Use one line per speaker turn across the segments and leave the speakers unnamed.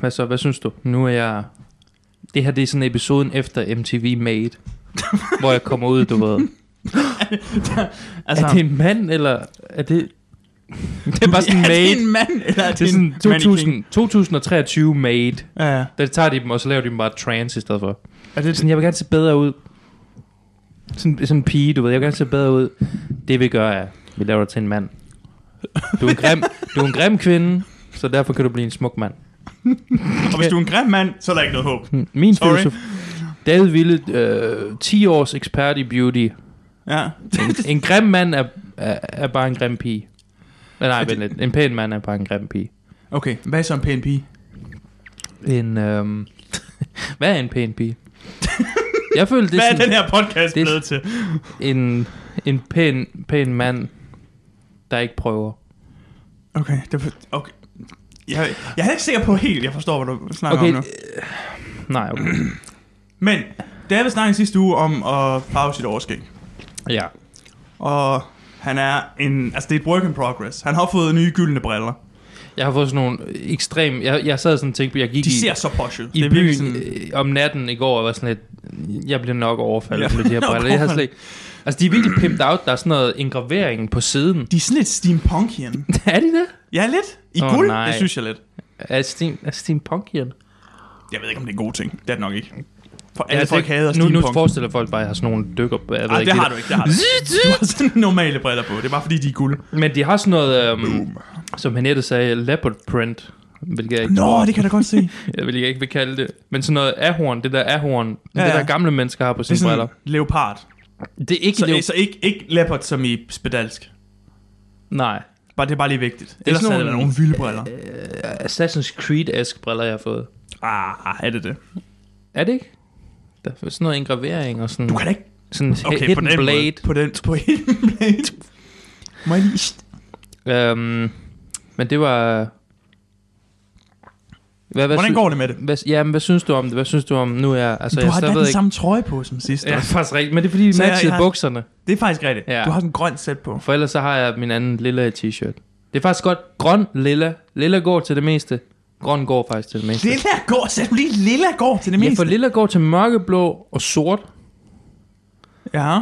Hvad så? Hvad synes du? Nu er jeg... Det her det er sådan episoden efter MTV Made, hvor jeg kommer ud, du ved. Altså, er det en mand, eller er det... Det er bare sådan
er det
made.
en mand, eller er det,
Det er sådan 2000,
en
2023 made.
Ja, ja.
Der tager de dem, og så laver de dem bare trans i stedet for.
Er det,
Sådan, jeg vil gerne se bedre ud. Sådan, sådan en pige, du ved. Jeg vil gerne se bedre ud. Det vi gør er, vi laver dig til en mand. Du er en grim, du er en grim kvinde, så derfor kan du blive en smuk mand.
og hvis du er en grim mand, så er der ikke noget håb.
Hmm. Min
Sorry.
filosof. David Ville, øh, 10 års ekspert i beauty.
Ja.
En, en grim mand er, er, er bare en grim pige. Nej, nej, vent lidt. En pæn mand er bare en grim pige.
Okay, hvad er så en pæn pige?
En, øhm, hvad er en pæn pige? Jeg føler, det
Hvad
er,
er den
sådan,
her podcast
det er-
blevet til?
en, en pæn, pæn mand, der ikke prøver.
Okay, det var, okay. Jeg, jeg er ikke sikker på helt, jeg forstår, hvad du snakker
Okay,
om nu.
øh, nej, okay.
Men, David snakkede sidste uge om at farve sit overskæg.
Ja.
Og han er en... Altså, det er et work in progress. Han har fået nye gyldne briller.
Jeg har fået sådan nogle ekstrem... Jeg, jeg sad sådan og tænkte, jeg gik
De
i,
ser så posh ud.
i
Det er
byen
virkelig
sådan...
sådan-
øh, om natten i går, og var sådan lidt... Jeg bliver nok overfaldet ja.
Ja.
med de her
Nok
briller. Jeg har slet ikke... Altså, de er virkelig pimped out. Der er sådan noget engravering på siden.
De er sådan lidt steampunkian.
er de det?
Ja, lidt. I
Åh,
guld,
nej.
det synes jeg lidt.
Er Steam, er Steam Punk igen?
Jeg ved ikke, om det er en god ting. Det er det nok ikke. For
Ja,
alle folk
ikke-
hader
Altså, nu, nu
steampunk.
forestiller folk bare, at jeg har sådan nogle dykker. Jeg ved
Ej,
ikke,
det har
der-
du ikke, det har du ikke. Du har sådan normale briller på. Det er bare fordi, de er guld.
Men de har sådan noget, øhm, som Henriette sagde, leopard print. Hvilket jeg ikke,
Nå, det kan jeg da godt se.
jeg, vil ikke vil kalde det. Men sådan noget ahorn, det der ahorn,
Ja,
ja, det
ja.
der gamle mennesker har på
Det er
sine briller.
sådan leopard.
Det er ikke
Så,
leo-
så ikke, ikke leopard som i spedalsk.
Nej.
Bare, det er bare lige vigtigt. Ellers
sådan
er der
nogle-
nogle vilde briller.
Assassin's Creed-esk briller, jeg har fået.
Ah, er det det?
Er det ikke? Der er sådan noget engravering og sådan,
Du kan da ikke
sådan
Okay,
hidden
på den
blade.
Måde. På den, på hidden blade. Må jeg lige...
Øhm, men det var... Hvad, hvad
Hvordan
sy-
går det med det?
Hvad, ja, men hvad synes du om det? Hvad synes du om nu er... Altså,
Du
jeg
har da
stadig
den
ikke...
samme trøje på som sidst.
Ja,
Ja.
faktisk rigtigt. Men det er fordi, de
Så jeg-
matchede
jeg har-
bukserne.
Det er faktisk rigtigt.
Ja.
Du har sådan en grøn sæt på.
For ellers så har jeg min anden lilla t-shirt. Det er faktisk godt. Grøn, lilla. Lilla går til det meste. Grøn går faktisk til det meste.
Lilla går, så du lige lilla går til det
Ja,
meste.
for lilla går til mørkeblå og sort.
ja.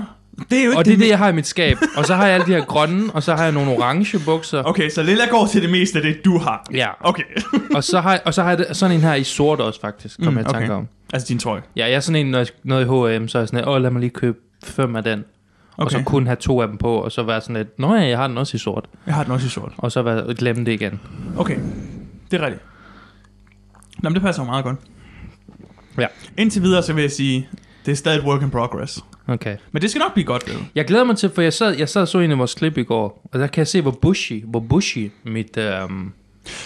Det er jo ikke
Og det er det, jeg har i mit skab. Og så har jeg alle de her grønne, og så har jeg nogle orange bukser.
Okay, så lilla går til det meste af det, du har.
Ja,
Okay.
og så har, og så har jeg det- sådan en her i sort også faktisk, kom
Mm,
mm, jeg i tanke
okay.
okay. om.
altså din trøje.
Ja, jeg er sådan en, når jeg noget i H&M, så er jeg sådan, lidt, åh, lad mig lige købe fem af den. Okay. Og
Okay.
så kun have to af dem på, og så være sådan lidt, nå ja, jeg har den også i sort.
Jeg har den også i sort.
Og så være, glemme det igen.
Okay. Det er rigtigt. Nå, men det passer jo meget godt.
Ja.
Indtil videre, så vil jeg sige, det er stadig et work in progress.
Okay.
Men det skal nok blive godt, ved.
Jeg glæder mig til, for jeg sad, jeg sad og så en af vores klip i går, og der kan jeg se, hvor bushy, hvor bushy mit... Øhm,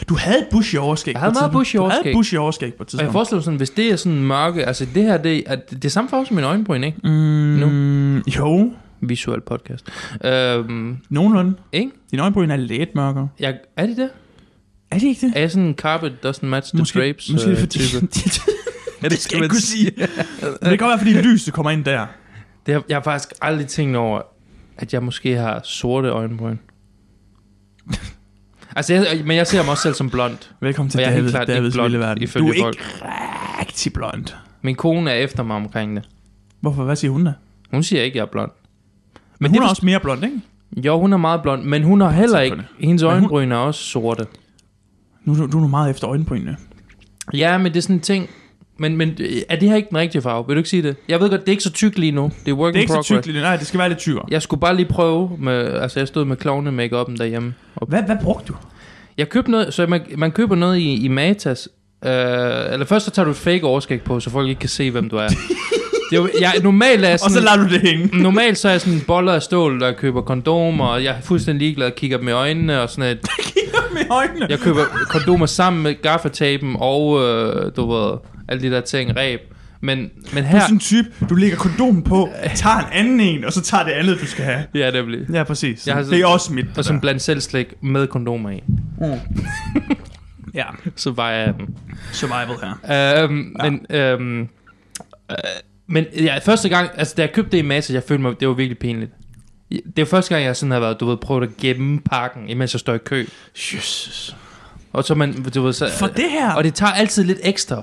Du havde bushy overskæg
Jeg havde
på
meget
tidspunkt.
bushy
Du havde
overskæg.
bushy overskæg på
og
et
jeg
tidspunkt.
forestiller mig sådan, hvis det er sådan mørke, altså det her, det er, det er samme farve som min øjenbryn, ikke?
Mm,
Nu.
Jo,
Visuel podcast. Øhm,
nogenlunde.
ikke?
Din øjenbryn er lidt mørkere.
Jeg, er det det?
Er det ikke det?
Er jeg sådan en carpet doesn't match the drapes
måske er det
øh,
fordi,
type?
ja, det skal jeg ikke kunne sige. Men det kan godt være, fordi lyset kommer ind der.
Det har, jeg har faktisk aldrig tænkt over, at jeg måske har sorte øjenbryn. altså, jeg, men jeg ser mig også selv som blond.
Velkommen til
Og jeg er helt
David,
klart ikke
Davids
blond,
vilde verden.
ifølge
Du er ikke
folk.
rigtig blond.
Min kone er efter mig omkring det.
Hvorfor? Hvad siger hun da?
Hun siger ikke, at jeg er blond.
Men
det
hun er
forst-
også mere blond, ikke?
Jo, hun er meget blond, men hun har heller ikke...
Selvfølgelig.
Hendes
hun-
øjenbryn er også sorte.
Nu, du, du er nu meget efter øjenbrynene.
Ja, men det er sådan en ting... Men, men øh, er det her ikke den rigtige farve? Vil du ikke sige det? Jeg ved godt, det er ikke så tykt lige nu. Det er work
Det
in
er ikke så
progress.
tykt, lige- nej, det skal være lidt tykkere.
Jeg skulle bare lige prøve med... Altså, jeg stod med klovne make derhjemme. Og
Hvad, hvad brugte du?
Jeg købte noget, så man, man køber noget i, i Matas. Øh, eller først så tager du et fake overskæg på, så folk ikke kan se, hvem du er. det er jo, jeg, normalt er jeg
Og så
sådan,
lader du det hænge.
normalt så er jeg sådan en boller af stål, der køber kondomer, og jeg er fuldstændig ligeglad, kigger dem i øjnene og sådan et,
med øjnene.
Jeg køber kondomer sammen med gaffatapen og, øh, du ved, alle de der ting, ræb. Men, men
Du
her...
er sådan en type, du lægger kondomen på,
Øh.
tager en anden en, og så tager det andet, du skal have.
Ja, det bliver.
Ja, præcis.
Jeg har
det er
sådan-
også mit.
Og sådan
der.
blandt selv slik med kondomer i.
ja,
Så var jeg den.
survival her.
Øhm, ja. Men, øhm, øh, men ja, første gang, altså da jeg købte det i masse, jeg følte mig, det var virkelig pinligt. Det er første gang, jeg sådan har været, du ved, prøvet at gemme pakken, imens jeg står i kø.
Jesus.
Og så man, du ved, så, øh,
For det her?
Og det tager altid lidt ekstra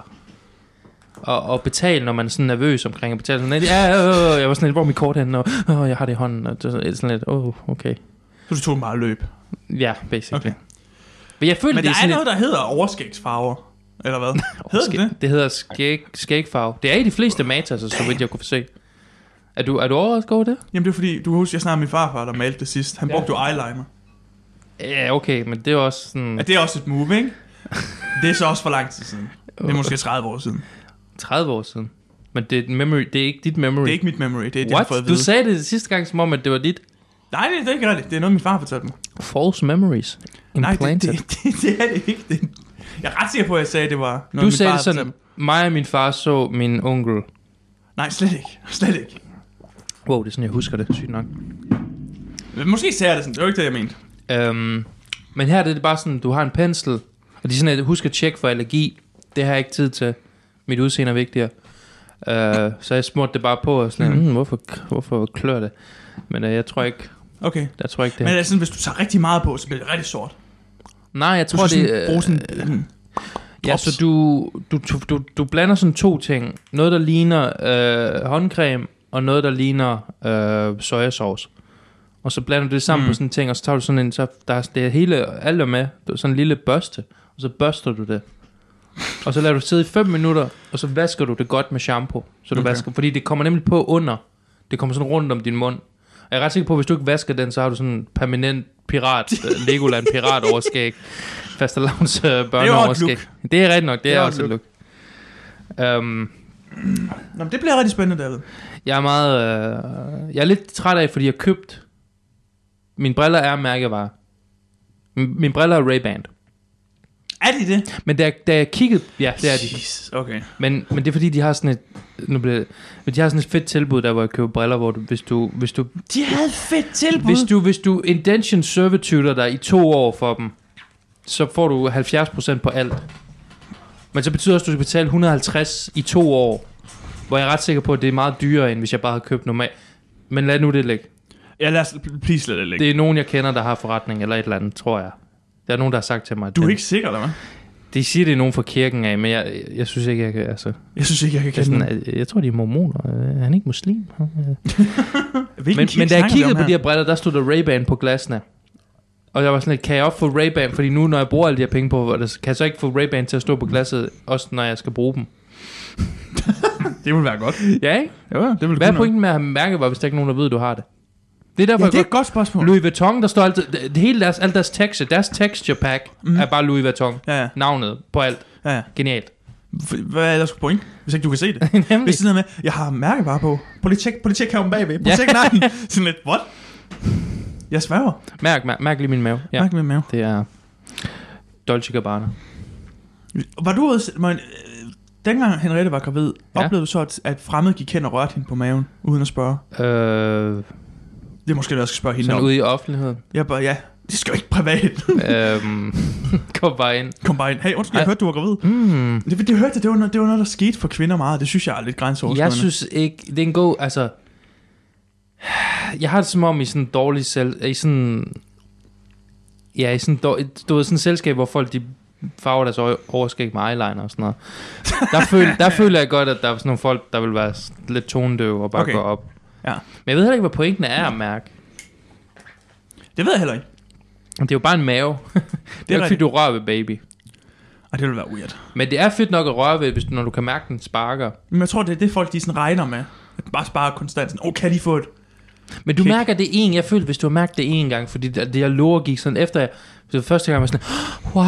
at, at betale, når man er sådan nervøs omkring at betale. Sådan, lidt, ja, øh, øh, jeg var sådan lidt, hvor er mit kort henne? Og, øh, jeg har det i hånden. Og det er sådan lidt, åh, oh, okay.
Så du tog en meget løb.
Ja, basically.
Okay.
Okay. Men jeg føler, det
Men der
er
er
sådan
noget, der hedder overskægsfarver. Eller hvad? hedder det
Skæg-
det?
det hedder skæg, skægfarve. Det er i de fleste matas, altså, så vidt jeg kunne se. Er du, er du overrasket over det?
Jamen det er fordi, du husker, jeg snakkede med min farfar, der malte det sidst. Han
Ja.
brugte jo eyeliner.
Ja, okay, men det er også sådan
Er det også et move, ikke? Det er så også for lang tid siden. Det er måske 30 år siden.
30 år siden. Men det er, et memory, det er ikke dit memory.
Det er ikke mit memory, det er det, jeg har fået at
What? Du
vide.
sagde det sidste gang, som om, at det var dit
Nej, det, det er ikke rigtigt. Det er noget, min far fortalte mig.
false memories
Nej,
implanted.
det, det, det, det, er det ikke. Det, jeg er ret sikker på, at jeg sagde, at det var noget,
du
min
sagde
far
det sådan,
fortalte
mig og min far så min onkel.
mig. Nej, slet ikke. Slet ikke.
Wow, det er sådan, jeg husker det, sygt nok.
Men Måske sagde jeg det sådan. Det var ikke det, jeg mente.
Øhm, men her er det bare sådan, du har en pensel, og de er sådan, at husk at tjekke for allergi. Det har jeg ikke tid til. Mit udseende er vigtigere. Øh, så jeg smurte det bare på, og sådan,
Mhm.
mm. Mm, hvorfor, hvorfor klør det? Men øh, jeg tror ikke,
Okay.
jeg tror ikke det.
Men
Men,
altså, hvis du tager rigtig meget på, så bliver det rigtig sort.
Nej, jeg
Du
tror,
skal sådan
det...
bruge
Øh,
sådan... Mm.
ja,
drops.
så du, du, du, du, du blander sådan to ting. Noget, der ligner øh, håndcreme, og noget, der ligner øh, sojasauce. Og så blander du det sammen
Mm.
mm. på sådan en ting, og så tager du sådan en, så der er det er hele, alt er med, Du har sådan en lille børste, og så børster du det. Og så lader du sidde i 5 minutter, og så vasker du det godt med shampoo. Så du
Okay.
okay. vasker, fordi det kommer nemlig på under. Det kommer sådan rundt om din mund. Og jeg er ret sikker på, at hvis du ikke vasker den, så har du sådan en permanent pirat, øh, Legoland pirat overskæg. Fastelavns øh, børneoverskæg. Det er rigtigt nok, det,
Det er
er
også
også et look. Um,
Nå, men det bliver rigtig spændende, David.
jeg er meget... Øh, jeg er lidt træt af, fordi jeg har købt... Mine briller er mærkevare. M- Mine briller er Ray-Ban.
Er de det?
Men da jeg, da jeg kiggede... Ja, det er de.
Jesus, okay.
Men, men det er fordi, de har sådan et... Nu bliver, det- men de har sådan et fedt tilbud, der hvor jeg køber briller, hvor du, hvis du... Hvis du,
De havde fedt tilbud.
hvis du, hvis du indention servituder dig i to år for dem, så får du 70% på alt. Men så betyder det også, at du skal betale 150 i to år, hvor jeg er ret sikker på, at det er meget dyrere, end hvis jeg bare havde købt normalt. Men lad nu det ligge.
Ja, lad os please lad det ligge.
Det er nogen, jeg kender, der har forretning eller et eller andet, tror jeg. Der er nogen, der har sagt til mig, at
Du er
den-
ikke sikker, eller hvad?
de siger, det er nogen fra kirken af, men jeg, jeg, jeg synes ikke, jeg kan... Altså,
Jeg synes ikke, jeg kan
jeg,
kende
sådan,
den.
jeg, jeg tror, de er mormoner. Øh, Er han ikke muslim? Øh,
Hvilken
Men, men
kirke
da jeg
snakker vi
kiggede
om
på de
her?
her briller, der stod der Ray-Ban på glasene. Og jeg var sådan lidt, kan jeg op få Ray-Ban? Fordi nu, når jeg bruger alle de her penge på, kan jeg så ikke få Ray-Ban til at stå på glasset, også når jeg skal bruge dem?
Det ville være godt.
Ja, ikke?
Jo, ja, det ville
Hvad er
kunne noget.
pointen med at have mærke, var, hvis der ikke er nogen, der ved, du har det? Det er derfor,
Ja,
jeg
det er
godt...
et godt spørgsmål.
Louis Vuitton, der står altid... Det, det hele deres, alt deres texture, deres texture pack,
Mm.
mm. er bare Louis Vuitton.
Ja, ja,
Navnet på alt.
ja, ja.
Genialt.
F- Hvad er ellers point, hvis ikke du kan se det?
Nemlig.
Hvis det er noget med, jeg har mærkevarer på. Prøv lige at tjek, prøv lige at tjek herom bagved. Prøv lige
Ja.
tjek nakken. Sådan lidt, what? Jeg sværger.
Mærk, mærk, mærk lige min mave.
Ja.
Ja,
Mærke min mave.
det er... Dolce Gabbana.
Var du ude, men, øh, dengang Henriette var gravid, ja.
Ja.
oplevede du så, at, at fremmede gik hen og rørte hende på maven, uden at spørge?
Øh,
Det er måske, noget, jeg skal spørge hende
sådan
om.
ude i offentligheden.
Jeg bare, ja, det skal jo ikke privat.
øhm, kom bare ind.
Kom bare ind. Hey, undskyld, jeg
Ej.
hørte, du var gravid.
Mm.
Det, det hørte jeg, det var, noget, det var noget, der skete for kvinder meget. Det synes jeg er lidt grænseoverskridende.
Jeg synes ikke, det er en god, altså... Jeg har det som om i sådan en dårlig selv... I sådan... Ja, i sådan en dårlig, du ved, sådan et selskab, hvor folk de farver deres øje- overskæg med eyeliner og sådan noget. Der, føl, der føler jeg godt, at der er sådan nogle folk, der vil være s- lidt tonedøve og bare
Okay.
okay. gå op.
Ja.
Men jeg ved heller ikke, hvad pointen er at mærke.
Det ved jeg heller ikke.
Det er jo bare en mave. det er, det er ikke, fordi
rigtigt.
du rører ved baby.
Og det ville være weird.
Men det er fedt nok at røre ved, hvis du, når du kan mærke, den sparker.
Men jeg tror, det er det, folk de sådan regner med. At bare spare konstant. Sådan, oh, kan de få et?
Men du
Kick.
mærker det en, jeg følte, hvis du har mærket det en gang, fordi det, det jeg lover gik sådan efter, jeg, så første gang var jeg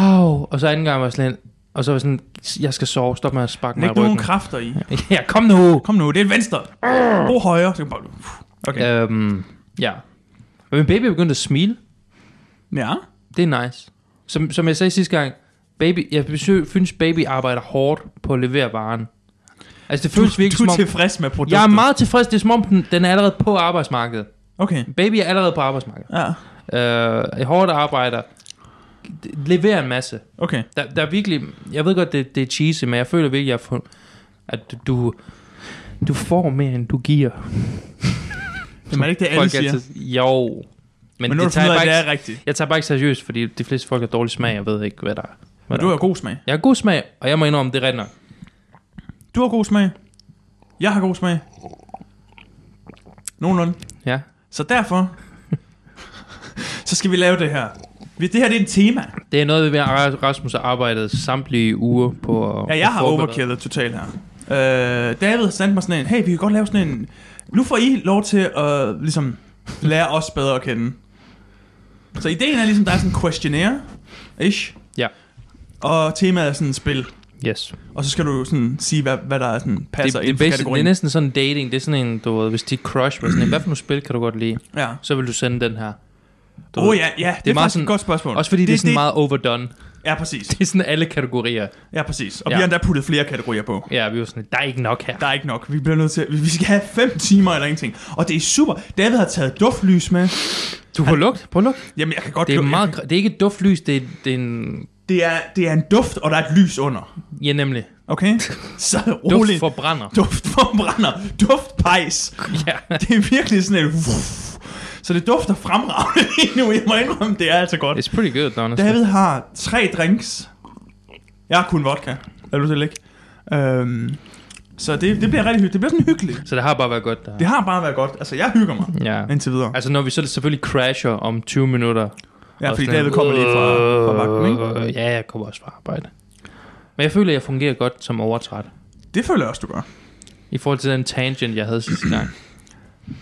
sådan, wow, og så anden gang var jeg sådan, og så var jeg sådan, jeg skal sove, stop med at sparke mig i
Læg nu
ryggen.
nogle kræfter i.
ja, kom nu!
Kom nu, det er et venstre. Brug højre. Så kan man bare, okay.
Okay. Øhm, ja. Men min baby begyndte at smile,
Ja.
det er nice. Som, som jeg sagde sidste gang, baby, jeg besøg, synes baby arbejder hårdt på at levere varen. Altså det
Du,
føles virkelig
du
som
er
om,
tilfreds med produktet.
jeg er meget tilfreds, det er som om den, den er allerede på arbejdsmarkedet.
Okay.
Baby er allerede på arbejdsmarkedet.
Ja.
Øh, hårdt arbejder, leverer en masse.
Okay.
Der, der er virkelig, jeg ved godt, det, det er cheesy, men jeg føler virkelig, jeg har fund, at du, du får mere, end du giver.
Jamen, er det ikke det, alle siger?
altid, jo, men,
Men
men
nu har
det
du
tager
fundet ud
jeg
af,
bare
at det er
ikke,
rigtigt.
jeg tager bare ikke seriøst, fordi de fleste folk har dårlig smag, jeg ved ikke, hvad der er.
Men du har god smag.
Jeg har god smag, og jeg må indrømme, det render.
Du har god smag. Jeg har god smag. Nogenlunde.
Ja.
Så derfor, så skal vi lave det her. Vi- Det her det er en tema.
Det er noget, vi ved, at Rasmus har arbejdet samtlige uger på. at-
Ja, jeg
at
har
forberede.
overkillet totalt her. Øh, David sendte mig sådan en, hey, vi kan godt lave sådan en... Nu får I lov til at ligesom, lære os bedre at kende. Så ideen er ligesom, der er sådan en questionnaire, ish.
Ja.
Og temaet er sådan et spil.
Yes.
Og så skal du sådan sige, hvad, hvad der er sådan,
Det,
passer
det, er
ind Altså,
basic,
for
det er
kategorien.
næsten sådan dating. Det er sådan en, du ved, hvis de crush var sådan en, hvad for nogle spil kan du godt lide?
Ja.
Så vil du sende den her. Du
Åh oh,
ved.
ja, ja, det,
Det
det
er
er
meget
faktisk
sådan-
et godt spørgsmål.
Også fordi det, det er sådan det, meget overdone.
Ja, præcis.
Det er sådan alle kategorier.
Ja, præcis. Og
Ja.
ja. vi har endda puttet flere kategorier på.
Ja, vi var sådan, der er ikke nok her.
Der er ikke nok. Vi bliver nødt til... Vi skal have fem timer eller ingenting. Og det er super. David har taget duftlys med.
Du får lugt, prøv at lugt.
Jamen, jeg kan godt...
Det er,
lugte-
meget, gr- det er ikke et duftlys, det er, det er en...
Det er, det er en duft, og der er et lys under.
Ja, nemlig.
Okay? Så
Duft
roligt.
forbrænder.
Duft forbrænder. Duftpejs.
Ja.
Det er virkelig sådan et... Så det dufter fremragende lige nu. Jeg må indrømme, det er altså godt.
It's pretty good, honestly.
David har tre drinks. Jeg har kun vodka. Er du til at lægge? Øhm, så det, det bliver rigtig hyggeligt. Det bliver sådan hyggeligt.
Så det har bare været godt, der.
Det har bare været godt. Altså, jeg hygger mig
Ja.
indtil videre.
Altså, når vi så selvfølgelig crasher om 20 minutter.
Ja,
og
fordi
sådan-
David kommer lige fra, fra vagten, ikke?
Øh, Ja, jeg kommer også fra arbejde. Men jeg føler, at jeg fungerer godt som overtræt.
Det føler jeg også, du gør.
I forhold til den tangent, jeg havde sidste gang.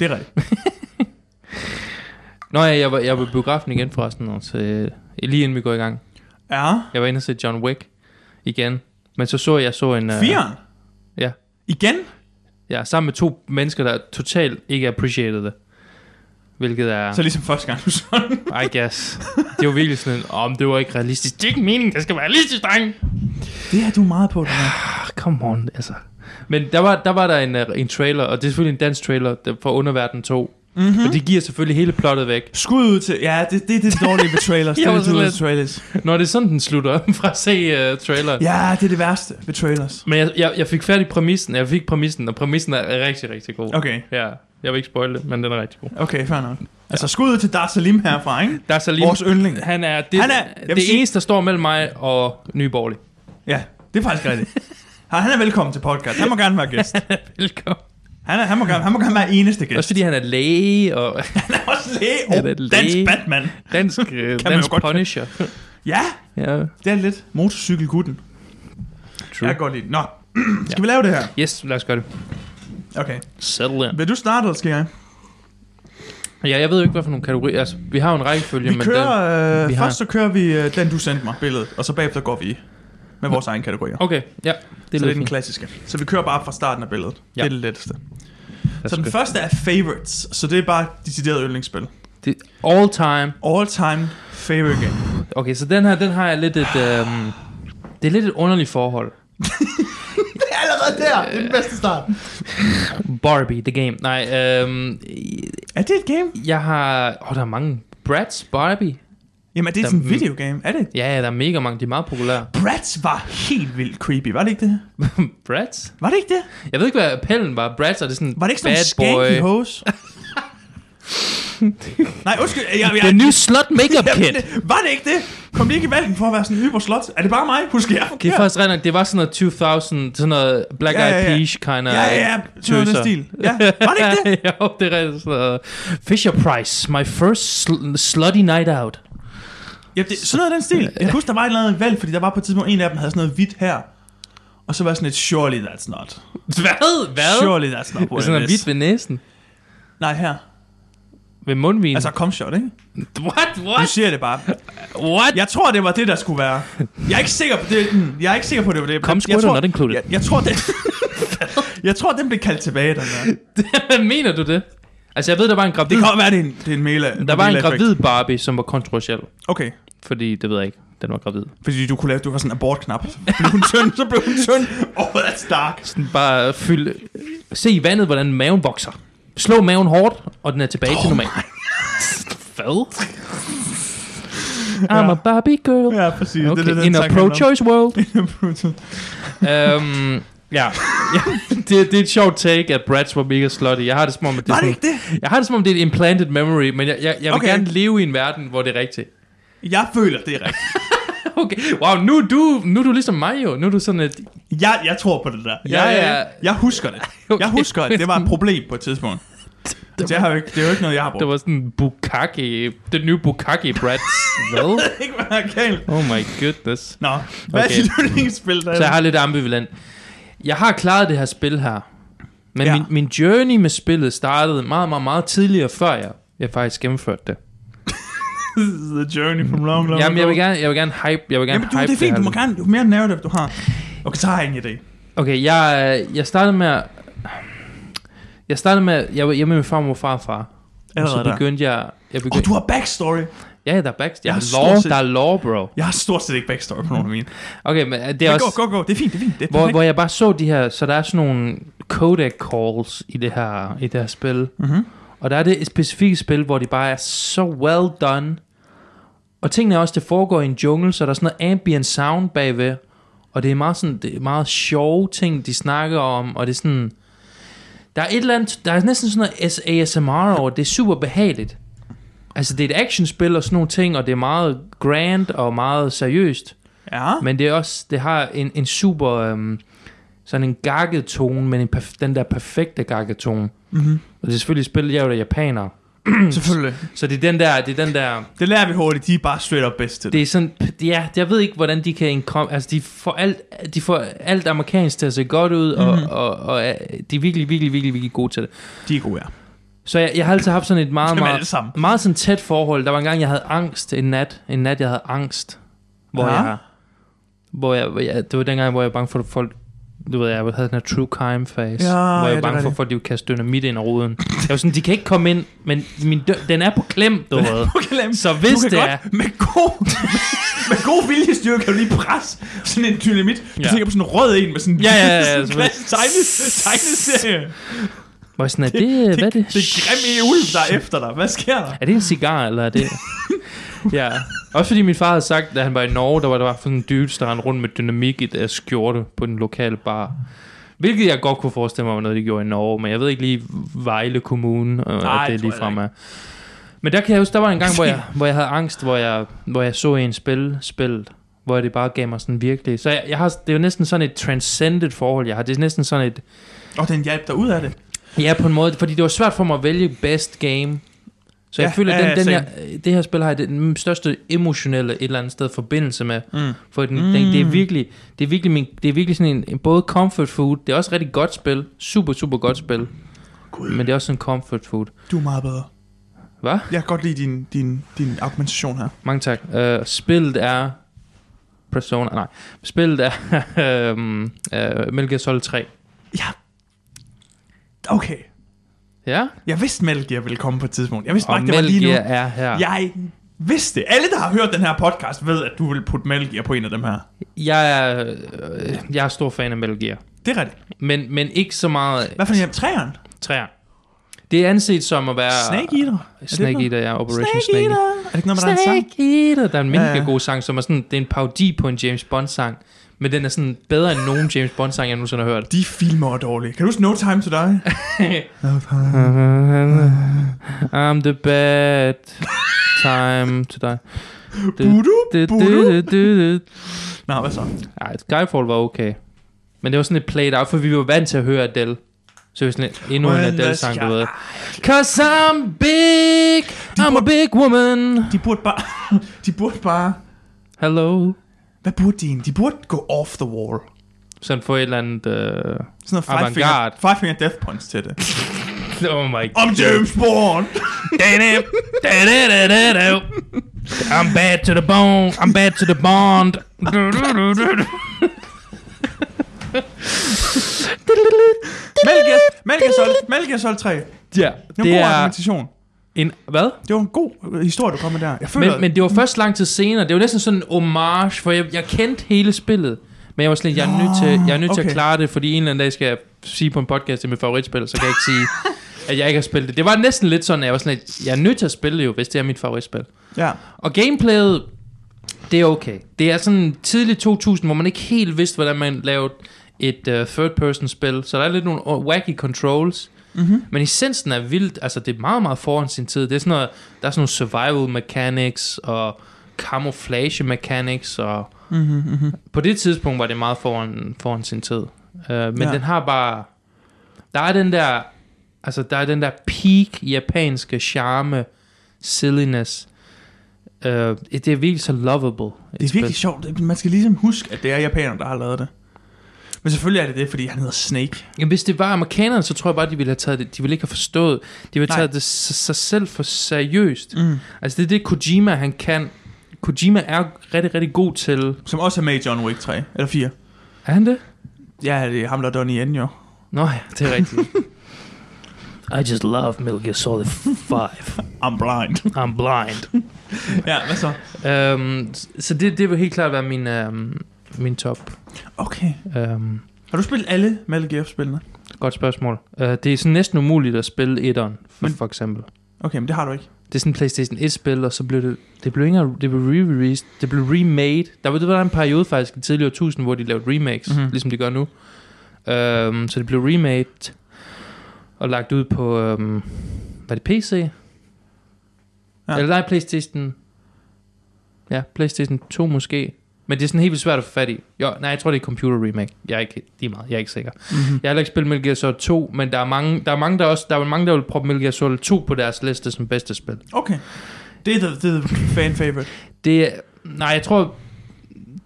Det er rigtigt.
Nå ja, jeg var, jeg var i biografen igen forresten, og så, øh, lige inden vi går i gang.
Ja.
Jeg var inde og se John Wick igen. Men så så jeg så en... øh,
Firen.
Ja.
Igen?
Ja, sammen med to mennesker, der totalt ikke appreciated det. Hvilket er,
Så ligesom første gang, du så den.
I guess. Det var virkelig sådan en, om det var ikke realistisk. Det er ikke meningen, det skal være realistisk, dreng.
Det er du meget på, det her.
Ah, come on, altså. Men der var der, var der en, øh, en trailer, og det er selvfølgelig en dansk trailer der- fra Underverden 2. Mm-hmm. Og det giver selvfølgelig hele plottet væk.
Skud ud til... Ja, det, det, det er det dårlige ved trailers. det
Jeg
er
var
det dårlige
sådan
ved trailers.
Når det er sådan, den slutter fra at se uh, traileren.
Ja, det er det værste ved trailers.
Men jeg, jeg, jeg fik færdig præmissen, jeg fik præmissen, og præmissen er rigtig, rigtig god.
Okay,
Ja, jeg vil ikke spoil det, men den er rigtig god.
okay, fair nok. Altså, skud ud til Dar Salim herfra, ikke?
Der er så lige...
Vores yndling.
Han er det,
Han
han
er-
er,
jeg vil
det
sige-
eneste, der står mellem mig og Nye Borgerlige.
Ja, det er faktisk rigtigt. Han han er velkommen til podcast. Han må gerne være gæst.
Velkommen.
Han, er, han, må, gerne, han må gerne være eneste gæst.
Også fordi han er læge og
Han er også læge
Han
og
er
dansk
læge.
Batman.
dansk, øh,
man jo
dansk
godt kalde-
punisher.
Ja,
ja,
det er lidt motorcykelgutten.
true.
Jeg kan godt lide det. Nå, skal vi lave det her?
Yes, lad os gøre det.
Okay.
Settle in.
Vil du starte, eller skal jeg?
Ja, jeg ved jo ikke, hvad for nogle kategorier. Altså, vi har jo en rækkefølge,
Vi
men
kører,
den...
øh,
vi har-
først så kører vi øh, den, du sendte mig, billedet, og så bagefter går vi med vores egen kategorier.
Okay, ja. Det
så det
lyder
er den
fint.
klassiske. Så vi kører bare fra starten af billedet.
Ja.
Ja. Det er det letteste.
Lad
Så
os
den
gøre.
første er favorites, så det er bare decideret yndlingsspil.
Det, all time.
All time favorite game.
Okay, så den her, den har jeg lidt et... Øhm, det er lidt et underligt forhold.
det er allerede der, det er den bedste start.
Barbie, the game. Nej, øhm,
Er det et game?
jeg har... Åh, oh, der er mange. Bratz, Barbie.
Jamen er det
Der-
sådan en videogame? Er det?
Ja, ja, der er mega mange. De er meget populære.
Bratz var helt vildt creepy, var det ikke det?
Bratz?
Var det ikke det?
Jeg ved ikke, hvad appellen var. Bratz er det sådan
Var det ikke sådan
bad
en skanky
boy.
hose? Nej, undskyld. Jeg, jeg,
The new slut makeup
Jamen,
kit.
det, var det ikke det? Kom de ikke i valgen for at være sådan hyper slot? Er det bare mig? Husker jeg
Det er
forkert?
faktisk rent nok, det var sådan noget 2000, sådan noget Black
Ja,
Eyed
ja, ja.
Peas kind of
Ja, ja, ja. Sådan noget i den stil. Ja, var det ikke det?
jo, det er rigtigt sådan noget. Fisher Price, my first sl- slutty night out.
Ja, det, sådan noget i den stil. Jeg kan huske, der var et eller andet valg, fordi der var på et tidspunkt, en af dem havde sådan noget hvidt her. Og så var jeg sådan et, surely that's not.
Hvad? Hvad?
Surely that's not
Det er
what
sådan
it
en
is.
hvidt ved næsen.
Nej, her.
Ved mundvinen.
Altså, kom shot, ikke?
what?
Nu
What?
siger jeg det bare.
What?
Jeg tror, det var det, der skulle være. Jeg er ikke sikker på det. mm, Jeg er ikke sikker på, det var det.
Cum
Jeg
squirt
tror-
or not included.
Jeg, jeg tror, det... jeg tror, den blev kaldt tilbage, den der.
Hvad mener du det? Altså, jeg ved, der var en
Det
gravid...
kan godt være, det er en, det er en mela.
der var en
mela-effekt.
gravid Barbie, som var kontroversiel.
Okay.
Fordi, det ved jeg ikke, den var gravid.
Fordi du kunne lave, du har sådan en abortknap. Så blev hun tynd, så blev hun tynd. Oh, that's dark.
Sådan bare fyld... Se i vandet, hvordan maven vokser. Slå maven hårdt, og den er tilbage oh til normalt. Hvad? I'm a Barbie girl.
Ja, præcis.
Okay,
det,
in a pro-choice world.
pro
um, ja, ja det, det er et sjovt take, at Brads var mega slutty. Jeg har det som om, at det, er
Var det
sådan-
ikke det?
Jeg har det som om, det er et implanted memory, men jeg, jeg, jeg vil
Okay.
gerne leve i en verden, hvor det er rigtigt.
Jeg føler, det er rigtigt.
Okay, wow, nu er du, nu er du ligesom mig jo. Nu er du sådan et...
Jeg, jeg tror på det der. Jeg,
Ja,
jeg,
ja.
jeg, jeg husker det.
Okay.
Jeg husker, at det var et problem på et tidspunkt. Det, har jo ikke, det er jo ikke noget, jeg har brugt.
Det var sådan Bukake, den nye Bukake Brad. Hvad?
ikke, hvad der er galt.
Oh my goodness.
Nå, hvad
Okay.
er dit yndlingsspil, der
Så jeg har lidt ambivalent. Jeg har klaret det her spil her. Men
Ja.
ja. min, min journey med spillet startede meget, meget, meget tidligere, før jeg, jeg faktisk gennemførte det.
The journey from long, long
Jamen, jeg vil
ago.
gerne, jeg vil gerne hype, jeg vil gerne
Jamen, du,
hype
det er fint,
her
du må
lidt.
gerne, jo mere narrative du har. Okay, så har jeg en idé.
Okay, jeg, jeg startede med at, Jeg startede med, at- jeg var hjemme med farmor og farfar. Og så
Allerede der.
begyndte jeg... jeg
Åh, oh,
begyndte,
du har backstory.
Ja, der er backstory. Jeg
Jeg
har
har
lore,
stort set-
der er lore, bro.
Jeg har stort set ikke backstory på nogen af mine.
Okay, men øh, det er
Det er
også...
også... Gå, gå, gå. Det er fint, det er fint. Det er
hvor,
perfekt.
hvor jeg bare så de her, så der er sådan nogle codec calls i det her, i det her spil.
Mhm.
Og der er det specifikke spil, hvor de bare er så well done. Og tingene er også, det foregår i en jungle, så der er sådan noget ambient sound bagved. Og det er meget sådan, det er meget sjove ting, de snakker om, og det er sådan... Der er et eller andet, der er næsten sådan noget ASMR over, det. det er super behageligt. Altså det er et actionspil og sådan nogle ting, og det er meget grand og meget seriøst.
Ja.
Men det er også, det har en, en super, øhm, sådan en gakket tone, men en perf- den der perfekte gakket tone.
Mm-hmm.
Og det er selvfølgelig spillet, jeg er jo da japaner. Hmm.
Selvfølgelig.
Så det er den der, det er den der,
Det lærer vi hurtigt. De er bare straight up bedst til det.
det er sådan, ja, jeg ved ikke, hvordan de kan komme, altså de får alt, de får alt amerikansk til at se godt ud, og,
Mhm.
mm-hmm. og, og, og øh, de er virkelig, virkelig, virkelig, virkelig gode til det.
De er gode, ja.
Så jeg, jeg har altid haft sådan et meget,
Dem alle
meget,
sammen.
meget sådan tæt forhold. Der var en gang, jeg havde angst en nat, en nat, jeg havde angst, hvor
Ja.
ja. jeg, hvor jeg, hvor jeg, det var dengang, hvor jeg var bange for, at folk du ved, jeg havde den her true crime fase,
Ja,
hvor
ja,
jeg
det
var
er
bange for,
rigtigt.
at folk de ville kaste dynamit ind i ruden. Jeg var sådan, de kan ikke komme ind, men min dør, den er på klem, du ved.
Okay, lad
Så hvis
du kan
det
godt,
er,
Med god, med god viljestyrke kan du lige presse sådan en dynamit. Du
Ja.
tænker på sådan en rød en med sådan en
Ja, ja, ja, ja,
sådan en
selvfølgelig.
klassisk tegne- tegneserie.
hvor jeg sådan, er det, hvad er det?
Det er grim en ulv, der er efter dig. Hvad sker der?
Er det en cigar, eller er det... ja. Også fordi min far havde sagt, da han var i Norge, der var der var sådan en dude, der rendte rundt med dynamik i deres skjorte på den lokale bar. Hvilket jeg godt kunne forestille mig var noget, de gjorde i Norge, men jeg ved ikke lige Vejle Kommune, og
Nej,
Nej,
det
det
tror
lige
jeg
frem
ikke.
er. Men der kan jeg huske, der var en gang, hvor jeg, hvor jeg havde angst, hvor jeg, hvor jeg så en spil, spil, hvor det bare gav mig sådan virkelig... Så jeg, jeg har, det er jo næsten sådan et transcendent forhold, jeg har. Det er næsten sådan et...
Og den hjalp dig ud af det.
Ja, på en måde, fordi det var svært for mig at vælge best game. Så jeg
Ja,
ja, føler, at
ja,
den, den
ja,
jeg, det her spil har jeg den største emotionelle et eller andet sted forbindelse med.
Mm.
For den,
Mm.
mm. den, det, er virkelig, det, er virkelig min, det er virkelig sådan en, en både comfort food, det er også rigtig godt spil, super, super godt spil,
Gud,
men det er også en comfort food.
du er meget bedre.
Hvad?
Jeg kan godt lide din, din, din argumentation her.
Mange tak. Uh, spillet er Persona, nej, spillet er uh, uh, Metal Gear Solid 3.
Ja. Okay.
Ja,
Jeg vidste, Metal Gear ville komme på et tidspunkt. Jeg vidste
og
bare, ikke, det var
Metal
lige nu.
Gear er her.
Jeg vidste det. Alle, der har hørt den her podcast, ved, at du vil putte Metal Gear på en af dem her.
Jeg, er, øh, jeg er stor fan af Metal Gear.
Det er rigtigt.
Men, men ikke så meget
Hvad for en af træerne?
træer. Det er anset som at være...
Snake Eater? Er det
Snake
noget?
Eater, ja. Operation
Snake,
Snake Eater.
Eater. Er det ikke noget, med der er en sang?
Snake Eater. Der er en
Ja,
mega
ja.
god sang, som er sådan... Det er en parodi på en James Bond-sang. Men den er sådan bedre end nogen James Bond-sang, jeg nogensinde har hørt.
De filmer er dårlige. Kan du huske No Time to Die? no time.
I'm the bad time to die.
Budu?
Du, du, du,
Budu?
du, du.
Nå, hvad så?
Ej, Skyfall var okay. Men det var sådan lidt played out, for vi var vant til at høre Adele. Så vi sådan lidt, endnu en
Well,
Adele-sang, du
let's-
ved. Cause I'm big, I'm a big woman.
De burde bare... de burde bare...
Hello.
Hvad burde de egentlig? De burde gå off the wall.
Sådan få et eller andet... Uh...
Sådan noget five finger,
Avantgarde.
five finger death punch til det.
Oh my
Om James Bond!
Da-da-da-da-da. I'm bad to the bone. I'm bad to the bond.
Metal Gear, Metal Gear Solid, Metal Gear Solid 3.
ja, det
Det var en god
er
argumentation.
en... Hvad?
Det var en god øh, historie, du kom med der. Jeg føler,
Men, men det var først lang tid senere. Det var næsten sådan en homage, for jeg, jeg kendte hele spillet. Men jeg var slet jeg er nødt til, jeg er nødt til
okay.
at klare det, fordi en eller anden dag skal jeg sige på en podcast, det er mit favoritspil, så kan jeg ikke sige, at jeg ikke har spillet det. Det var næsten lidt sådan, at jeg var sådan lidt, jeg er nødt til at spille det jo, hvis det er mit favoritspil.
Ja.
Og gameplayet, det er okay. Det er sådan tidligt 2000, hvor man ikke helt vidste, hvordan man lavede et uh, third-person-spil. Så der er lidt nogle øh, wacky controls.
Mm-hmm.
Men essensen er vildt. Altså, det er meget, meget foran sin tid. Det er sådan noget, der er sådan nogle survival mechanics, og camouflage mechanics, og
Mm-hmm, mm-hmm.
på det tidspunkt var det meget foran, foran sin tid. Uh, men
Ja.
ja. den har bare... Der er den der... Altså, der er den der peak japanske charme, silliness. Uh, det er virkelig så lovable.
Det er virkelig sjovt. Man skal ligesom huske, at det er japanerne, der har lavet det. Men selvfølgelig er det det, fordi han hedder Snake.
Ja, hvis det var amerikanerne, så tror jeg bare, de ville have taget det. De ville ikke have forstået. De ville have
Nej.
taget det s- sig selv for seriøst.
Mm.
Altså, det er det, Kojima han kan. Kojima er rigtig, rigtig god til...
Som også er med i John Wick 3. Eller 4.
Er han det?
Ja, det er ham, der er Donnie Yen, jo.
Nå ja, det er rigtigt. I just love Metal Gear Solid 5.
I'm blind.
I'm blind.
ja, hvad så?
Øhm, s- så det, det vil helt klart være min, øhm, min top.
Okay.
Øhm,
Har du spillet alle Metal Gear-spillene?
godt spørgsmål. Øh, det er sådan næsten umuligt at spille etteren, for,
Men-
for eksempel.
Okay, men det har du ikke.
Det er sådan en PlayStation 1-spil, og så blev det... Det blev ikke engang- det blev re-released. Det blev remade. Der var, det var der en periode faktisk i tidligere tusind, hvor de lavede remakes,
Mhm.
mm-hmm. ligesom de gør nu. Øhm, så det blev remade og lagt ud på... Øhm, var det PC?
Ja.
Ja. Eller nej, PlayStation... Ja, PlayStation 2 måske. Men det er sådan helt vildt svært at få fat i. Jo, nej, jeg tror, det er computer remake. Jeg er ikke, lige meget, jeg er ikke sikker.
Mm-hmm.
Jeg har heller ikke spillet Metal Gear Solid 2, men der er mange, der, er mange, der, også, der er mange, der vil proppe Metal Gear Solid 2 på deres liste som bedste spil.
Okay. Det er the, det er the fan favorite.
Det er- nej, jeg tror,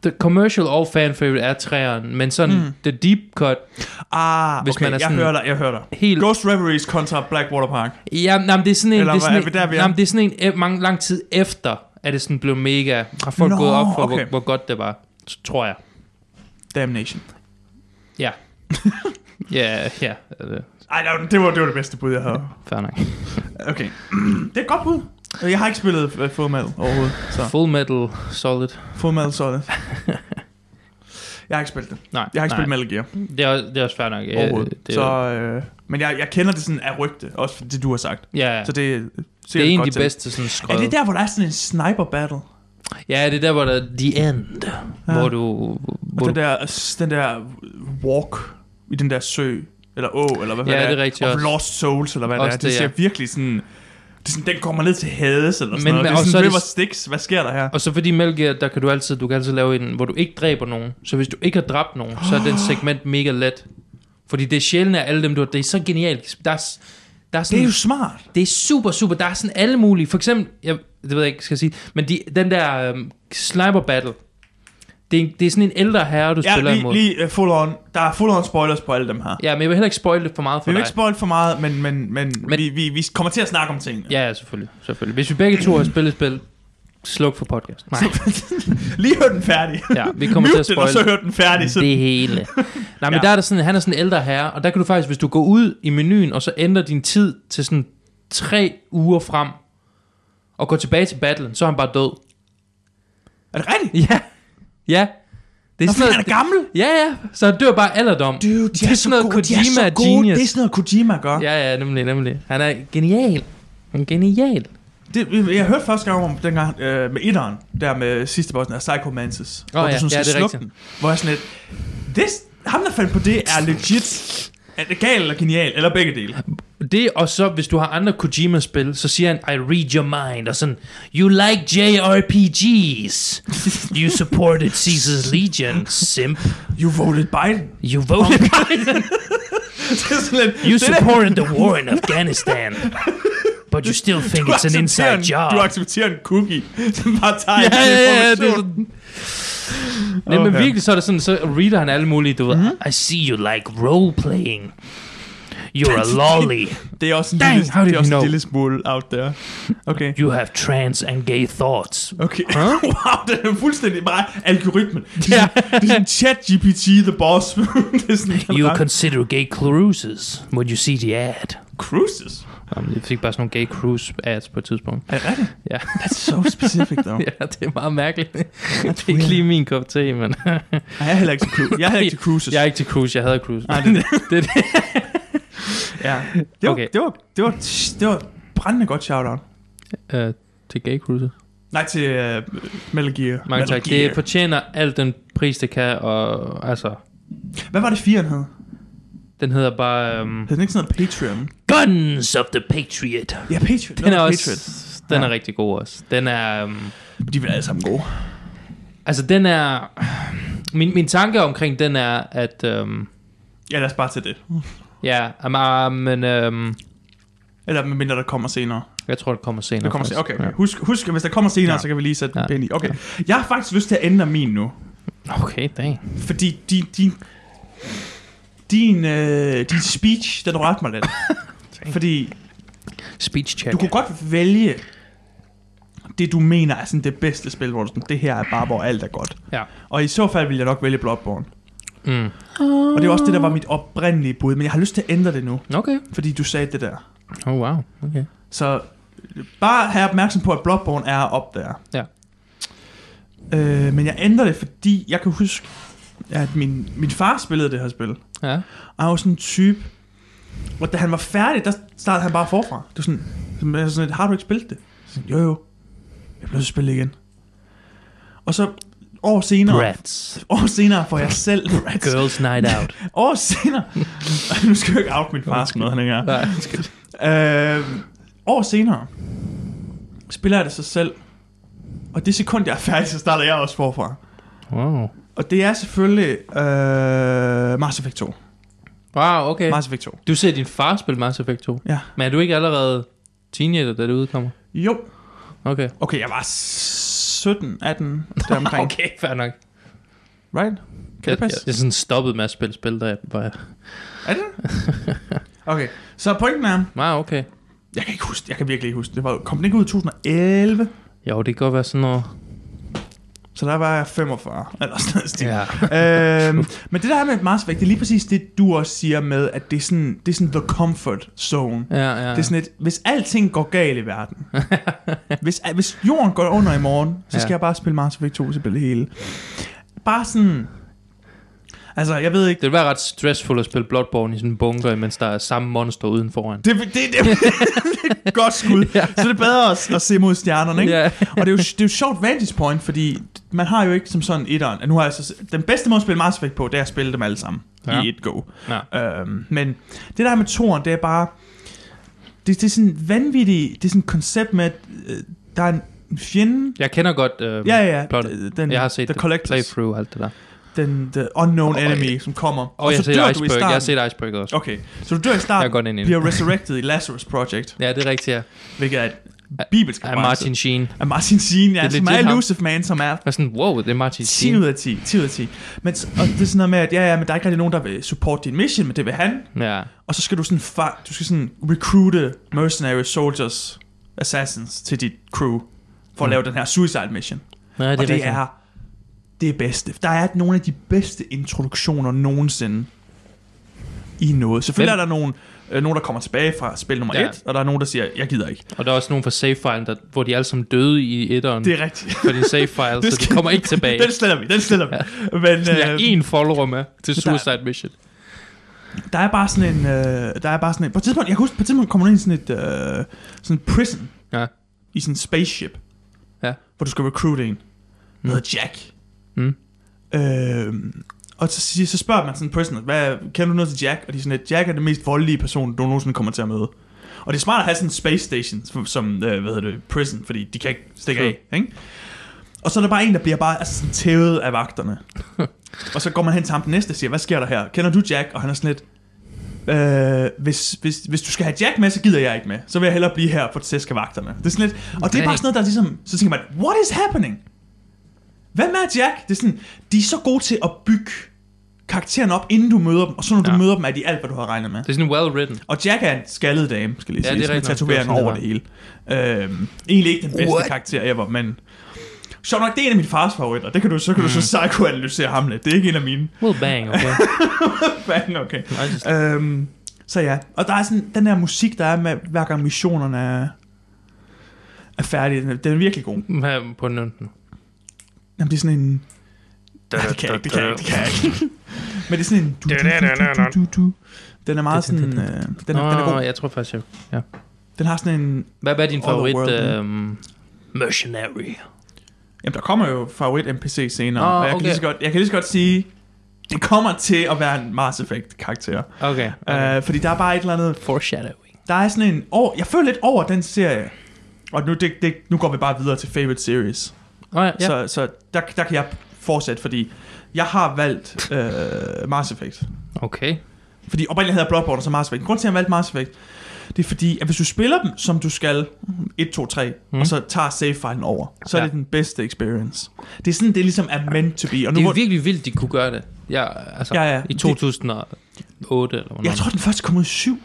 the commercial og fan favorite er træeren, men sådan
Mm.
mm. the deep cut,
Ah, okay,
Hvis man er
jeg
sådan-
hører dig, jeg hører dig.
helt...
Ghost Reveries kontra Blackwater Park.
Ja, nej, men det er sådan en...
Eller
det er
hvad-
sådan
er vi der, vi
en,
er?
nej, men det er sådan en e- mange, lang tid efter, at det sådan blev mega... Har folk
Nå,
Nå, gået op for, okay.
okay.
hvor, hvor, godt det var, t- tror jeg.
Damnation.
Ja, ja, øh,
Ej, det var- det var, det var det bedste bud, jeg havde.
fair nok.
Okay. Det er et godt bud. Jeg har ikke spillet øh, Full Metal overhovedet, så
Full Metal Solid.
Full Metal Solid. Jeg har ikke spillet det.
Nej,
Jeg har ikke
nej.
spillet Metal Gear
Det er, også- det er også fair nok. Øh,
overhovedet.
Det,
så,
så,
øh, men jeg, jeg kender det sådan af rygte, også fordi det du har sagt.
ja,
Ja. Så
det,
det, er
det
sikkert
er en af
godt
de
til.
bedste sådan
Er
skrød.
det der, hvor der er sådan en sniper battle?
Ja, det er der, hvor der er The End,
Ja. Altså
ja. hvor du...
Og
Hvor
den
du
der, den der walk i den der sø, eller å, eller hvad
Ja,
fanden
det er rigtigt
Of
også.
Lost Souls, eller hvad
Også
det er. Det
det,
ser
ja.
virkelig sådan... Det er sådan, den kommer ned til Hades, eller sådan
Men-
noget.
men-
Det er
og så
sådan
er
River
det-
Styx. Hvad sker der her?
Og så fordi Metal Gear, der kan du altid, du kan altid lave en, hvor du ikke dræber nogen. Så hvis du ikke har dræbt nogen, så
Oh.
er den segment mega let. Fordi det er sjældent, at alle dem, du har, det er så genialt. Der er, s- der er
Det
sådan,
er jo smart.
det er super, super, der er sådan alle mulige. For eksempel, jeg, det ved jeg ikke, skal jeg sige, men de, den der øhm, sniper battle, det er, det er sådan en ældre herre, du
Ja,
spiller
lige,
imod.
lige uh, full on. Der er full on spoilers på alle dem her.
Ja, men jeg vil heller ikke spoil det for meget
Vi
for
vil
dig.
ikke spoil for meget, men, men, men, men
Men-
vi, vi, vi kommer til at snakke om tingene.
Ja, ja, selvfølgelig, selvfølgelig. Hvis vi begge to har spillet spil, sluk for podcast. Nej,
Lige hør den færdig.
ja, vi kommer til
Mute
at
den, og
spoil
så hør den færdig. Så...
det hele. Nej, men
Ja.
ja. der er der sådan, han er sådan en ældre herre, og der kan du faktisk, hvis du går ud i menuen, og så ændrer din tid til sådan tre uger frem, og går tilbage til battlen, så er han bare død.
Er det rigtigt?
Ja, ja. Det
Det
er
er
sådan
han
noget,
er gammel.
ja, ja, så han dør bare alderdom.
Dude,
Det er sådan noget Kojima er genius.
Det er sådan noget Kojima gør.
Ja, ja, nemlig, nemlig. Han er genial. Han er genial.
Det, jeg hørte første gang om dengang øh, med etteren, der med sidste bossen af Psycho Mantis, oh, hvor
ja,
du sådan
ja,
ja,
det er
slukke
rigtigt.
den, hvor jeg sådan lidt, this, ham der fandt på det er legit, er det gal eller genial, eller begge dele.
Det, og så hvis du har andre Kojima-spil, så siger han, I read your mind, og sådan, you like JRPGs, you supported Caesar's Legion, simp,
You voted Biden.
you voted Biden.
det er sådan lidt,
You
det der-
supported the war in Afghanistan, but you still think
du
it's an inside
accepterer en-
job.
Du accepterer en cookie, som bare tager
ja, ja, ja, det er sådan.
information.
Nej, men
Okay.
virkelig så er det sådan, så reader han alle mulige, du ved, I see you like role-playing. You're a lolly.
det er også en,
Dang,
lille,
how did
det
you
er også en
know?
lille smule out there. Okay.
You have trans and gay thoughts.
Okay. Huh? wow, det er fuldstændig bare algoritmen. Det er,
Ja.
sådan, det er sådan chat-GPT, the boss. det er sådan, den
You
ret-
consider gay cruises when you see the ad.
Cruises.
Jamen, jeg fik bare sådan nogle gay cruise ads på et tidspunkt.
Er det rigtigt?
Ja.
That's so specific, though. yeah.
Ja, det er meget mærkeligt. det er
weird.
ikke lige min kop te, men...
Jeg er heller ikke til, cru- jeg er heller ikke til cruises.
jeg er ikke til cruise, jeg hader cruise.
Nej, det,
det er det.
ja. det, var, okay.
Okay.
det, var, det, var, det var et brændende godt shout-out.
Øh, til gay cruise.
Nej, til uh, Metal Gear.
Mange
Metal
tak.
Gear.
Det fortjener alt den pris, det kan, og altså...
Hvad var det, firen hed?
Den hedder bare... Um,
Hed den ikke sådan noget Patreon?
Guns of the Patriot.
Ja, Patreon.
Den er
Nå,
også...
Patriot.
Den Den
Ja.
ja. er rigtig god også. Den er... Um,
De bliver alle sammen gode.
altså, den er... Min, min tanke omkring den er, at... Um,
Ja, lad os bare tage det.
ja, um, uh, men... Um,
Eller medmindre der kommer senere.
jeg tror, det kommer senere.
Det kommer senere. Okay,
faktisk.
okay. Husk, husk, hvis der kommer senere, ja.
Ja.
så kan vi lige sætte ja.
Ja.
pind i. Okay. Jeg har faktisk lyst til at ændre min nu.
Ja. Okay, dang.
Fordi din, din, din, øh, din speech, den rørte mig lidt. fordi
Speech check.
du kunne godt vælge det, du mener er sådan det bedste spil, hvor du sådan, det her er bare, hvor alt er godt.
Ja.
Og i så fald ville jeg nok vælge Bloodborne.
Mm.
Og det er også det, der var mit oprindelige bud, men jeg har lyst til at ændre det nu,
Okay.
fordi du sagde det der.
Oh, wow. Okay.
Så øh, bare have opmærksom på, at Bloodborne er op der.
Ja.
Øh, men jeg ændrer det, fordi jeg kan huske, at min, min far spillede det her spil.
Ja.
Og han var sådan en type, hvor da han var færdig, der startede han bare forfra. Det var sådan, sådan, altså sådan et, har du ikke spillet det? Så sådan, jo jo, jeg blev spillet igen. Og så år senere,
Brats.
år senere får jeg selv,
Girls night out.
år senere, Ej, nu skal jeg jo ikke out min far sådan noget, han ikke er.
Nej.
Øh, år senere spiller jeg det så selv, og det sekund, jeg er færdig, så starter jeg også forfra.
Wow.
Og det er selvfølgelig øh, Mass Effect 2.
Wow, okay.
Mass Effect 2.
Du ser din far spille Mass Effect 2.
Ja.
Men er du ikke allerede teenager, da det udkommer?
Jo,
Okay.
Okay, jeg var 17, 18, deromkring. okay.
fair nok.
Right? Kan
Jeg,
det
jeg,
passe?
jeg sådan stoppet med at spille spil, da jeg var...
Er det det? Okay, så pointen er,
Wow, okay.
jeg kan ikke huske, jeg kan virkelig ikke huske, det var, kom den ikke ud i 2011,
Jo, det kan godt være sådan noget...
så der var jeg 45, eller sådan noget stil.
Ja.
øhm, men det der med Mars Effect, det er lige præcis det, du også siger med, at det er sådan, det er sådan the comfort zone.
Ja, ja.
Det er sådan et, hvis alting går galt i verden, hvis, hvis jorden går under i morgen, så skal ja.
Ja.
jeg bare spille Mars Effect 2 til det hele. Bare sådan, altså jeg ved ikke,
det vil være ret stressful at spille Bloodborne i sådan en bunker, mens der er samme monster uden foran.
Det, det, det, det er et godt skud. ja. Så det er bedre at, at se mod stjernerne, ikke?
Ja.
Og det er, jo, det er jo et sjovt vantage point, fordi man har jo ikke som sådan etteren. at Nu har jeg så, den bedste måde at spille Mass Effect på, det er at spille dem alle sammen ja.
Ja.
i et go.
Ja.
Øhm, men det der med toren, det er bare... Det, det er sådan vanvittigt, det er sådan et koncept med, at øh, der er en fjende...
Jeg kender godt... Øh,
Ja, ja,
Plot.
d- den,
Jeg har set
the
det
Collectors,
playthrough og alt det der.
den the unknown
Og-
enemy, som kommer.
Og, jeg har set Iceberg. Jeg har set Iceberg også.
Okay, så du dør i
Jeg
starten,
er godt inde i det.
ah, bliver resurrected i Lazarus Project.
Ja, det er rigtigt, ja.
Hvilket er et bibelsk
Af
reference.
Martin Sheen.
Af Martin Sheen, ja,
Det er
som er
legit ham.
Elusive Man, som er
Jeg er sådan, wow, det er Martin
10
Sheen.
ud af 10, 10 ud af 10. Men, s- og det er sådan noget med, at ja, ja, men der er ikke rigtig nogen, der vil supporte din mission, men det vil han.
Ja.
Og så skal du sådan, fa- du skal sådan recruite mercenary soldiers, assassins til dit crew, for at
Mm.
lave den her suicide mission.
Nej, det
og det
rigtigt.
er det bedste. Der er nogle af de bedste introduktioner nogensinde i noget. Selvfølgelig
Hvem-
er der nogen, øh, nogen, der kommer tilbage fra spil nummer 1,
Ja. Mm.
og der er nogen, der siger, jeg gider ikke.
Og der er også nogen fra save-filen, der, hvor de alle sammen døde i etteren
Det er rigtigt.
for din save-file,
Det
så
skal-
de kommer ikke tilbage.
Den sletter vi, den sletter vi. Ja. Men
Sådan, jeg er
øh,
én follower med til
men der-
Suicide Mission.
der er bare sådan en, øh, der er bare sådan en, på et tidspunkt, jeg kan huske, på et tidspunkt kommer der ind i sådan et, øh, sådan en prison,
Ja.
i sådan en spaceship,
Ja.
hvor du skal recruite en, der hedder Jack.
Mm.
Øh, og så, siger, så spørger man sådan en prisoner, hvad, kender du noget til Jack? Og de er sådan, at Jack er den mest voldelige person, du nogensinde kommer til at møde. Og det er smart at have sådan en space station, som, som øh, hvad hedder det, prison, fordi de kan ikke stikke
True.
af, ikke? Og så er der bare en, der bliver bare altså sådan tævet af vagterne. og så går man hen til ham den næste og siger, hvad sker der her? Kender du Jack? Og han er sådan lidt, Øh, hvis, hvis, hvis du skal have Jack med, så gider jeg ikke med. Så vil jeg hellere blive her for tæsk af vagterne. Det er sådan lidt, og det er bare sådan noget, der er ligesom, så tænker man, what is happening? Hvem er Jack? Det er sådan, de er så gode til at bygge karakteren op, inden du møder dem, og så når du
Ja.
møder dem, er de alt, hvad du har regnet med.
Det er sådan well written.
Og Jack er en skaldet dame, skal lige
Ja,
sige,
det er
ja, med
rigtigt nok. Det
tatoveringer
var
over
sådan,
det hele. Øhm, egentlig ikke den bedste What?
What?
karakter ever, men... Sjovt nok, det er en af mine fars favoritter. Det kan du, så kan mm. du så psykoanalysere ham lidt. Det er ikke en af mine.
Well bang, okay.
Fanden, okay.
I just-
Øhm, så ja, og der er sådan den der musik, der er med, hver gang missionerne er, er færdige. Den er, den er virkelig god.
Hvad på den
Jamen, det er sådan en... Nej, det kan jeg ikke, det kan jeg ikke, det kan jeg ikke. Men det er sådan en... Du, du, du, du, du, du. Den er meget sådan... Øh, den, er, den er
Nå,
god.
jeg tror faktisk, jeg...
Den har sådan en...
Hvad hvad er din
All the
favorit?
world,
øhm, mercenary.
Jamen, der kommer jo favorit-NPC senere.
Nå,
og jeg, kan lige så
okay.
godt, jeg kan lige så godt sige... Det kommer til at være en Mars Effect-karakter.
Okay. okay.
Øh, Okay. Øh, fordi der er bare et eller andet...
Foreshadowing.
Der er sådan en... Over, jeg føler lidt over den serie. Og nu, det, det, nu går vi bare videre til favorite series.
Oh, ja, ja. Så,
Så, så der, der kan jeg fortsætte, fordi jeg har valgt øh, Mass Effect.
okay.
Fordi oprindeligt havde jeg Bloodborne og så Mass Effect. Grunden til, at jeg valgte Mass Effect, det er fordi, at hvis du spiller dem, som du skal, 1, 2, 3, mm. og så tager save-filen over, så
Mhm. Ja.
ja. er det den bedste experience. Det er sådan, det ligesom er meant to be. Og nu,
Det
hvor-
er virkelig vildt, de kunne gøre det. Ja, altså,
Ja, ja.
I 2008 eller hvornår.
jeg tror, den først kom ud i 7.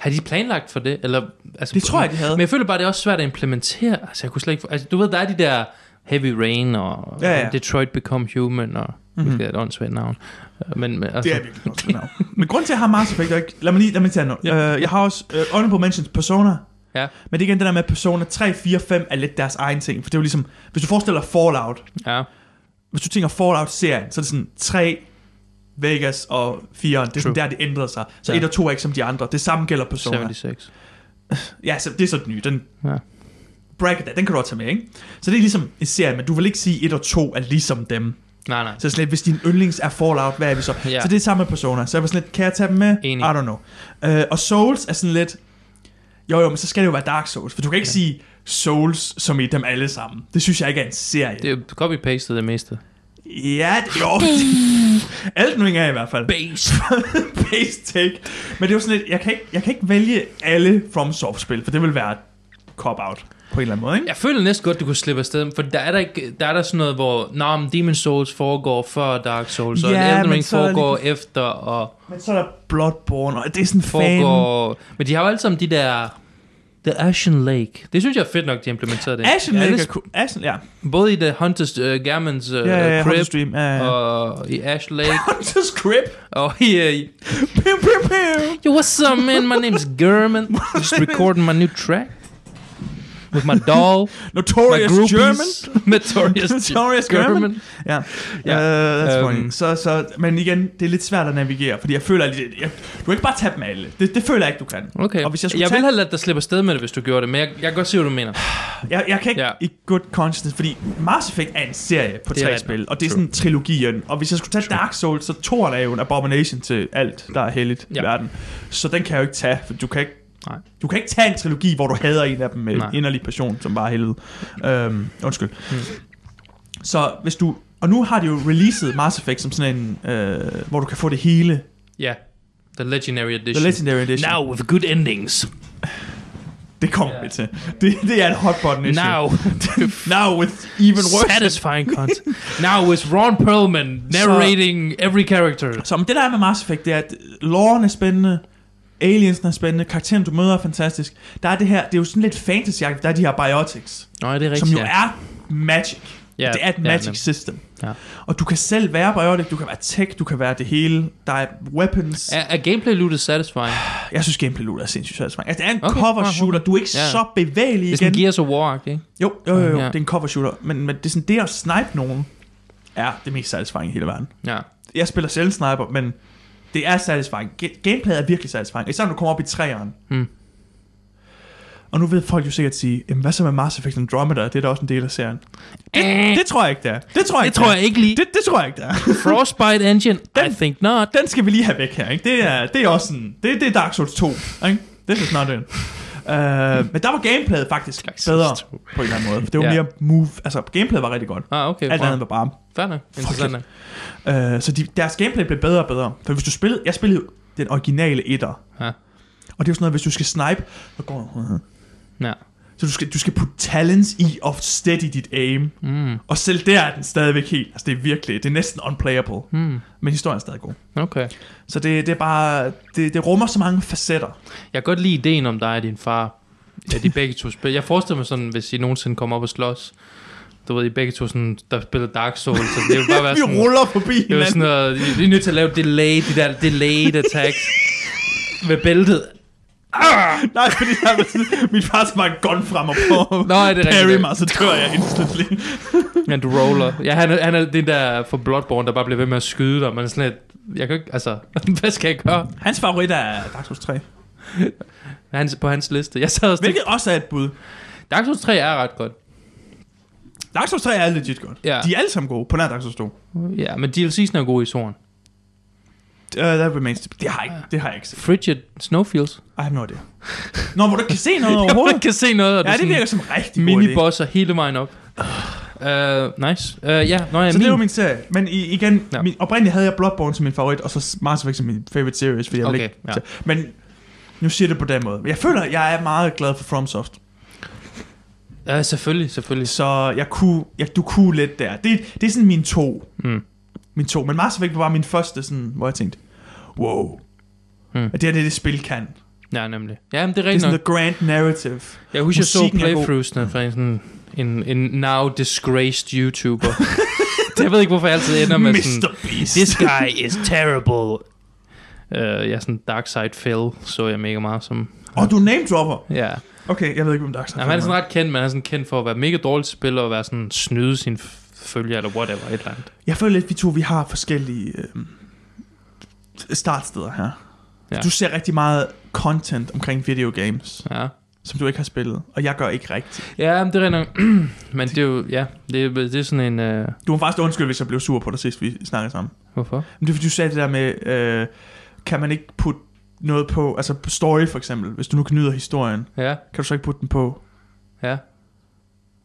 Har de planlagt for det? Eller, altså,
Det tror jeg, de havde.
Men jeg føler bare, det er også svært at implementere. Altså, jeg kunne slet ikke... for- Altså, du ved, der er de der Heavy Rain og
Ja, ja.
Detroit Become Human og... Mm-hmm. Det er et åndssvagt navn. Men, men altså,
Det er virkelig godt navn. Men grund til, at jeg har Mass Effect, er ikke... Lad mig lige, lad mig tage noget. Ja. Uh, jeg har også uh, honorable mentions Persona.
Ja.
Men det er igen det der med, at Persona 3, 4, 5 er lidt deres egen ting. For det er jo ligesom... Hvis du forestiller dig Fallout.
ja.
Hvis du tænker Fallout-serien, så er det sådan 3, Vegas og 4. Det er sådan
True.
der, det ændrede sig. Så
Ja.
1 og 2 er ikke som de andre. Det samme gælder Persona.
76.
Ja, så det er så den nye. Den
Ja.
bracket der, den kan du også tage med, ikke? Så det er ligesom en serie, men du vil ikke sige, at 1 og 2 er ligesom dem.
Nej, nej.
Så slet, hvis din yndlings er Fallout, hvad er vi så?
Ja.
Så det er samme med Persona. Så jeg var sådan lidt, kan jeg tage dem med?
Enig.
I don't know. Øh, og Souls er sådan lidt, jo jo, men så skal det jo være Dark Souls, for du kan ikke ja. sige Souls som i dem alle sammen. Det synes jeg ikke er en serie.
Det er jo copy-pastet det meste.
Ja, det, jo. Alt nu ikke er i hvert fald.
Base.
Base take. Men det er jo sådan lidt, jeg kan ikke, jeg kan ikke vælge alle FromSoft-spil, for det vil være et cop-out på en eller anden måde, ikke?
Jeg føler næsten godt, du kunne slippe afsted, for der er der, ikke, der, er der sådan noget, hvor Nå, men Demon Souls foregår før Dark Souls, og
Ja,
ja, Elden
men
Ring
så er det
foregår efter, og
Men så er der Bloodborne, og det er sådan fan...
foregår... Men de har jo alle sammen de der... The Ashen Lake. Det synes jeg er fedt nok, de implementerede det. Øh,
Ashen
Ja,
Lake er
det-
cool. Ashen, ja.
Både i The Hunter's uh, Gammons uh,
Ja, ja, ja.
Crib,
Hunter Stream. Ja, ja.
og i Ash Lake,
Hunter's Crib.
og i... Uh,
Pew, pew, pew.
Yo, what's up, man? My name's German. Just recording my new track. With my doll, my
Notorious
groupies.
German.
Notorious,
Notorious German. Ja, ja.
Ja,
Uh, that's
øhm.
funny. Så, så, men igen, det er lidt svært at navigere, fordi jeg føler, at jeg, jeg, du kan ikke bare tage dem alle. Det, det føler jeg ikke, du kan.
Okay.
Og hvis jeg skulle
jeg
tage-
ville have ladet dig slippe afsted med det, hvis du gjorde det, men jeg, jeg kan godt se, hvad du mener.
Jeg, jeg kan ikke
Ja.
yeah. i good conscience, fordi Mass Effect er en serie på
Det er
tre
rigtigt.
spil, og det er
True.
sådan trilogien. Og hvis jeg skulle tage Dark Souls, så toren er jo en abomination til alt, der er heldigt
Ja.
i verden. Så den kan jeg jo ikke tage, for du kan ikke,
Nej.
du kan ikke tage en trilogi, hvor du hader en af dem med
Nej. Hmm.
en inderlig passion, som bare er helvede. Øhm, undskyld. Så hvis du... Og nu har de jo releaset Mass Effect som sådan en... Øh, hvor du kan få det hele.
Ja. The Legendary Edition.
The Legendary Edition.
Now with good endings.
Det kommer
Ja.
vi til. Det, det er en hot button issue.
Now.
Now with even worse.
Satisfying content. Now with Ron Perlman narrating every character.
Så men det der er med Mass Effect, det er, at loven er spændende, aliensen er spændende, karakteren du møder er fantastisk. Der er det her, det er jo sådan lidt fantasy der er de her biotics,
Nå, ja, det er
som
rigtigt.
jo er magic.
Ja,
det er et
ja,
magic
nem.
system.
Ja.
Og du kan selv være biotic, du kan være tech, du kan være det hele. Der er weapons.
Er, er gameplay lootet satisfying?
Jeg synes gameplay loot er sindssygt satisfying. Altså, det er en
Okay, Ah,
cover
okay.
shooter, du er ikke
Ja.
så bevægelig
Det er sådan
igen.
Gears of War, ikke?
Jo, jo, jo, jo,
Ja.
det er en cover shooter. Men, men det er sådan, det at snipe nogen er det mest satisfying i hele verden.
Ja.
jeg spiller selv sniper, men det er satisfying. Ga- Gameplayet er virkelig satisfying. Især når du kommer op i træeren.
Mm.
Og nu vil folk jo sikkert sige, Jamen, hvad så med Mass Effect Andromeda? Det er da også en del af serien.
Det,
Det tror jeg ikke, det er. Det tror jeg,
Ah, det tror jeg ikke lige.
Det, det tror jeg ikke, det er.
Frostbite Engine? I think not.
Den skal vi lige have væk her, ikke? Det er, det er også sådan... Det, det er Dark Souls 2, ikke? This is not it. Uh, men der var gameplayet faktisk
Dark Souls
bedre
2.
på en eller anden måde. For det var
Ja.
mere move... Altså, gameplayet var rigtig godt.
Ah, okay.
Alt
wow.
andet var bare
Fair nok. Interessant. nok.
Øh, så de, deres gameplay blev bedre og bedre. For hvis du spillede, jeg spillede jo den originale etter.
Ja.
Og det er jo sådan noget, hvis du skal snipe, så går
Ja.
så du skal, du skal putte talents i og steady dit aim.
Mm.
Og selv der er den stadigvæk helt. Altså det er virkelig, det er næsten unplayable.
Mm.
Men historien er stadig god.
Okay.
Så det, det er bare, det, det rummer så mange facetter.
Jeg kan godt lide ideen om dig og din far. Ja, de begge to spiller. Jeg forestiller mig sådan, hvis I nogensinde kommer op og slås. Du ved, I begge to sådan, der spiller Dark Souls, så det vil bare være
Vi
sådan...
ruller forbi
Det var sådan
hinanden.
noget, I I er nødt til at lave delay, de der delayed attacks ved bæltet.
Nej, fordi der var sådan, min far smagte gun frem og på.
Nå, er det rigtigt?
Parry mig, så dør jeg instantly.
Men du roller. Ja, han, er- han er den der for Bloodborne, der bare bliver ved med at skyde dig, men sådan lidt, jeg kan ikke, altså, hvad skal jeg gøre?
Hans favorit er Dark Souls 3.
Hans, på hans liste. Jeg sad også
Hvilket også er et bud.
tænkte, Dark Souls 3 er ret godt.
Dark Souls 3 er legit godt.
Ja.
Øh, De er alle sammen gode, på nær Dark Souls 2.
Ja, men DLC'en er god i soren.
Uh, that remains to be. Det har jeg ikke, det har jeg ikke set.
Frigid Snowfields.
I have no idea. Nå, hvor du ikke kan se noget
Hvor
overhovedet.
man kan se noget, og
Ja,
det,
det
er
virker
sådan
som en rigtig god idé.
minibosser hele vejen op. Uh, nice. Uh, ja, nå, ja,
Så
min,
det var min serie. Men i, igen,
Ja.
ja. min, oprindeligt havde jeg Bloodborne som min favorit, og så Mass Effect som min favorite series, fordi jeg
Okay,
ville ikke,
ja.
tage- Men nu siger jeg det på den måde. Men Jeg føler, at jeg er meget glad for FromSoft.
Ja, Uh, selvfølgelig, selvfølgelig.
Så jeg kunne, jeg, du kunne lidt der. Det, det er sådan mine to.
Mm.
Min to. Men Mass Effect var bare min første, sådan, hvor jeg tænkte, wow.
Mm.
Mm. At det her det er det, spil kan. Det
Ja, nemlig. Ja, men det er
er
rigtigt
sådan
nok.
the grand narrative.
Jeg husker, jeg så
musikken er god.
playthroughsene fra en, sådan, en, en now disgraced YouTuber. jeg ved ikke, hvorfor jeg altid ender med sådan,
Mr. Beast.
This guy is terrible. Uh, ja, sådan Dark Side Fell så jeg mega meget som.
Og du name dropper.
Ja.
Okay, jeg ved ikke, hvem Dark Side
Jamen, han er sådan ret kendt, men han er sådan kendt for at være mega dårlig spiller og være sådan snyde sin f- følger eller whatever, et eller andet.
Jeg føler lidt, vi to vi har forskellige øh, startsteder her.
Ja.
Ja. Du ser rigtig meget content omkring videogames,
Ja.
som du ikke har spillet, og jeg gør ikke rigtigt.
Ja, men det er rigtig nok. Men det er jo, ja, det er, det er sådan en, uh,
Du må faktisk undskylde, hvis jeg blev sur på dig sidst, vi snakkede sammen.
hvorfor?
Men det er fordi, du sagde det der med, øh, kan man ikke putte noget på, altså story for eksempel, hvis du nu knyder historien,
Ja,
kan du så ikke putte den på?
ja.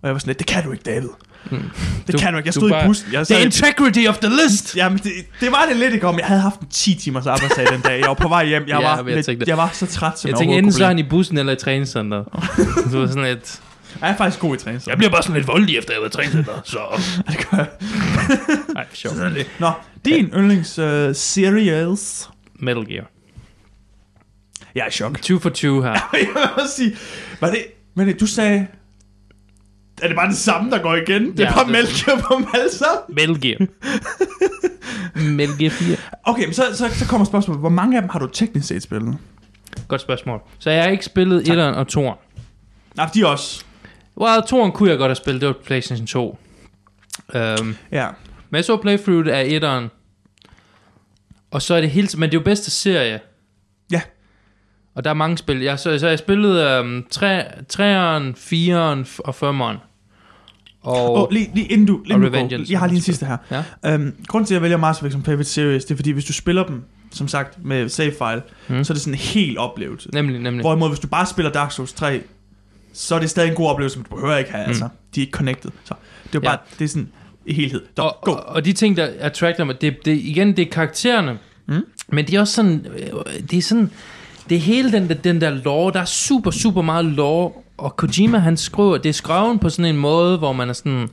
Og jeg var sådan lidt, det kan du ikke, David.
Mm.
Det
Du-
du, kan du ikke. Jeg
du
stod
bare-
i bussen. Jeg
The
sad-
integrity of the list!
Jamen, det, det var det lidt, ikke om. Jeg havde haft en 10 timers arbejdsdag den dag. Jeg var på vej hjem. Jeg,
Ja,
var,
men jeg
jeg,
tænkte-
lidt, jeg var så træt, som
Jeg
jeg,
tænkte, enten
overhovedet
så er
kunne
han i bussen eller i træningscenteret. Så var sådan lidt...
blive. Jeg er faktisk god i træningscenter.
bliver bare sådan lidt voldelig, efter jeg har været i træningscenteret, så...
det gør jeg.
Ej, sjovt.
Nå, din yndlings uh, serials.
Metal Gear.
Jeg er i chok.
20 for 20 her.
jeg vil også sige, var det, men det- du sagde, er det bare det samme, der går igen? Det
Ja,
er ja, bare
det-
mælk på dem alle sammen.
Metal Gear. Metal Gear 4.
Okay, men så, så, så kommer spørgsmålet, hvor mange af dem har du teknisk set spillet?
Godt spørgsmål. Så jeg har ikke spillet 1'eren og 2'eren.
Nej, de er også.
Well, 2'eren kunne jeg godt have spillet, det var PlayStation 2. Um,
Ja.
men jeg så playthrough af 1'eren. Og så er det hele... Men det er jo bedste serie.
Ja.
Og der er mange spil. Jeg, så, så jeg spillede um, 3'eren, 4'eren og 5'eren. Og...
Og oh, lige, lige inden du, inden du går,
Revengeance,
jeg har lige en
som
sidste her.
Ja.
Øhm, grunden til, at jeg vælger Mass Effect som favorite series, det er fordi, hvis du spiller dem, som sagt, med save file,
Mm.
mm. så er det sådan en hel oplevelse.
Nemlig, nemlig.
Hvorimod, hvis du bare spiller Dark Souls 3, så er det stadig en god oplevelse, men du behøver ikke have,
Mm.
mm. altså. De er ikke connected. Så det er bare, ja. det er sådan i helhed. Nå,
og,
go.
og, og de ting, der attracter mig, det, det, igen, det er karaktererne,
Mm.
men det er også sådan, øh, det er sådan, det er hele den der, den der lore, der er super, super meget lore, og Kojima, han skriver, det er skrevet på sådan en måde, hvor man er sådan,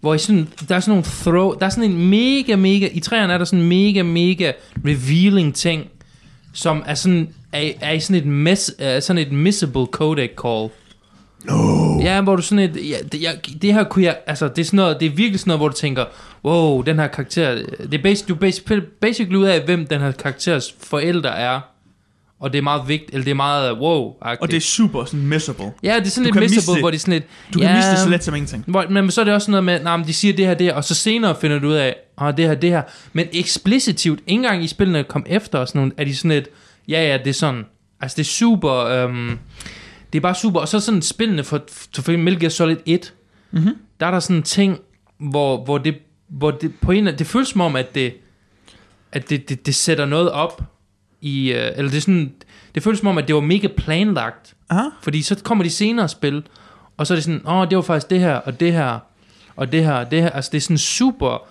hvor I sådan, der er sådan nogle throw, der er sådan en mega, mega, i træerne er der sådan en mega, mega revealing ting, som er sådan, er, er i sådan et, mess, er sådan et missable codec call. No. Ja, hvor du sådan et, ja, det, jeg, det her kunne jeg, altså det er sådan noget, det er virkelig sådan noget, hvor du tænker, wow, den her karakter, det er basic, du er basic, basically ud af, hvem den her karakteres forældre er, og det er meget vigtigt, eller det er meget wow
Og det er super sådan messable.
Ja, det er sådan
du
lidt
kan miste
missable,
det.
hvor det er sådan lidt,
Du kan
ja,
ja. miste det så let som ingenting.
hvor, men så er det også sådan noget med, nej, men de siger det her, det her, og så senere finder du ud af, ah, det her, det her. Men eksplicitivt, ikke engang i spillene kom efter og sådan nogle, er de sådan lidt, ja, ja, det er sådan. Altså, det er super, øhm, det er bare super. Og så sådan spillene for, for eksempel Metal Gear Solid 1,
Mhm.
der er der sådan en ting, hvor, hvor, det, hvor det, på en eller anden, det føles som om, at det, at det, det, det sætter noget op i, øh, eller det er sådan, det føles som om, at det var mega planlagt.
Aha.
Fordi så kommer de senere spil, og så er det sådan, åh, det var faktisk det her, og det her, og det her, og det her. Altså, det er sådan super,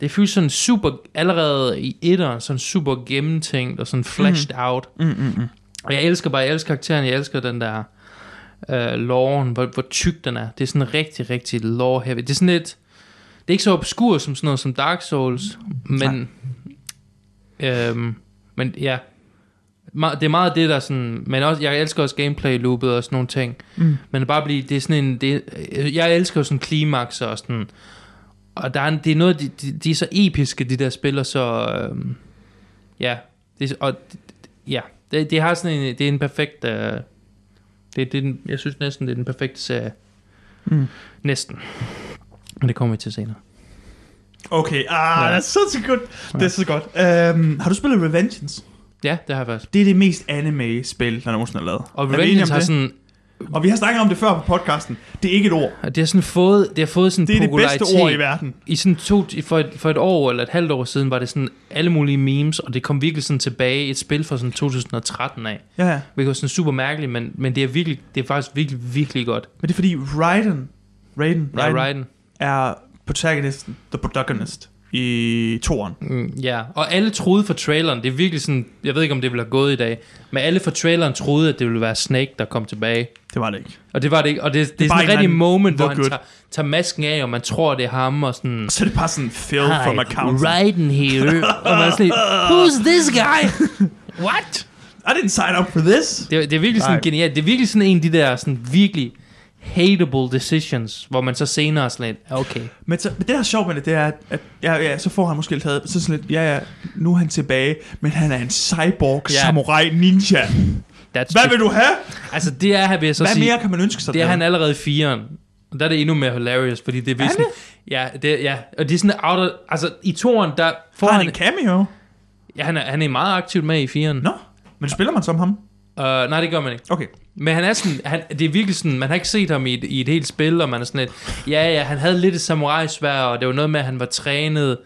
det føles sådan super, allerede i etteren, sådan super gennemtænkt, og sådan flashed mm. out.
Mm, mm, mm.
Og jeg elsker bare, jeg elsker karakteren, jeg elsker den der øh, loven, hvor, hvor tyk den er. Det er sådan rigtig, rigtig lore heavy. Det er sådan lidt, det er ikke så obskur som sådan noget som Dark Souls, men, øhm, men ja, Me- det er meget det, der sådan, men også, jeg elsker også gameplay loopet og sådan nogle ting,
Mm.
men bare blive, det er sådan en, det, øh, jeg elsker jo sådan klimakser og sådan, og der er, en- det er noget, de, de, de er så episke, de der spil, og så, øhm, ja, det, er- og Ja, det, det har sådan en, det er en perfekt, øh, det, det er den, jeg synes næsten, det er den perfekte serie.
Mm.
Næsten. Men det kommer vi til senere.
Okay, ah,
Ja.
ja. that's such a good, det er så godt. Øhm, har du spillet Revengeance?
Ja, det har jeg faktisk.
Det er det mest anime-spil, der nogensinde er lavet.
Og
Er vi enige om
Revenge har
det?
sådan
Og vi har snakket om det før på podcasten. Det er ikke et ord.
Og det har sådan fået, det har fået sådan
Det er det
popularitet.
bedste ord i verden.
I sådan to, i- for, et, for et år eller et halvt år siden var det sådan alle mulige memes, og det kom virkelig sådan tilbage i et spil fra sådan 2013 af.
Ja, ja.
Hvilket var sådan super mærkeligt, men, men det er virkelig, det er faktisk virkelig, virkelig godt.
Men det er fordi Raiden, Raiden,
Ja,
Raiden
Raiden.
er protagonisten, the protagonist i toren.
Mm, ja, og alle troede for traileren, det er virkelig sådan, jeg ved ikke om det ville have gået i dag, men alle for traileren troede, at det ville være Snake, der kom tilbage.
Det var det ikke.
Og det var det ikke, og det, det,
Det er
det er
bare
sådan
en
et rigtig
anden-
moment, hvor
hvor
han
good.
tager, tager masken af, og man tror, det er ham, og sådan...
Så er det bare sådan Phil from accounts.
Raiden here. og man er sådan, lidt, who's this guy? What?
I didn't sign up for this.
Det, er- det er virkelig sådan
Nej.
Nej. genialt. Det er virkelig sådan en af de der sådan virkelig hateable decisions, hvor man så senere er sådan lidt, okay.
Men, så, men det der er sjovt med det, det er, at, at ja, ja, så får han måske taget så sådan lidt, ja, ja, nu er han tilbage, men han er en cyborg
Ja.
samurai ninja.
That's
Hvad vil du have?
Altså det er, her vil jeg så
Hvad
sige,
mere kan man ønske sig?
det er
der?
han allerede i firen. Og der er det endnu mere hilarious, fordi det er, virkelig sådan, ja, det, er- ja, og det er sådan out of, altså i toren, der får
Har han
han,
en cameo?
ja, han, er, han er meget aktivt med i firen.
Nå, men spiller man som ham?
Uh, nej, det gør man ikke.
Okay.
Men han er sådan, han, det er virkelig sådan, man har ikke set ham i et, i et helt spil, og man er sådan lidt, ja, ja, han havde lidt et samurajsvær, og det var noget med, at han var trænet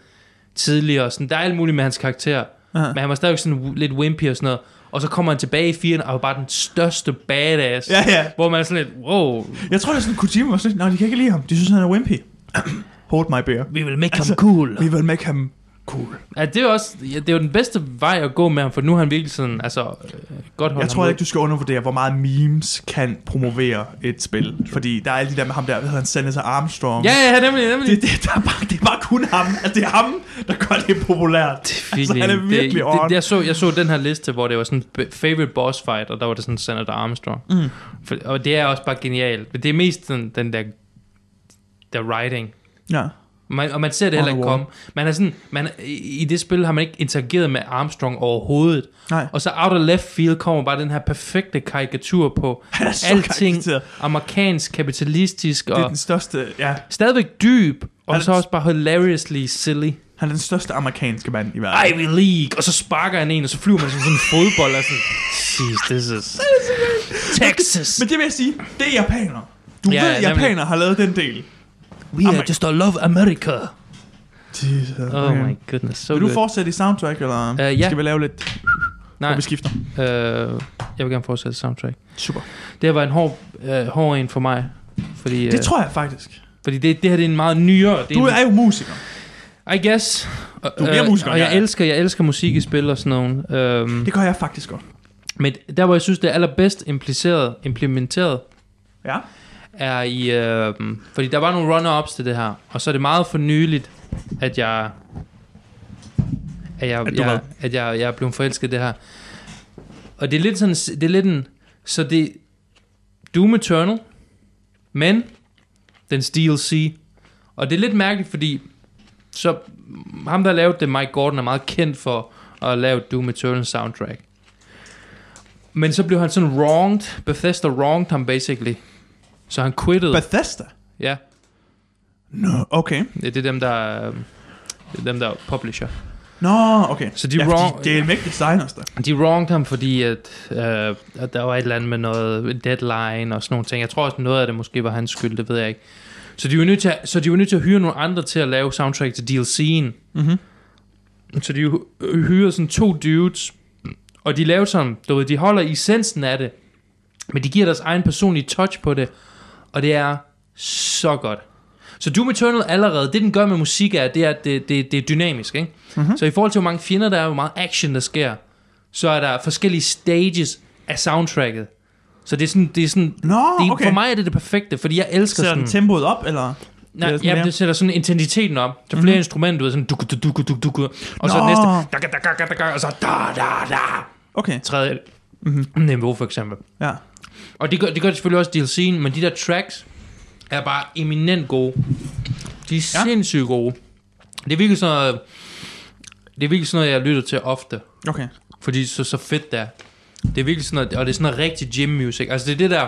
tidligere, og sådan, der er alt muligt med hans karakter,
Aha.
men han var stadigvæk sådan w- lidt wimpy og sådan noget, og så kommer han tilbage i firen, og er bare den største badass,
Ja, ja.
hvor man er sådan lidt, wow,
Jeg tror, det er sådan, Kojima var sådan lidt, nej, de kan ikke lide ham. De synes, han er wimpy. Hold my beer.
vi vil make
Altså,
altså, ham cool.
Vi vil make ham cool.
Ja, det er jo også, ja, det er jo den bedste vej at gå med ham, for nu er han virkelig sådan, altså, øh, godt holdt
Jeg tror
ham
ikke, du skal undervurdere, hvor meget memes kan promovere et spil. Fordi der er alle de der med ham der, hvad hedder han, Senator Armstrong.
Ja, ja, nemlig, nemlig.
Det, det, der er bare, det er bare kun ham. Altså, det er ham, der gør det populært. Det altså, han er virkelig
det,
on.
det, jeg, så, jeg så den her liste, hvor det var sådan b- favorite boss fight, og der var det sådan Senator Armstrong.
Mm.
For, og det er også bare genialt. Men det er mest sådan, den der, der writing.
ja.
Man, og man ser det heller ikke
Underworld.
komme. Man er sådan, man, i, I det spil har man ikke interageret med Armstrong overhovedet.
Nej.
Og så out of left field kommer bare den her perfekte karikatur på
Han er så
alting
karikateret.
amerikansk, kapitalistisk
Det er
og
den største, ja,
stadigvæk dyb,
Han
og
er-
så også bare hilariously silly.
han er den største amerikanske mand i verden.
Ivy League, og så sparker han en, og så flyver man som sådan en fodbold, altså. og sådan, jeez, this is Texas.
Men det vil jeg sige, det er japanere. Du
Ja,
ja, ved,
ja,
at japanere har lavet den del.
We
are
just all love America.
Jesus,
Oh my goodness, so
Vil du
good.
fortsætte i soundtrack, eller
ja.
uh, skal vi lave lidt, hvor
Nej,
vi skifter?
øh, jeg vil gerne fortsætte soundtrack.
Super.
Det her var en hård, øh, hård en for mig. Fordi, øh,
Det tror jeg faktisk.
fordi det, det her det er en meget nyere det
Du
en,
er jo musiker.
I guess Du
er mere musiker,
Og
end
jeg
jeg er.
elsker, jeg elsker musik i spil og sådan noget øhm,
Det gør jeg faktisk godt.
Men der hvor jeg synes det er allerbedst impliceret, implementeret
Ja.
er i... Øh, fordi der var nogle runner-ups til det her, og så er det meget for nyligt, at jeg... At jeg,
At du hvad?
jeg, at jeg, jeg er blevet forelsket i det her. Og det er lidt sådan... Det er lidt en... Så det... Doom Eternal, men dens DLC. Og det er lidt mærkeligt, fordi så ham, der lavede det, Mike Gordon, er meget kendt for at lave Doom Eternal soundtrack. Men så blev han sådan wronged. Bethesda wronged ham, basically. Så han quittede. But,
Bethesda?
ja,
Nå, okay.
det er dem, der... øh, Det er dem, der er publisher.
Nå, okay.
Så de
ja,
er
fordi
wrong-
Det er mægtigt designers, der.
De wronged ham, fordi at, øh, at der var et eller andet med noget deadline og sådan nogle ting. Jeg tror også, noget af det måske var hans skyld, det ved jeg ikke. Så de var nødt til at, så de var nødt til at hyre nogle andre til at lave soundtrack til DLC'en.
Mm-hmm.
Så de hy- hyrede sådan to dudes, og de lavede sådan, du ved, de holder i essensen af det, men de giver deres egen personlige touch på det, og det er så godt. Så Doom Eternal allerede, det den gør med musik er, det er, at det, det, det er dynamisk, ikke? Mm-hmm. Så i forhold til, hvor mange fjender der er, hvor meget action der sker, så er der forskellige stages af soundtracket. Så det er sådan, det er sådan,
Nå,
det er,
okay.
for mig er det det perfekte, fordi jeg elsker
Sætter
sådan...
den tempoet op, eller?
Nej,
Eller
det,
sådan
jamen,
mere?
det sætter sådan intensiteten op. Der er flere mm-hmm. instrumenter, du ved, sådan duk, duk, duk, duk, duk, duk, og så
Nå.
næste, da, da, da, da, da, og så da, da, da,
Okay,
tredje
Mhm.
mm-hmm. niveau for eksempel.
ja.
Og det gør, det gør det selvfølgelig også DLC'en, men de der tracks er bare eminent gode. De er
Ja.
ja. sindssygt gode. Det er virkelig sådan noget, det er virkelig sådan noget, jeg lytter til ofte,
Okay.
fordi så, så fedt det er. Det er virkelig sådan noget, og det er sådan noget rigtig gym music. Altså det er det der,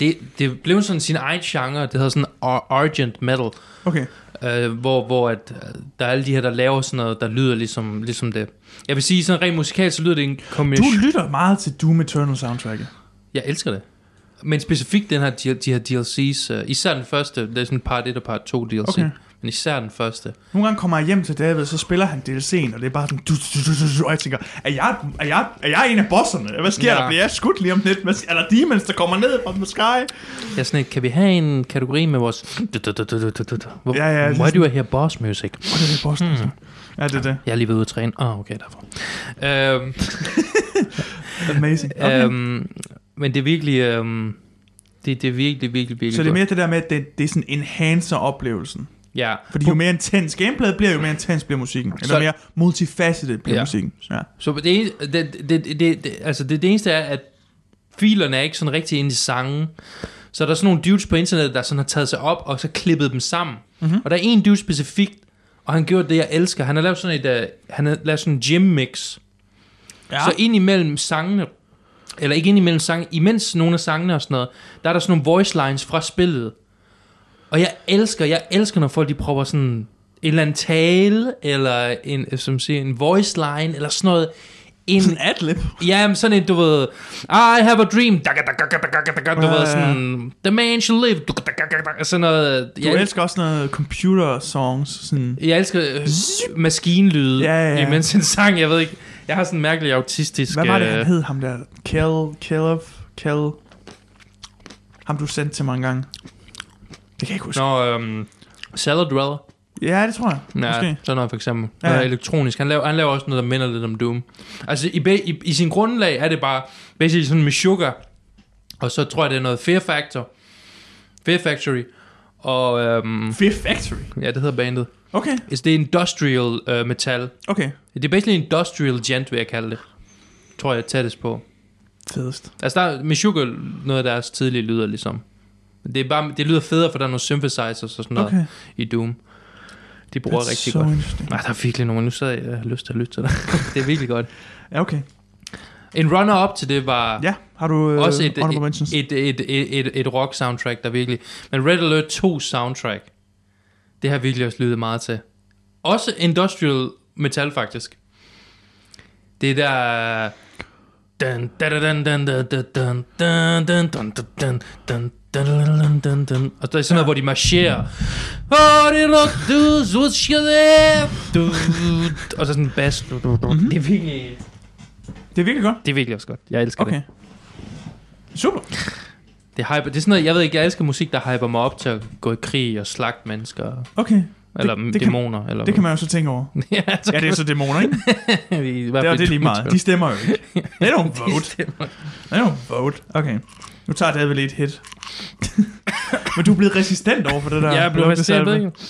det, det blev sådan sin egen genre, det hedder sådan ar- Argent Metal.
Okay.
Øh, hvor, hvor at, øh, der er alle de her, der laver sådan noget, der lyder ligesom, ligesom det. Jeg vil sige, sådan rent musikalt, så lyder det en
Du
kombination.
lytter meget til Doom Eternal soundtracket.
Jeg elsker det. Men specifikt den her, de, de her DLC's, uh, især den første, der er sådan part 1 og part 2 DLC,
Okay.
okay. men især den første.
Nogle gange kommer jeg hjem til David, så spiller han DLC'en, og det er bare sådan... Du, du, du, du, du, og jeg tænker, er jeg, er, jeg, er jeg en af bosserne? Hvad sker ja.
Ja.
der? Bliver jeg skudt lige om lidt? Hvad, er der demons, der kommer ned fra the sky?
Jeg er sådan lidt, kan vi have en kategori med vores... Hvor,
Ja, ja,
why
ligesom-
do I hear boss music?
Og det er det bossen,
Hmm.
mm. Ja, det er det.
Jeg er lige ved ude at træne. Ah, okay, derfor. Øhm,
Amazing. Okay.
okay. øhm, men det er virkelig... Øhm, det, det er virkelig, virkelig, virkelig
så det er
godt.
mere det der med, at det, det er sådan enhancer oplevelsen.
Ja.
Fordi jo mere intens gameplayet bliver, jo mere intens bliver musikken. Eller
Så-
mere multifaceted bliver ja.
Ja.
musikken. Ja.
Så det, eneste- det, det, det, det, altså det, det eneste er, at filerne er ikke sådan rigtig inde i sangen. Så er der sådan nogle dudes på internettet, der sådan har taget sig op, og så klippet dem sammen. Mm-hmm. Og der er en dude specifikt, og han gjorde det, jeg elsker. Han har lavet sådan et, uh, han har lavet sådan en gym mix. Ja. Så ind imellem sangene, eller ikke ind imellem sangene, imens nogle af sangene og sådan noget, der er der sådan nogle voice lines fra spillet. Og jeg elsker, jeg elsker, når folk de prøver sådan en eller anden tale, eller en, som siger, en voice line, eller sådan noget. En,
Sådan en adlib.
Ja, men sådan en, du ved, I have a dream, Daka, daka, daka, daka, daka, du
Ja, ja, ja.
ved, sådan, the man shall live, Daka, daka, daka, sådan noget.
Du
Jeg,
elsker også noget computer songs. Sådan.
jeg elsker øh, maskinlyde,
Ja, ja, ja.
imens en sang, jeg ved ikke, jeg har sådan en mærkelig autistisk...
Hvad var det, han
øh,
hed, ham der? Kel, Kelov, Kel... Ham, du sendte til mig en gang. Det kan jeg ikke huske.
Nå, øhm, Salad Dweller.
Ja, det tror jeg.
Ja,
Måske.
sådan noget for eksempel.
Ja.
Ja. Noget elektronisk. Han laver, han laver også noget, der minder lidt om Doom. Altså, i, be, i, i sin grundlag er det bare, basically sådan med sugar, og så tror jeg, det er noget Fear Factor, Fear Factory, og øhm,
Fear Factory.
ja, det hedder bandet.
Okay,
Altså, Det er industrial øh, metal.
okay.
Det er basically industrial gent, vil jeg kalde det. Tror jeg er tættest på.
Fedest.
Altså, der er Meshuggah noget af deres tidlige lyder, ligesom. Men Det, er bare, det lyder federe, for der er nogle synthesizers og sådan noget
Okay.
i Doom. De bruger
That's
rigtig
so
godt.
interesting.
Nej, der er virkelig nogen. Nu sad jeg jeg har lyst til at lytte til dig. det er virkelig godt.
Ja, okay.
En runner-up til det var ja.
Ja, har du øh,
Også et-
honorable mentions?
et, et, et, et, et rock-soundtrack, der virkelig... Men Red Alert 2 soundtrack, det har virkelig også lyttet meget til. Også industrial metal, faktisk. Det der... Dun, da, da, dun, dun, da, da, dun, dun, dun, dun, dun, dun, dun, dun, dun, dun, dun, dun. Og der er sådan noget, hvor de marcherer. Oh, det lugter, du, så skal det. Du, og så sådan en bass. Du, du, du. Det er virkelig...
Det er virkelig godt.
Det er virkelig også godt. Jeg elsker
Okay.
det.
Super.
Det, hyper, det er sådan noget, jeg ved ikke, jeg elsker musik, der hyper mig op til at gå i krig og slagte mennesker,
Okay.
eller
det
det
kan-
dæmoner. Kan, eller
Det kan man jo så tænke over.
ja, så
Ja, det er så dæmoner, ikke?
kan vi i hvert
Det er
fald
jo det lige meget. De stemmer jo ikke. They don't vote.
stemmer.
They don't vote. Okay. Nu tager David lige et hit. Men du er blevet resistent over for det der.
Jeg blev
lugtesalve.
resistent, ikke?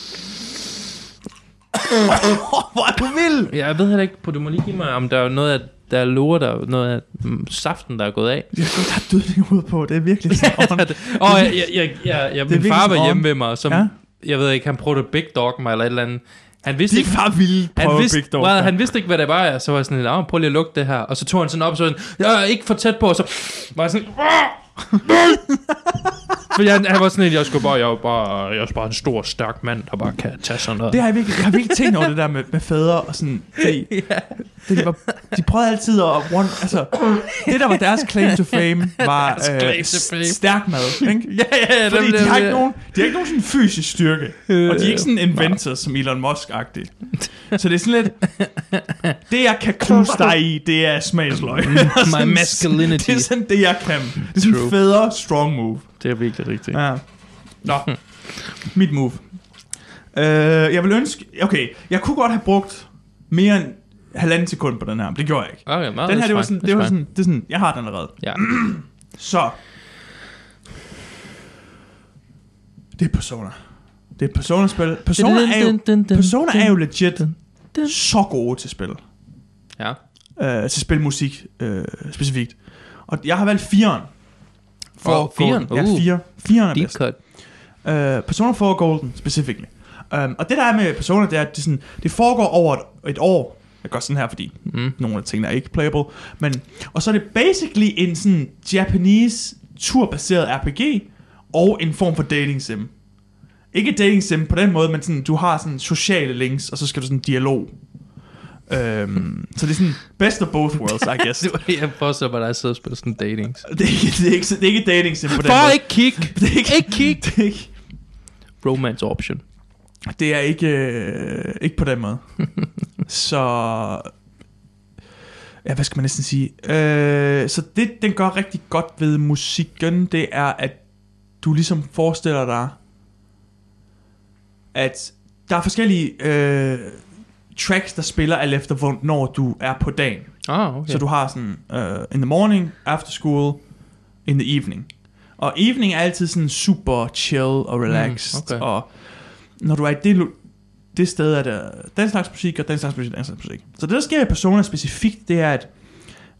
Hvor er du vild!
Jeg ved heller ikke, på du må lige give mig, om der er noget af, der er lort, der er noget af mm, saften, der er gået af.
Jeg har godt have dødning ud på. Det er virkelig sådan.
Og jeg, jeg, jeg, jeg, jeg, min
virkelig
far
sådan
var hjemme
on.
ved mig, som,
Ja.
jeg ved ikke, han prøvede at big dog mig eller et eller andet. Han vidste
Din
ikke,
far ville prøve
han vidste,
Big Dog.
well, han vidste ikke, hvad det var, og så var jeg sådan lidt, "Åh, prøv lige at lukke det her. Og så tog han sådan op, og så var jeg sådan, jeg er ikke for tæt på, og så var jeg sådan, "Åh, nej." Fordi han, han var sådan lidt, jeg skulle bare, jeg er bare, jeg er bare en stor, stærk mand, der bare kan tage sådan noget.
Det har jeg virkelig, jeg har virkelig tænkt over det der med, med fædre og sådan. Fordi, det, de, var, de prøvede altid at one, altså, det der var deres claim to fame, var
Deres claim
øh,
to fame.
stærk mad. Ikke?
ja, ja, ja.
Fordi
dem-
de har,
dem-
ikke nogen, de har ikke nogen sådan fysisk styrke. Og de er ikke sådan inventor som Elon Musk-agtig. Så det er sådan lidt... Det, jeg kan knuse dig i, det er smagsløg. Sådan-
Mm, masculinity.
Det er sådan det, jeg kan. Det er sådan
True.
federe strong move.
Det er virkelig rigtigt.
Ja. Nå, mit move. Øh, jeg vil ønske... Okay, jeg kunne godt have brugt mere end halvanden sekund på den her, men det gjorde jeg ikke.
Okay, meget
Den her, det var sådan, det var sådan, det er sådan, jeg har den allerede.
Ja.
Så. Det er Persona. Det er Persona-spil. Persona er jo, Persona er jo legit så gode til spil.
Ja.
Øh, til spilmusik øh, specifikt. Og jeg har valgt 4'eren.
Åh, fireren?
Ja,
Uh.
4'eren. 4'eren er
Deep
bedst.
cut.
Øh, Persona 4 Golden, specifically. Um, og det der er med Persona, det er, at det, sådan, det foregår over et, et år. Jeg gør sådan her, fordi mm. nogle af tingene er ikke playable. Men, og så er det basically en sådan Japanese turbaseret RPG og en form for dating sim. Ikke dating sim på den måde, men sådan, du har sådan sociale links, og så skal du sådan dialog. Øhm, så det er sådan best of both worlds, I guess.
det var det, jeg forstår, at der sidder og spiller sådan dating.
det, er ikke, det, er ikke, det er ikke dating sim på den
For
måde.
ikke kig!
Det er ikke,
Ikke kig!
det er ikke,
Romance option.
det er ikke, øh, ikke på den måde. så... Ja, hvad skal man næsten sige? Øh, så det, den gør rigtig godt ved musikken, det er, at du ligesom forestiller dig, at der er forskellige øh, tracks, der spiller alt efter, hvornår du er på dagen.
Ah, okay.
Så du har sådan uh, in the morning, after school, in the evening. Og evening er altid sådan super chill og relaxed.
Mm, okay.
Og når du er i det, lo- det sted, er der den slags musik, og den slags musik, og den slags musik. Så det, der sker i Persona specifikt, det er, at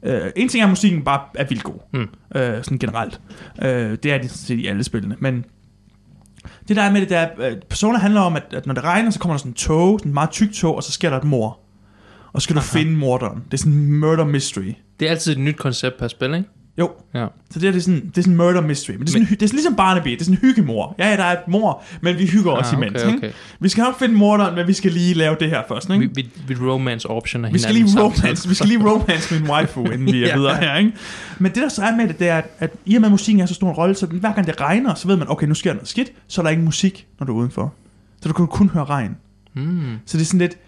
Uh, en ting er, at musikken bare er vildt god,
Mm.
mm. uh, sådan generelt. Uh, det er det sådan set i alle spillene. Men det der er med det, der er, at øh, Persona handler om, at, at når det regner, så kommer der sådan en tog, sådan en meget tyk tog, og så sker der et mor. Og så skal du
Aha.
finde morderen. Det er sådan en murder mystery.
Det er altid et nyt koncept per spil, ikke?
Jo.
Ja.
Så det, her, det er sådan, det er sådan murder mystery. Men det er, sådan, men, det er sådan ligesom Barnaby. Det er sådan en hyggemor. Ja, ja, der er et mor, men vi hygger ah, os
Ah,
imens.
okay,
ikke?
okay.
Vi skal nok finde morderen, men vi skal lige lave det her først. Ikke?
Vi,
Vi,
vi, vi romance optioner
vi skal
hinanden
lige
samtidig.
romance, vi skal lige romance min waifu, inden vi er
Ja.
videre her. Ikke? Men det der så er med det, det er, at, at i og med at musikken er så stor en rolle, så den, hver gang det regner, så ved man, okay, nu sker der noget skidt, så er der ingen musik, når du er udenfor. Så du kan kun høre regn.
Mm.
Så det er sådan lidt...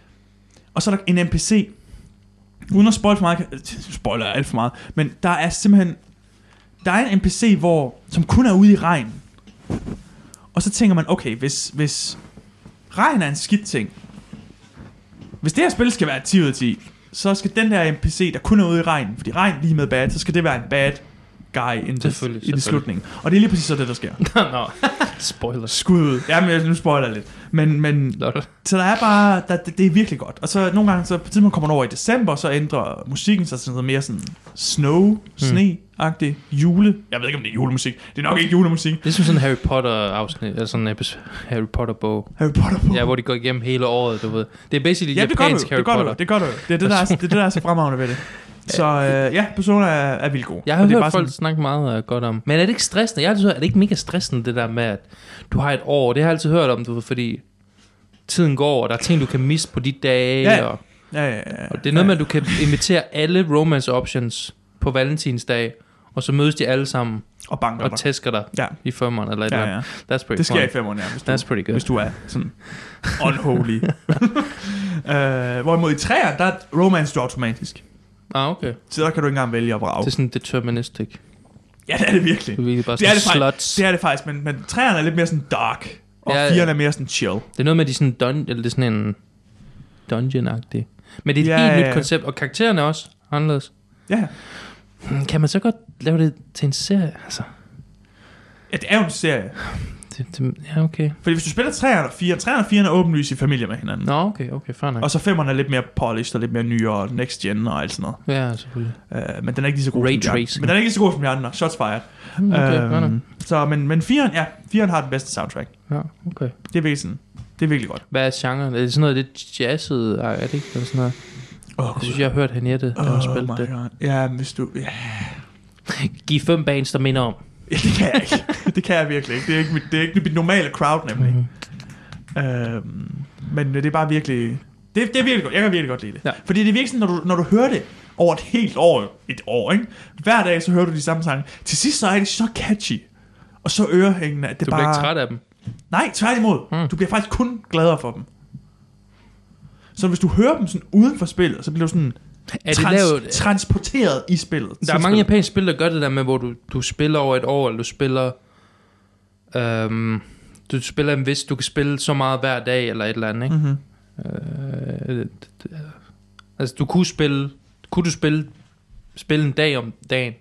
Og så er der en NPC. Uden at spoil for meget... kan- Spoiler er alt for meget. Men der er simpelthen... Der er en NPC, hvor, som kun er ude i regn. Og så tænker man, okay, hvis, hvis regn er en skidt ting, hvis det her spil skal være 10 ud af 10, så skal den der NPC, der kun er ude i regn, fordi regn lige med bad, så skal det være en bad guy in det,
Selvfølgelig,
i
selvfølgelig.
det slutningen. Og det er lige præcis så det, der sker.
Nå, spoilers.
Skud ud. Jamen, jeg- nu spoiler jeg lidt. Men, men
Lol.
så der er bare, der, det, det er virkelig godt. Og så nogle gange, så på et tidspunkt kommer man over i december, så ændrer musikken sig til noget mere sådan snow, sne-agtig, jule. Jeg ved ikke, om det er julemusik. Det er nok ikke julemusik.
Det er som sådan en Harry Potter afsnit, eller sådan en episode, Harry Potter bog.
Harry Potter på.
Ja, hvor de går igennem hele året, du ved. Det er basically
ja, det gør du,
japansk
jo.
Harry
det gør du,
Potter.
jo. det gør du. jo. Det er det, der er, det, er det, der er så fremragende ved det. Så øh, ja, Persona er, er vildt god.
Jeg
Og
har
det er
hørt
bare
folk sådan... snakke meget
øh,
uh, godt om. Men er det ikke stressende? Jeg har altid hørt, er det ikke mega stressende, det der med, at du har et år? Det har jeg altid hørt om, du ved, fordi tiden går, og der er ting, du kan miste på de dage.
Ja, ja.
Og,
Sådan, ja, ja, ja, ja.
og det er noget med, at du kan invitere alle romance options på valentinsdag, og så mødes de alle sammen
Og banker
og
dig.
tæsker dig
Ja.
i femmeren eller et eller
Ja,
andet.
ja.
That's pretty
Det sker i
fun.
fem år, ja, hvis du,
That's pretty good.
hvis du er sådan unholy. øh, hvorimod i træer, der er romance du automatisk.
Ah, okay.
Så der kan du ikke engang vælge at vrage.
Det er sådan deterministic. Det
Ja, det er det virkelig.
er virkelig bare
Det er
sådan
det faktisk.
sluts.
Det er det faktisk, men, men træerne er lidt mere sådan dark, og
Ja, ja.
ja, firerne er mere sådan chill.
Det er noget med, at de er sådan dun- eller det er sådan en dungeon-agtig. Men det er et
Ja,
helt
ja,
nyt
ja.
koncept, og karaktererne er også anderledes.
Ja,
Hmm, Kan man så godt lave det til en serie? Altså,
ja det er jo en serie.
det, det, ja, okay.
Fordi hvis du spiller træerne og firerne, træerne og firerne er åbenlyst i familie med hinanden.
Nå, okay, okay, fair nok.
Og så femmerne er lidt mere polished og lidt mere nyere og next gen og alt sådan
Ja, selvfølgelig.
noget. Øh, men den er ikke lige så god
Ray
som de andre.
tracing.
Men den er ikke lige så god som de andre. Shots fired.
Hmm, Okay, fair nok.
øhm, så, men, men fireren, ja, fireren har den bedste soundtrack.
Ja, okay.
Det er virkelig sådan. Det er virkelig godt.
Hvad er genren? Er det sådan noget lidt jazzet? Ej, er det ikke? Eller sådan noget?
Åh,
Jeg synes, jeg har hørt Henriette, der har spillet det.
Oh God. Ja, men hvis du... Ja.
Giv fem bands, der minder om.
det kan jeg ikke. det kan jeg virkelig ikke. Det er ikke mit, det er ikke mit normale crowd, nemlig.
Mhm.
Øhm, men det er bare virkelig... Det, det er virkelig godt. Jeg kan virkelig godt lide det.
Ja.
Fordi det er virkelig sådan, når du, når du hører det over et helt år, et år, ikke? Hver dag, så hører du de samme sange. Til sidst, så er det så catchy. Og så ørehængende, at det
Du
bare...
bliver ikke træt af dem.
Nej, tværtimod.
Mm.
Mm. Du bliver faktisk kun gladere for dem. Så hvis du hører dem sådan uden for spillet, så bliver du sådan
Er det
trans-
lavet,
transporteret i spillet.
Der er mange japanske spil, der gør det der med, hvor du, du spiller over et år, eller du spiller... Øhm, du spiller en vis, du kan spille så meget hver dag, eller et eller andet, ikke?
Mm-hmm.
Mm. Øh, det- det- altså, du kunne spille... Kunne du spille, spille en dag om dagen?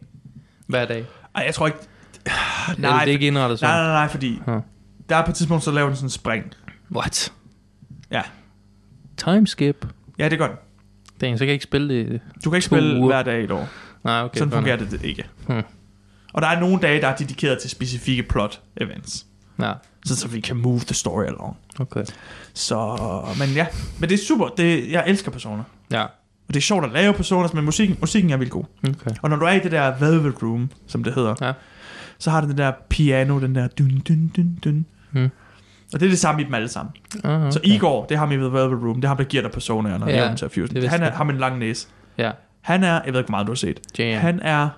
Hver dag?
Ej, jeg tror ikke...
Nej, eller er
Nej,
det ikke indrettet
nej,
sådan?
nej, nej, fordi...
Huh.
Der er på et tidspunkt, så laver den sådan en spring.
What?
Ja.
Timeskip?
Ja, det gør den.
Dang, så kan jeg ikke spille det.
Du kan ikke
To
spille
uger.
hver dag i et år.
Nej, okay.
Okay, Sådan
fair
fungerer det ikke.
Hmm.
Hmm. Og der er nogle dage, der er dedikeret til specifikke plot events.
nok. Ja,
Så, så vi kan move the story along.
okay.
Så, men ja. Men det er super. Det, jeg elsker personer.
Ja,
Og det er sjovt at lave personer, men musikken, musikken er vildt god.
okay.
Og når du er i det der velvet room, som det hedder,
Ja.
så har det den der piano, den der dun dun dun dun.
Hmm.
Og det er det samme i dem alle sammen.
Ah, okay.
Så Igor, det er ham i The Velvet Room, det er ham, der giver dig personaer, når
Ja,
ja, evnen til at
det
fuse.
vidste
Han er
jeg.
ham med en lang næse.
Ja. Ah,
Han er, jeg ved ikke, hvor meget du har set.
Jam.
Han er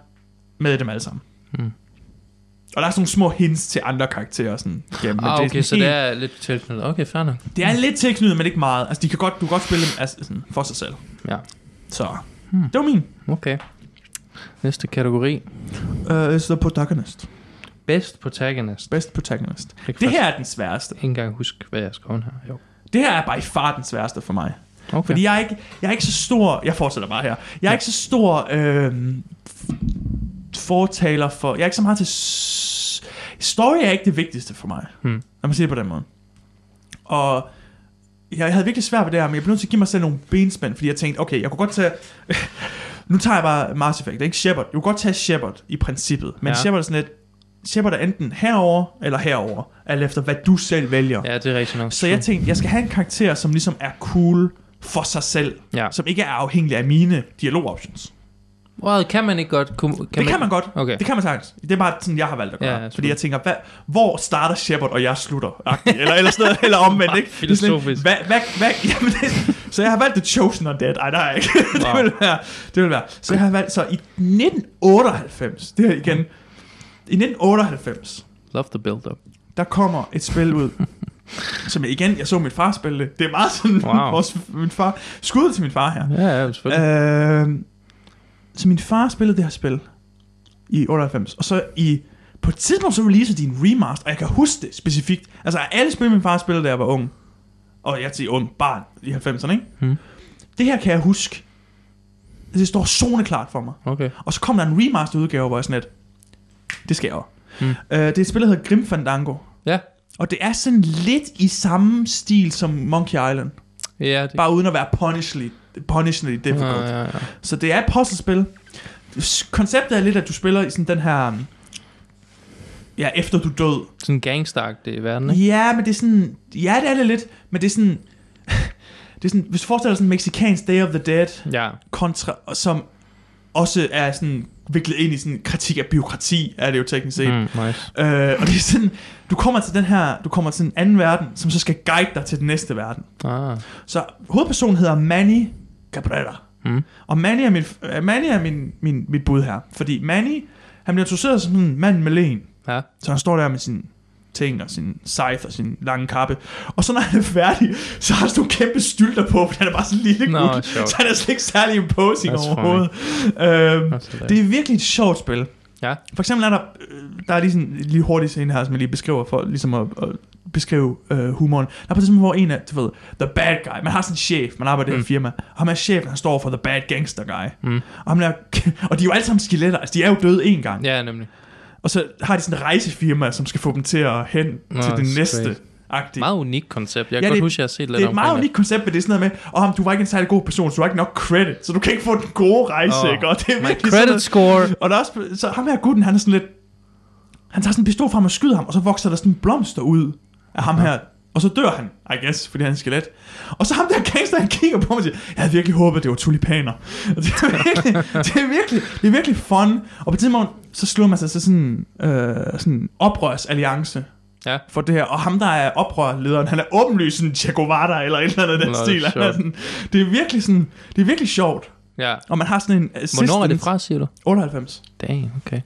med i dem alle sammen.
Mm.
Og der er sådan nogle små hints til andre karakterer sådan. Jamen, men
ah,
er
okay,
sådan
så det
helt-
er lidt tilknyttet. Okay, fair nok.
Det er lidt tilknyttet, men ikke meget. Altså, de kan godt, du kan godt spille dem altså, sådan, for sig selv.
Ja.
Så,
Hmm.
det var min.
Okay. Næste kategori.
Uh, så protagonist.
Best protagonist.
Best protagonist.
Jeg kan
Det her
faktisk
er den sværeste.
Ikke engang huske, hvad jeg skrev her. Jo.
Det her er by far den sværeste for mig.
Okay.
Fordi jeg er ikke, jeg er ikke så stor... Jeg fortsætter bare her. Jeg er ikke så stor øh, fortaler for... Jeg er ikke så meget til... s- Story er ikke det vigtigste for mig.
Hmm.
Lad mig sige det på den måde. Og jeg havde virkelig svært ved det her, men jeg blev nødt til at give mig selv nogle benspænd, fordi jeg tænkte, okay, jeg kunne godt tage... nu tager jeg bare Mars Effect, ikke Shepard. Jeg kunne godt tage Shepard i princippet, men
Ja.
ja. Shepard er sådan lidt... Shepard er enten herover eller herover, alt efter hvad du selv vælger.
Ja, det er rigtigt nok.
Så jeg tænkte, jeg skal have en karakter, som ligesom er cool for sig selv.
Ja.
Som ikke er afhængig af mine dialogoptions.
Well, kan man ikke godt... Kunne, kan
Det kan man godt.
Okay.
Det kan man sagtens. Det er bare sådan, jeg har valgt at
Ja,
gøre.
ja,
fordi
selvfølgelig.
jeg tænker, hvad, hvor starter Shepard, og jeg slutter? agtigt. Eller, eller sådan noget, eller omvendt. Ikke? Det er sådan lidt,
Filosofisk.
Hvad, hvad, hvad, jamen, det, så jeg har valgt The Chosen og Dead. Ej, nej, ikke. det,
Wow.
vil være, det vil være. Så jeg har valgt, så i 1998, det her igen, i 1998,
Love the build-up.
der kommer et spil ud, som jeg igen, jeg så min far spille det. Det er meget sådan,
Wow.
wow. vores, min far, skud til min far her.
Ja, ja, selvfølgelig.
Øh, så min far spillede det her spil i 98, og så i på et tidspunkt så releasede de en remaster, og jeg kan huske det specifikt. Altså alle spil, min far spillede, da jeg var ung, og jeg til ung barn i 90'erne, ikke?
Hmm.
Det her kan jeg huske. Altså, Det står soneklart for mig.
Okay.
Og så kom der en remaster udgave, hvor jeg sådan lidt, det skal jeg også.
Hmm.
Øh, det er et spil, der hedder Grim Fandango.
Ja.
Og det er sådan lidt i samme stil som Monkey Island.
Ja, det Ah,
Bare uden at være punishly, punishly difficult.
Ja, ja, ja.
Så det er et puzzlespil. S- Konceptet er lidt, at du spiller i sådan den her... um, Ja, efter du er død.
Sådan gangstark det i verden, ikke?
Ja, men det er sådan... Ja, det er det lidt, men det er sådan... Det er sådan, hvis du forestiller dig sådan en mexicansk Day of the Dead,
Ja.
kontra, og som også er sådan viklet ind i sådan en kritik af byråkrati, er det jo teknisk set.
Mm, nice.
Øh, og det er sådan, du kommer til den her, du kommer til en anden verden, som så skal guide dig til den næste verden.
Ah.
Så hovedpersonen hedder Manny Cabrera.
Mm.
Og Manny er, min, øh, Manny er min, min, mit bud her. Fordi Manny, han bliver introduceret som en mand med len.
Ja.
Så han står der med sin ting og sin scythe og sin lange kappe. Og så når han er færdig, så har han sådan nogle kæmpe stylter på, for han er bare sådan en lille
Nå,
gut.
sjovt.
Så han er slet ikke særlig imposing
That's funny.
overhovedet. Øhm,
That's hilarious.
det er virkelig et sjovt spil.
Ja.
For eksempel er der, øh, der er lige sådan en lige hurtig scene her, som jeg lige beskriver for ligesom at, at beskrive øh, humoren. Der er på det tidspunkt, hvor en af, du ved, the bad guy, man har sådan en chef, man arbejder i mm.
Mm.
et firma, og ham er chefen, han står for the bad gangster guy.
Mm.
Og, ham er, og de er jo alle sammen skeletter, altså de er jo døde en gang.
Ja, nemlig.
Og så har de sådan en rejsefirma, som skal få dem til at hen
Nå,
Nå, til
det
det
er
næste.
sweet.
Agtigt.
Meget unikt koncept. Jeg
Ja,
kan
det-
godt huske, jeg har set lidt
Det er et meget
omkring
unikt koncept, men det er sådan noget med, og oh, du var ikke en særlig god person, så du har ikke nok credit, så du kan ikke få den gode rejse,
Åh,
oh, ikke? Og det er
My
virkelig
credit
sådan noget-
score.
og der er også, så ham her gutten, han er sådan lidt... Han tager sådan en pistol frem og skyder ham, og så vokser der sådan en blomster ud af ham her. Og så dør han, I guess, fordi han er en skelet. Og så ham der gangster, han kigger på mig og siger, jeg havde virkelig håbet, det var tulipaner. Og det er virkelig, det er virkelig, det er virkelig fun. Og på et tidspunkt, så slår man sig til sådan en øh, sådan oprørsalliance
Ja.
for det her. Og ham, der er oprørlederen, han er åbenlyst sådan Che Guevara eller et eller andet af den
Nå,
stil. Han er
sjovt.
sådan, det er virkelig sådan, det er virkelig sjovt.
Ja.
Og man har sådan en
Hvornår er det
assistant-
fra, siger du?
98.
Damn, okay.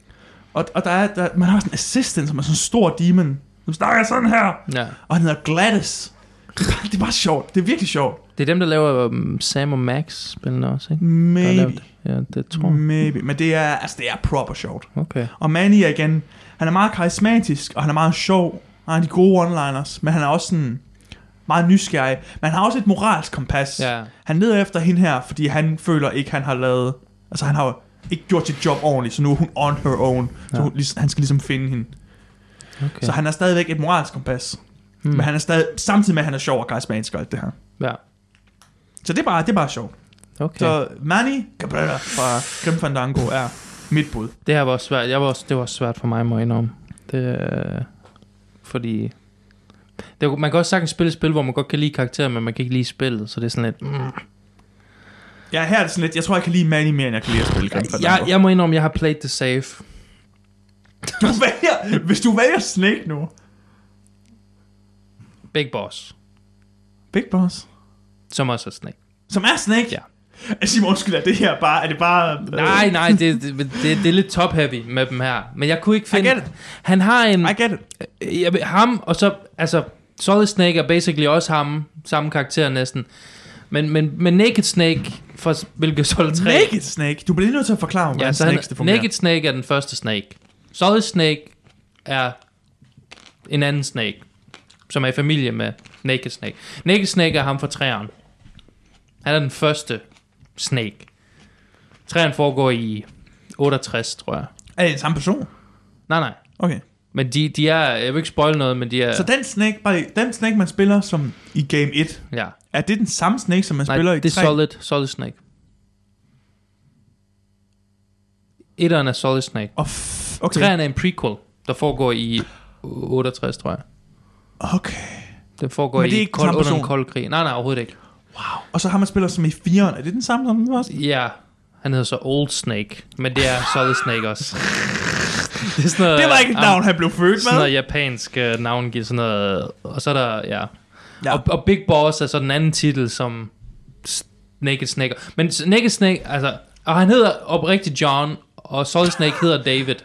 Og, og der er, der, man har sådan en assistant, som er sådan en stor demon, som snakker sådan her,
Ja.
og han hedder Gladys. Det er bare, det er bare sjovt. Det er virkelig sjovt.
Det er dem, der laver um, Sam og Max spillene også, ikke? Der har
Maybe.
lavet- Ja, det tror jeg.
Maybe. Men det er, altså, det er proper sjovt.
Okay.
Og Manny er igen, han er meget karismatisk, og han er meget sjov. Han har de gode one-liners, men han er også sådan meget nysgerrig. Men han har også et moralsk kompas.
Ja.
Han leder efter hende her, fordi han føler ikke, han har lavet... Altså, han har jo ikke gjort sit job ordentligt, så nu er hun on her own. Så
Ja.
hun, lig- han skal ligesom finde hende.
Okay.
Så han er stadigvæk et moralsk kompas.
Hmm.
Mm. Men han er stadig, samtidig med, at han er sjov og karismatisk og alt det her.
Ja.
Så det er bare, det er bare sjovt. Okay.
Okay.
Så Manny Cabrera fra Grim Fandango er mit bud.
Det her var også svært. Jeg var også, det var også svært for mig, må jeg indrømme. Det, øh, fordi... Det, er- man kan også sagtens spille et spil, hvor man godt kan lide karakteren, men man kan ikke lide spillet, så det er sådan lidt... Mm.
Ja, her er det sådan lidt, jeg tror, jeg kan lide Manny mere, end jeg kan lide at spille Grim
Jeg,
Fandango.
jeg må indrømme, jeg har played the safe.
Du vælger, hvis du vælger Snake nu,
Big Boss,
Big Boss.
som også er Snake.
Som er Snake?
Ja.
Altså, Simon, undskyld, er det her bare... Er det bare... øh,
Nej, nej, det, det, det, det er lidt top-heavy med dem her. Men jeg kunne ikke
I
finde...
get it.
Han har en...
I get it.
Jeg, ved- ham, og så... Altså, Solid Snake er basically også ham. Samme karakter næsten. Men, men, men Naked Snake fra Metal Solid 3...
Naked Snake. Du bliver lige nødt til at forklare, hvordan
Ja,
ja,
så han,
Snakes det fungerer.
Naked Snake er den første Snake. Solid Snake er en anden Snake, som er i familie med Naked Snake. Naked Snake er ham fra træeren. Han er den første Snake. Træeren foregår i 68, tror jeg.
Er det den samme person?
Nej, nej.
Okay.
Men de, de er... Jeg vil ikke spoil noget, men de er...
Ja. Så den Snake, bare, den Snake, man spiller som i Game 1,
ja.
er det den samme Snake, som man
Nej,
spiller i
det er
3?
Solid, Solid Snake. Etteren er Solid Snake.
Og f- okay.
Træeren er en prequel, der foregår i 68, tror jeg.
Okay.
Den foregår
Men det er
i
ikke den
kold,
samme
under den
person?
kolde krig. Nej, nej, overhovedet ikke.
Og så har man spiller som i 4'eren. Er det den samme som den første?
Ja, han hedder så Old Snake, men det er Solid Snake også. Det, er sådan noget,
Det var ikke et
ah,
navn, han blev født
Sådan
med.
noget japansk øh, navn, giver sådan noget, og så er der, ja.
Ja.
ja. Og, og Big Boss er så den anden titel, som S- Naked Snake. Men S- Naked Snake, altså, og han hedder oprigtigt John, og Solid Snake hedder David,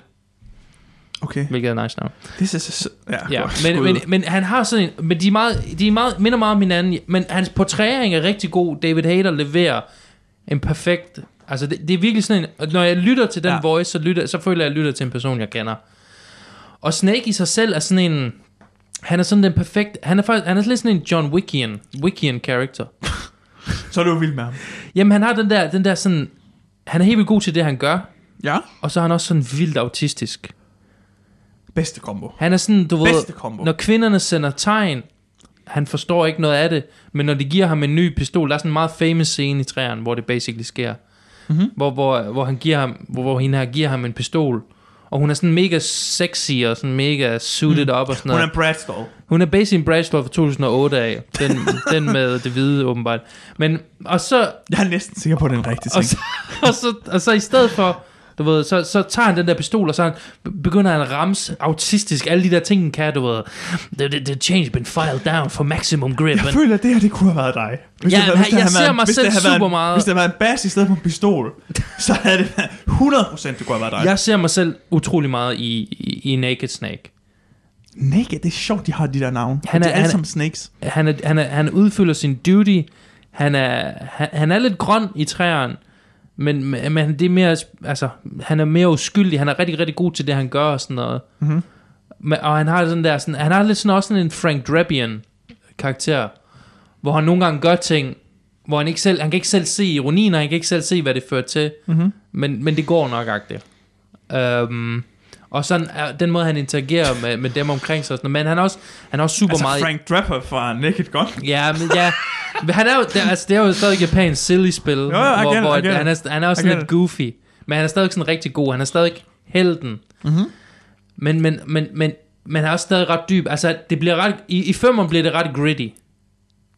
Okay.
hvilket er et nice navn.
This is... a s- Ja,
Ja,
godt
men,
skud.
men, men han har sådan en, men de, er meget, de er meget, minder meget om hinanden, men hans portrætering er rigtig god. David Hayter leverer en perfekt, altså det, det er virkelig sådan en, og når jeg lytter til den
Ja.
ja. voice, så, lytter, så føler jeg, at jeg lytter til en person, jeg kender. Og Snake i sig selv er sådan en, han er sådan den perfekte, han er faktisk, han er lidt sådan en John Wickian, Wickian character.
Så er du vild med ham.
Jamen han har den der, den der sådan, han er helt vildt god til det, han gør,
Ja.
og så er han også sådan vildt autistisk.
Bedste combo.
Han er sådan, du ved,
Bedste combo.
når kvinderne sender tegn, han forstår ikke noget af det, men når de giver ham en ny pistol, der er sådan en meget famous scene i træerne, hvor det basically sker,
Mhm.
hvor, hvor, hvor, han giver ham, hvor, hvor hende her giver ham en pistol, og hun er sådan mega sexy og sådan mega suited mm. op og sådan
Mhm. Hun
noget.
er Bradstall.
Hun er basically en Bradshaw fra 2008 af, den, den med det hvide åbenbart. Men, og så,
Jeg er næsten sikker på, at det er en rigtig
og
ting.
så, og, så, og så i stedet for, du ved, så, så tager han den der pistol, og så han, begynder han at ramse autistisk alle de der ting, han kan, du ved. The, the, the change been filed down for maximum grip.
Jeg
and-
føler, at det her, det kunne have været dig. Hvis
Ja,
det havde-
men
hvis det
jeg
havde
ser
været-
mig
hvis det
selv
havde været-
super meget.
Hvis det havde været en bas i stedet for en pistol, så havde det været 100% det kunne have været dig.
Jeg ser mig selv utrolig meget i, i, i Naked Snake.
Naked, det er sjovt, de har de der navne.
Han
Han
er-
er, de er alle
han er-
sammen snakes.
Han, er, han, er, han udfylder sin duty. Han er, han, han er lidt grøn i træerne. Men, men men det er mere, altså, han er mere uskyldig. Han er rigtig, rigtig god til det, han gør og sådan noget.
Mhm.
Men, og han har sådan der, sådan, han har lidt sådan også sådan en Frank Drabian karakter, hvor han nogle gange gør ting, hvor han ikke selv, han kan ikke selv se ironien, og han kan ikke selv se, hvad det fører til,
Mhm.
men, men det går nok agtigt. Um, og sådan er den måde, han interagerer med, med dem omkring sig, og sådan, noget. men han er også, han er også super
Altså
meget...
Frank Drebber fra Naked Gun.
Ja, men ja. Men han er jo, det, er- altså, det er jo stadig Japans silly spil, jo,
jeg
hvor,
gætter,
hvor
jeg gætter.
han, er, han er også
Jeg
sådan lidt goofy, men han er stadig sådan rigtig god, han er stadig helten.
Mhm.
Men, men, men, men, men han er også stadig ret dyb. Altså, det bliver ret, i, i femmeren bliver det ret gritty.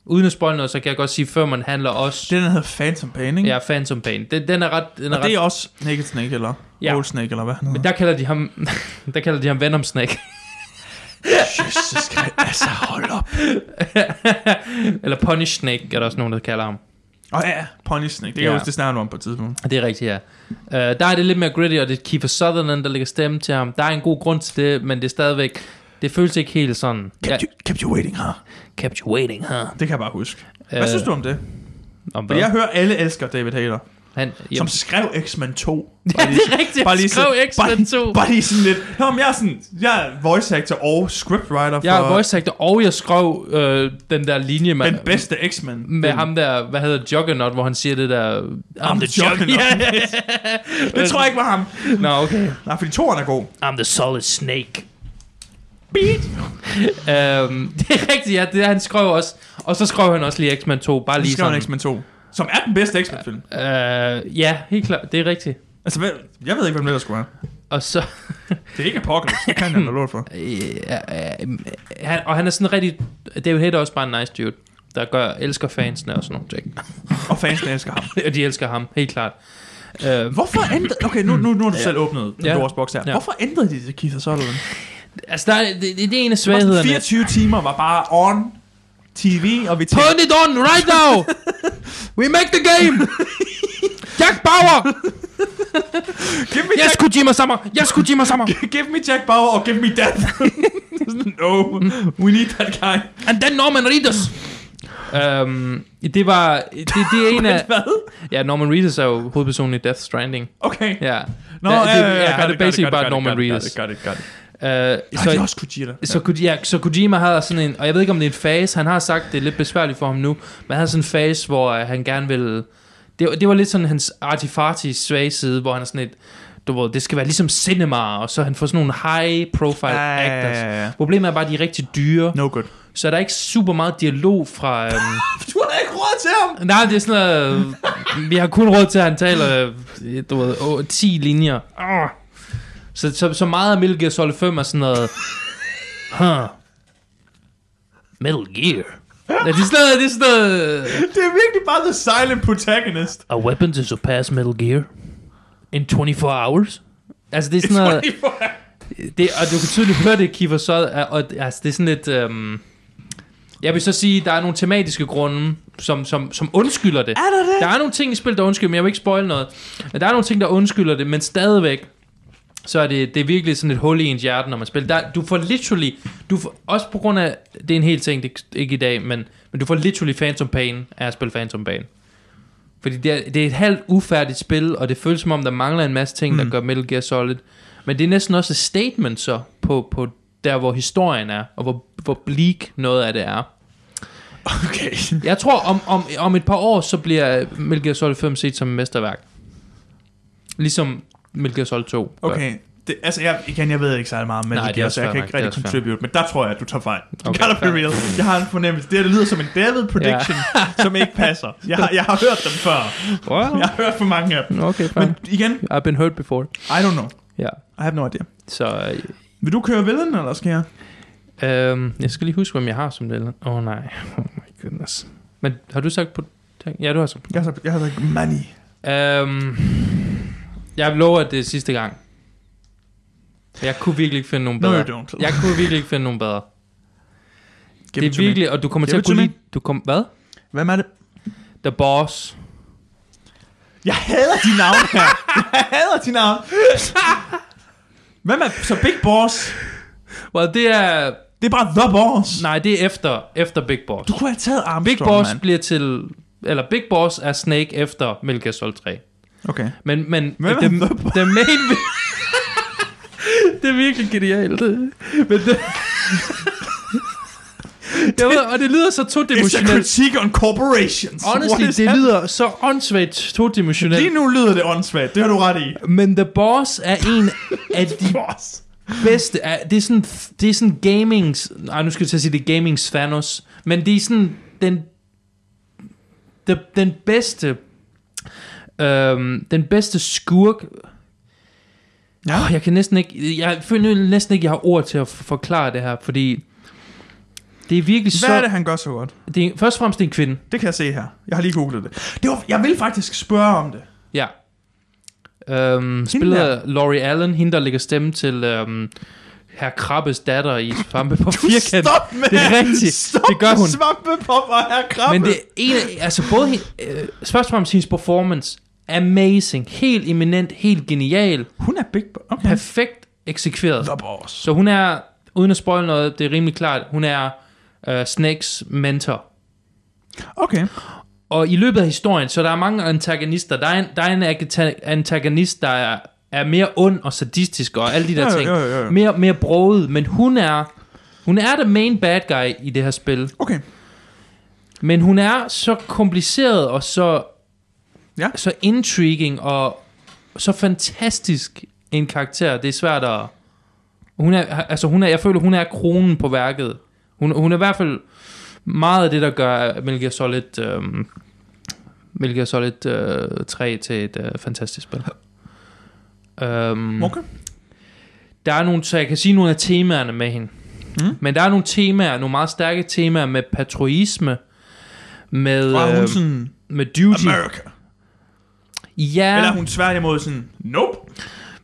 Uden at spoil noget, så kan jeg godt sige, at femmeren handler også...
Det er den, der hedder Phantom Pain, ikke?
Ja, Phantom Pain. Den, den er ret... Den
Og
er
det
ret
er også Naked Snake, eller
Ja.
Old Snake, eller hvad han hedder.
der kalder de ham, der kalder de ham Venom Snake.
Jesus Christ, altså hold op.
Eller Punish Snake, er der også nogen, der kalder ham.
Åh oh, ja, Pony Snake, det kan jeg
Ja.
huske, det snakker du om på et tidspunkt.
Det er rigtigt, ja. Uh, der er det lidt mere gritty, og det er Kiefer Sutherland, der lægger stemme til ham. Der er en god grund til det, men det er stadigvæk... Det føles ikke helt sådan...
Kept, you, kept you waiting, huh?
kept you waiting, huh?
Det kan jeg bare huske. Hvad synes du om det?
Om
For
Øh, hvad?
jeg hører, alle elsker David Hayter,
Han,
som
jamen,
skrev X-Men 2.
ja, det er rigtigt. Bare lige
så-
skrev X-Men 2.
Bare lige sådan lidt. Nå, men jeg er sådan, jeg er voice actor og scriptwriter for
Jeg er voice actor, og jeg skrev øh, den der linje med,
den bedste X-Men.
med ham der, hvad hedder Juggernaut, hvor han siger det der... Ah, I'm
the Juggernaut."
Ja, ja.
Det tror jeg ikke var ham.
Nå, okay.
Nej, fordi toren er god.
I'm the solid snake. Beat. øhm, det er rigtigt, ja. Det er, han skrev også. Og så skrev han også lige X-Men 2. Bare
Han
lige
skrev
sådan.
en X-Men 2, som er den bedste X-Men-film.
Øh, ja, helt klart. Det er rigtigt.
Altså, hvad, jeg ved ikke, hvem det der skulle være.
Og så...
Det er ikke Apocalypse, det kan jeg da lort for.
Ja, øh, han, og han er sådan rigtig... David Hayter er også bare en nice dude, der gør, elsker fansene og sådan nogle ting.
Og fansene elsker ham.
og de elsker ham, helt klart. Øh,
Hvorfor ændrede... Okay, nu, nu, nu har du selv åbnet
Ja.
ja. boks her.
Ja.
Hvorfor ændrede de det, Keith Sutherland?
altså, der, er- det, det, det er en af
Det var sådan
svaghederne.
24 timer var bare on TV, og vi tænker...
Turn it on right now! We make the game! Jack Bauer!
Give me,
Yes, Kojima Summer! Yes, Kojima Summer!
Jack, give me Jack Bauer, or give me death. Sådan, no, we need that guy.
And then Norman Reedus! Um, det var... Det, det er en af...
Hvad?
Ja, Norman Reedus er jo hovedpersonen i Death Stranding.
Okay.
Ja.
Nå,
Ja,
ja, ja,
det-
ja,
ja, det er basically bare Norman Reedus.
Got it, got it.
Uh,
Nej, det er også Kojira.
Så, Ko- ja, så Kojima har sådan en, og jeg ved ikke om det er en fase, han har sagt, det er lidt besværligt for ham nu, men han har sådan en fase, hvor øh, han gerne vil, det, det var lidt sådan hans artifarti svage side, hvor han er sådan et, du ved, det skal være ligesom cinema, og så han får sådan nogle high profile
Ja, ja,
actors.
ja, ja.
Problemet er bare, at de er rigtig dyre,
No good.
så er der ikke super meget dialog fra... Øhm,
Du har da ikke råd til ham!
nej, det er sådan noget... Øh, vi har kun råd til, at han taler øh, du ved, åh, 10 linjer. Arh. Så, så, så meget af Metal Gear Solid 5 er sådan noget... Huh. Metal Gear. Ja, det er sådan noget, det er sådan noget...
Det er virkelig bare the silent protagonist.
A weapon to surpass Metal Gear in 24 hours? Altså, det er sådan noget... Det, og du kan tydeligt høre det, Kiefer Sod, er- og altså, det er sådan lidt... Øhm, jeg vil så sige, der er nogle tematiske grunde, som, som, som undskylder det.
Er der det?
Der er nogle ting i spil, der undskylder, men jeg vil ikke spoil noget. Men der er nogle ting, der undskylder det, men stadigvæk, så er det, det er virkelig sådan et hul i ens hjerte, når man spiller. Der, du får literally, du får, også på grund af, det er en hel ting, det er ikke i dag, men, men du får literally Phantom Pain af at spille Phantom Pain. Fordi det er, det er et halvt ufærdigt spil, og det føles som om, der mangler en masse ting, mm. der gør Metal Gear Solid. Men det er næsten også et statement så, på, på der hvor historien er, og hvor, hvor bleak noget af det er.
Okay.
Jeg tror, om, om, om et par år, så bliver Metal Gear Solid 5 set som et mesterværk. Ligesom Metal Gear Solid 2. gør.
Okay. Det, altså, jeg, igen, jeg ved ikke særlig meget om
Nej,
Metal
det er
Gear,
også
så jeg
fair
kan
nok,
ikke
det er
rigtig
også fair.
contribute, men der tror jeg, at du tager fejl. You
Okay,
gotta be
fair.
real. Jeg har en fornemmelse. Det her det lyder som en David prediction, som ikke passer. Jeg har, jeg har hørt dem før.
Well,
Jeg har hørt for mange af dem.
okay,
Men
fine.
igen,
I've been hurt before.
I don't know.
Ja.
I have no idea.
Så øh,
Vil du køre vilden, eller skal jeg?
øhm, jeg skal lige huske, hvem jeg har som det. Åh oh, nej. Oh my goodness. Men har du sagt på... Ja, du har sagt på...
Jeg har, sagt- jeg har sagt money.
Øhm, jeg lover, at det er sidste gang. Jeg kunne virkelig ikke finde nogen
No,
bedre.
you don't.
Jeg kunne virkelig ikke finde nogen bedre.
Give
det er virkelig, og du kommer
Give
til
it
at
to
kunne
me.
lide... Du kom, hvad?
Me. Hvem er det?
The Boss.
Jeg hader de navne her. Jeg hader de navne. Hvem er så Big Boss?
Well, det er...
Det er bare The Boss.
Nej, det er efter, efter Big Boss.
Du kunne have taget Armstrong,
Big Boss
mand.
bliver til... Eller Big Boss er Snake efter Metal Gear Solid 3.
Okay.
Men, men
Hvem er
the,
The Boss?
the main... det er virkelig genialt. Men det... Jeg ved, og det lyder så
It's a
todimensionelt.
critique on corporations.
Honestly,
What is
det
that?
lyder så åndssvagt
Lige
todimensionelt.
nu lyder det åndssvagt. Det har du ret i.
Men The Boss er en af de
Boss.
bedste er, det er sådan, det er sådan gamings, nej nu skal jeg til at sige, det er gamings Thanos, men det er sådan den, den, den bedste, øhm, den bedste skurk,
Ja.
Åh, jeg kan næsten ikke, jeg føler nu næsten ikke, jeg har ord til at f- forklare det her, fordi det er virkelig
Hvad er
så,
det, han gør så godt?
det? Det er, først og fremmest det er en kvinde,
Det kan jeg se her. Jeg har lige googlet det. det var, jeg vil faktisk spørge om det.
ja. Øhm, spiller Laurie Allen, hende der lægger stemme til øhm, herr Krabbes datter i Svampe på firkant.
Stop med
Det er rigtigt.
Stop
Det gør hun.
med Svampepop og herr Krabbe.
Men det er en af, altså både, hende- øh, først og fremmest hendes performance, amazing, helt eminent, helt genial,
Hun er Big Boss. Okay.
perfekt eksekveret.
The Boss.
Så hun er, uden at spoil noget, det er rimelig klart, hun er øh, Snakes mentor.
Okay.
Og i løbet af historien, så der er mange antagonister. Der er en, der er en agita- antagonist, der er, er mere ond og sadistisk og alle de der
Jo, jo,
ting.
jo, jo, jo.
Mere, mere broget, men hun er, hun er the main bad guy i det her spil.
Okay.
Men hun er så kompliceret og så,
Ja.
så intriguing og så fantastisk en karakter. Det er svært at... Hun er, altså hun er, jeg føler, hun er kronen på værket. Hun, hun er i hvert fald meget af det, der gør Metal Gear Solid, øhm, Metal Gear Solid øh, 3 til et øh, fantastisk spil. Um,
Okay.
der er nogle, så jeg kan sige nogle af temaerne med hende.
Mm.
Mm. Men der er nogle temaer, nogle meget stærke temaer med patriotisme, med,
Og er hun
øh,
sådan...
med duty.
America.
Ja,
Eller er hun tværtimod sådan... Nope.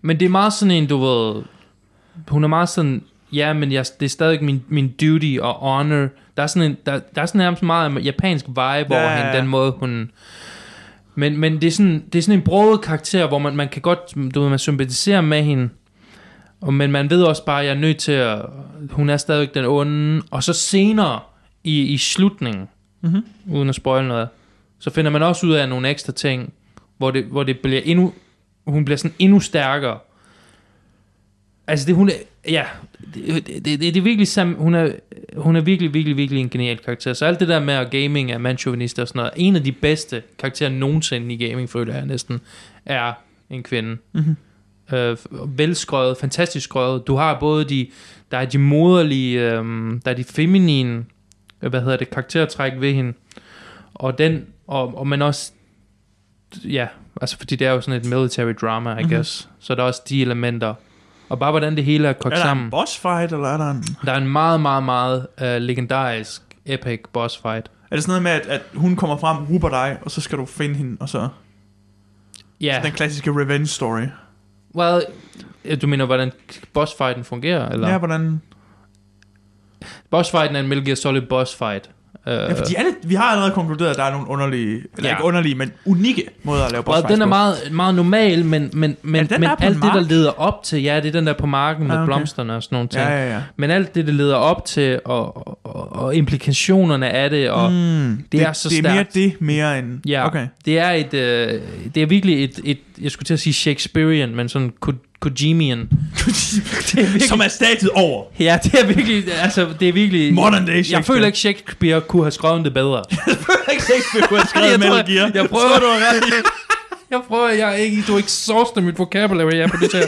men det er meget sådan en, du ved, hun er meget sådan, ja, men jeg, det er stadig min, min duty og honor Der er sådan, en, der, der er sådan nærmest meget japansk vibe ja, over
ja,
hende,
ja.
den måde hun... Men, men det, er sådan, det er sådan en broget karakter, hvor man, man kan godt, du ved, man sympatiserer med hende. Og, men man ved også bare, at jeg er nødt til at... Hun er stadigvæk den onde. Og så senere i, i slutningen,
Mm-hmm.
uden at spoil noget, så finder man også ud af nogle ekstra ting, hvor det, hvor det bliver endnu, hun bliver sådan endnu stærkere. Altså det, hun er, ja, det, det, det, det er virkelig sam, hun er, hun er virkelig, virkelig, virkelig en genial karakter. Så alt det der med, at gaming er mandchauvinist og sådan noget, en af de bedste karakterer nogensinde i gaming, føler jeg næsten, er en kvinde.
Mhm.
Øh, velskrevet, fantastisk skrevet. Du har både de, der er de moderlige, øh, der er de feminine, øh, hvad hedder det, karaktertræk ved hende. Og den, og, og men også, ja, altså fordi det er jo sådan et military drama, I
Mhm.
guess. Så der er også de elementer. Og bare hvordan det hele er kogt
Er der en
sammen.
boss fight, eller er der en...
Der er en meget, meget, meget uh, legendarisk epic boss fight.
Er det sådan noget med, at, at hun kommer frem, ruber dig, og så skal du finde hende, og så...
Ja,
Ja. Den klassiske revenge story.
well, øh, du mener, hvordan boss fighten fungerer? Eller?
Ja, hvordan...
Boss fighten er en Metal Gear Solid boss fight. Uh,
Ja, fordi alle, vi har allerede konkluderet, at der er nogle underlige, eller
Ja.
ja. ikke underlige, men unikke måder at lave boss
well,
fights
den er
på.
meget, meget normal, men, men, men,
den, der
men
er på en
alt det, der
mark?
leder op til, ja, det er den der på marken med
Ah, okay.
blomsterne og sådan nogle ting.
Ja, ja, ja.
Men alt det, det leder op til, og, og, og, og implikationerne af det, og mm.
mm, det,
er så
Det er mere
stærkt.
det, mere end...
Ja.
Okay.
det er et, øh, det er virkelig et, et, jeg skulle til at sige Shakespearean, men sådan Ko- Kojimian. virkelig-
Som er statet over.
Ja, det er virkelig, altså, det er virkelig...
Modern day
jeg
Shakespeare.
føler ikke, Shakespeare kunne have skrevet det bedre.
ikke Shakespeare kunne have
Jeg
skrevet
tror,
Metal Gear.
jeg prøver-
Tror, du har ret.
Jeg prøver, jeg er ikke, du exhauster mit vocabulary, jeg er på det her.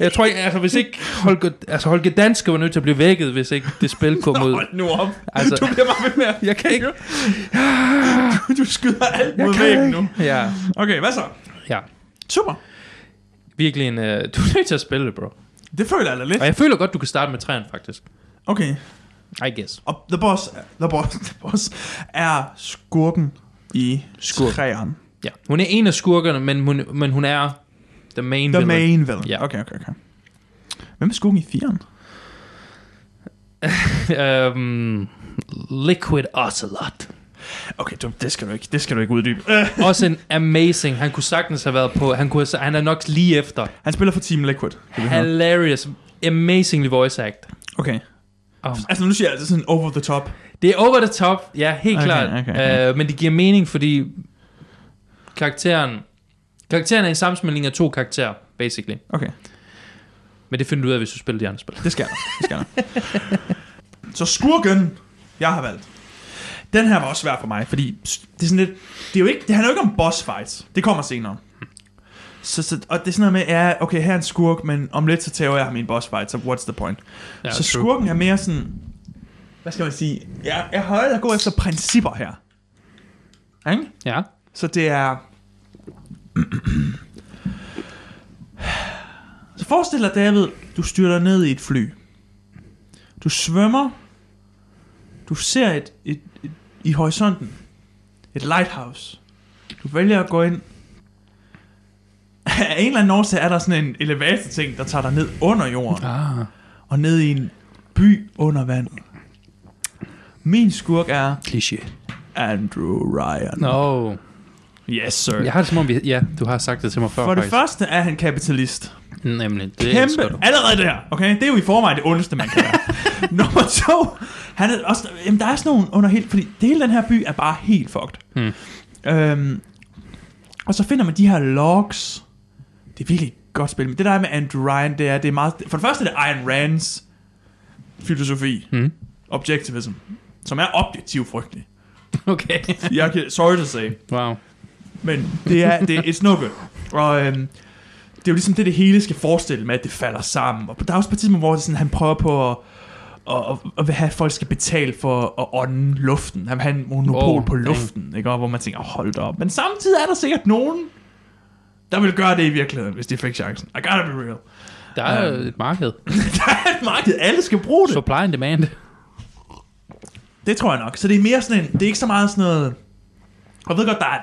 Jeg tror ikke, altså hvis ikke Holger, altså Holger Danske var nødt til at blive vækket, hvis ikke det spil kom ud.
Hold nu op.
Altså-
Altså, du bliver bare ved med at...
Jeg kan ikke.
Du skyder alt
Jeg
mod
kan
væggen nu.
Ja,
Okay, hvad så?
ja.
Super.
Virkelig en, øh, du er nødt til at spille det, bro.
Det føler jeg da lidt.
Og jeg føler godt, du kan starte med træerne, faktisk.
Okay.
I guess.
Og The Boss, The Boss, The Boss er skurken i
Skurken.
træeren.
Ja. Hun er en af skurkerne, men hun, men hun er the main
The
villain.
main villain.
Ja.
Okay, okay, okay. Hvem er skurken i firen?
øhm, Liquid Ocelot.
Okay, du, det skal du ikke, det skal du ikke uddybe. Øh.
Også en amazing. Han kunne sagtens have været på. Han, kunne, have- han er nok lige efter.
Han spiller for Team Liquid. det vi hører.
Hilarious. Amazingly voice act.
Okay.
Oh.
Altså nu siger jeg altså sådan over the top.
Det er over the top. Ja, helt
Okay,
klart.
okay, okay.
Øh, men det giver mening, fordi karakteren... Karakteren er en sammensmeltning af to karakterer, basically.
Okay,
Men det finder du ud af, hvis du spiller de andre spil.
det skal der. Det skal der. Så skurken, jeg har valgt. Den her var også svær for mig, fordi det er sådan lidt... Det, er jo ikke, det handler jo ikke om boss fights. Det kommer senere. Så, så, og det er sådan noget med, ja, okay, her er en skurk, men om lidt så tæver jeg ham i en boss fight, så what's the point?
Ja,
Ja, så
true.
skurken er mere sådan... Hvad skal man sige? Jeg, jeg holder at gå efter principper her. Ikke?
Ja.
Så det er... Så forestil dig, David, du styrter ned i et fly. Du svømmer. Du ser et, et, et, i horisonten. Et lighthouse. Du vælger at gå ind. Af en eller anden årsag er der sådan en elevator-ting, der tager dig ned under jorden
Ah.
og ned i en by under vandet. Min skurk er
Kliché.
Andrew Ryan.
No.
Yes, sir.
Jeg har det som om, vi, ja, du har sagt det til mig før,
For det
faktisk.
første er han kapitalist.
Nemlig, det
Kæmpe,
elsker du.
allerede der, okay? Det er jo i forvejen det ondeste, man kan være. Nummer to, han er også, jamen, der er sådan nogle under helt, fordi det hele den her by er bare helt fucked.
Hmm.
Øhm, og så finder man de her logs. Det er virkelig et godt spil, men det der er med Andrew Ryan, det er, det er meget, for det første er det Ayn Rands filosofi,
Hmm.
objectivism, som er objektivt frygtelig.
Okay.
Jeg kan, sorry to say.
Wow.
Men det er, det er it's no good. Og øhm, det er jo ligesom det, det hele skal forestille med, at det falder sammen. Og der er også på et tidspunkt, hvor det er sådan, han prøver på at, at, at, at have, at folk skal betale for at ånde luften. Han vil have en monopol
Wow,
oh, på
dang.
luften, ikke? Og hvor man tænker, hold da op. Men samtidig er der sikkert nogen, der vil gøre det i virkeligheden, hvis de fik chancen. I gotta be real.
Der er
Øhm.
um, et marked.
Der er et marked, alle skal bruge det.
Supply and demand.
Det tror jeg nok. Så det er mere sådan en, det er ikke så meget sådan noget, og jeg ved godt, der er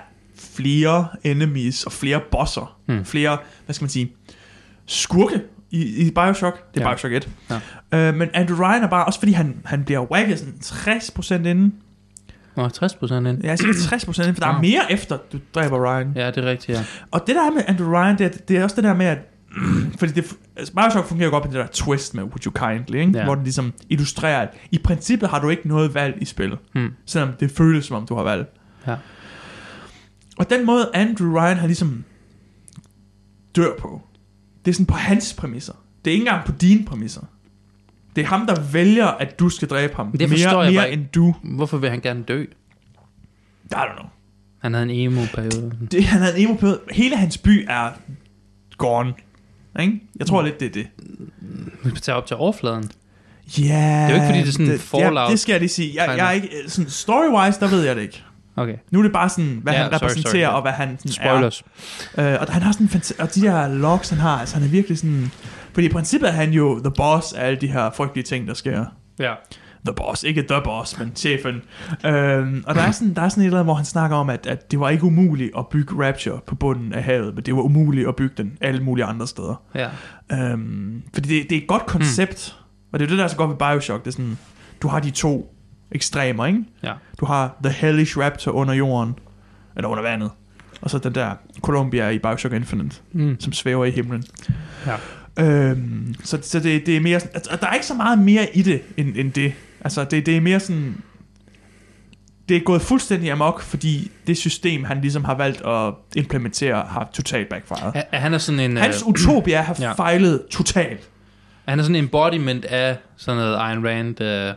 flere enemies og flere bosser,
Hmm.
mm. flere, hvad skal man sige, skurke i, i Bioshock. Det er
Ja.
ja. Bioshock 1. Ja. Øh, men Andrew Ryan er bare, også fordi han, han bliver whacket sådan 60% inden.
Nå, 60 procent ind.
Ja, cirka 60% inden, for der
Wow.
er mere efter, du dræber Ryan.
Ja, det er rigtigt, ja.
Og det der er med Andrew Ryan, det er, det er også det der med, at fordi det, altså Bioshock fungerer godt med det der twist med Would You Kindly, ikke?
Ja.
hvor den ligesom illustrerer, at i princippet har du ikke noget valg i spillet,
Hmm.
selvom det føles som om du har valg.
Ja.
Og den måde Andrew Ryan har ligesom dør på, det er sådan på hans præmisser. Det er ikke engang på dine præmisser. Det er ham, der vælger, at du skal dræbe ham.
Men det forstår
mere,
jeg bare
mere
ikke.
end du.
Hvorfor vil han gerne dø?
I don't know.
Han havde en emo-periode.
Det, han havde en emo periode. Hele hans by er gone. Ikke? Jeg
Mm.
tror lidt, det er det.
Vi kan tage op til overfladen.
Ja. Det er
jo ikke, fordi det er sådan Fallout-
Ja, det skal jeg lige sige. Jeg, jeg er ikke, øh, sådan storywise, der ved jeg det ikke.
Okay,
Nu er det bare sådan, hvad
Ja,
ja, han
sorry, sorry,
repræsenterer,
ja.
og hvad han sådan
spoilers.
er. Øh, og han har sådan fanta- og de der logs, han har, altså han er virkelig sådan... Fordi i princippet er han jo the boss af alle de her frygtelige ting, der sker.
Ja.
The boss, ikke the boss, men chefen. Øhm, og der er, sådan, der er sådan et eller andet, hvor han snakker om, at, at det var ikke umuligt at bygge Rapture på bunden af havet, men det var umuligt at bygge den alle mulige andre steder.
ja.
Øhm, fordi det, det er et godt koncept, mm. og det er det, der er så godt ved Bioshock. Det er sådan, du har de to ekstremer, ikke?
Ja.
Du har The Hellish Raptor under jorden, eller under vandet, og så den der Columbia i Bioshock Infinite,
Mm.
som svæver i himlen.
Ja.
Øhm, så så det, det er mere sådan, og der er ikke så meget mere i det, end, end det. Altså, det, det er mere sådan... Det er gået fuldstændig amok, fordi det system, han ligesom har valgt at implementere, har totalt backfired.
Han- Han er sådan en...
Hans
øh,
utopia har
Ja.
ja. fejlet totalt.
Han er sådan en embodiment af sådan noget Ayn Rand. Øh.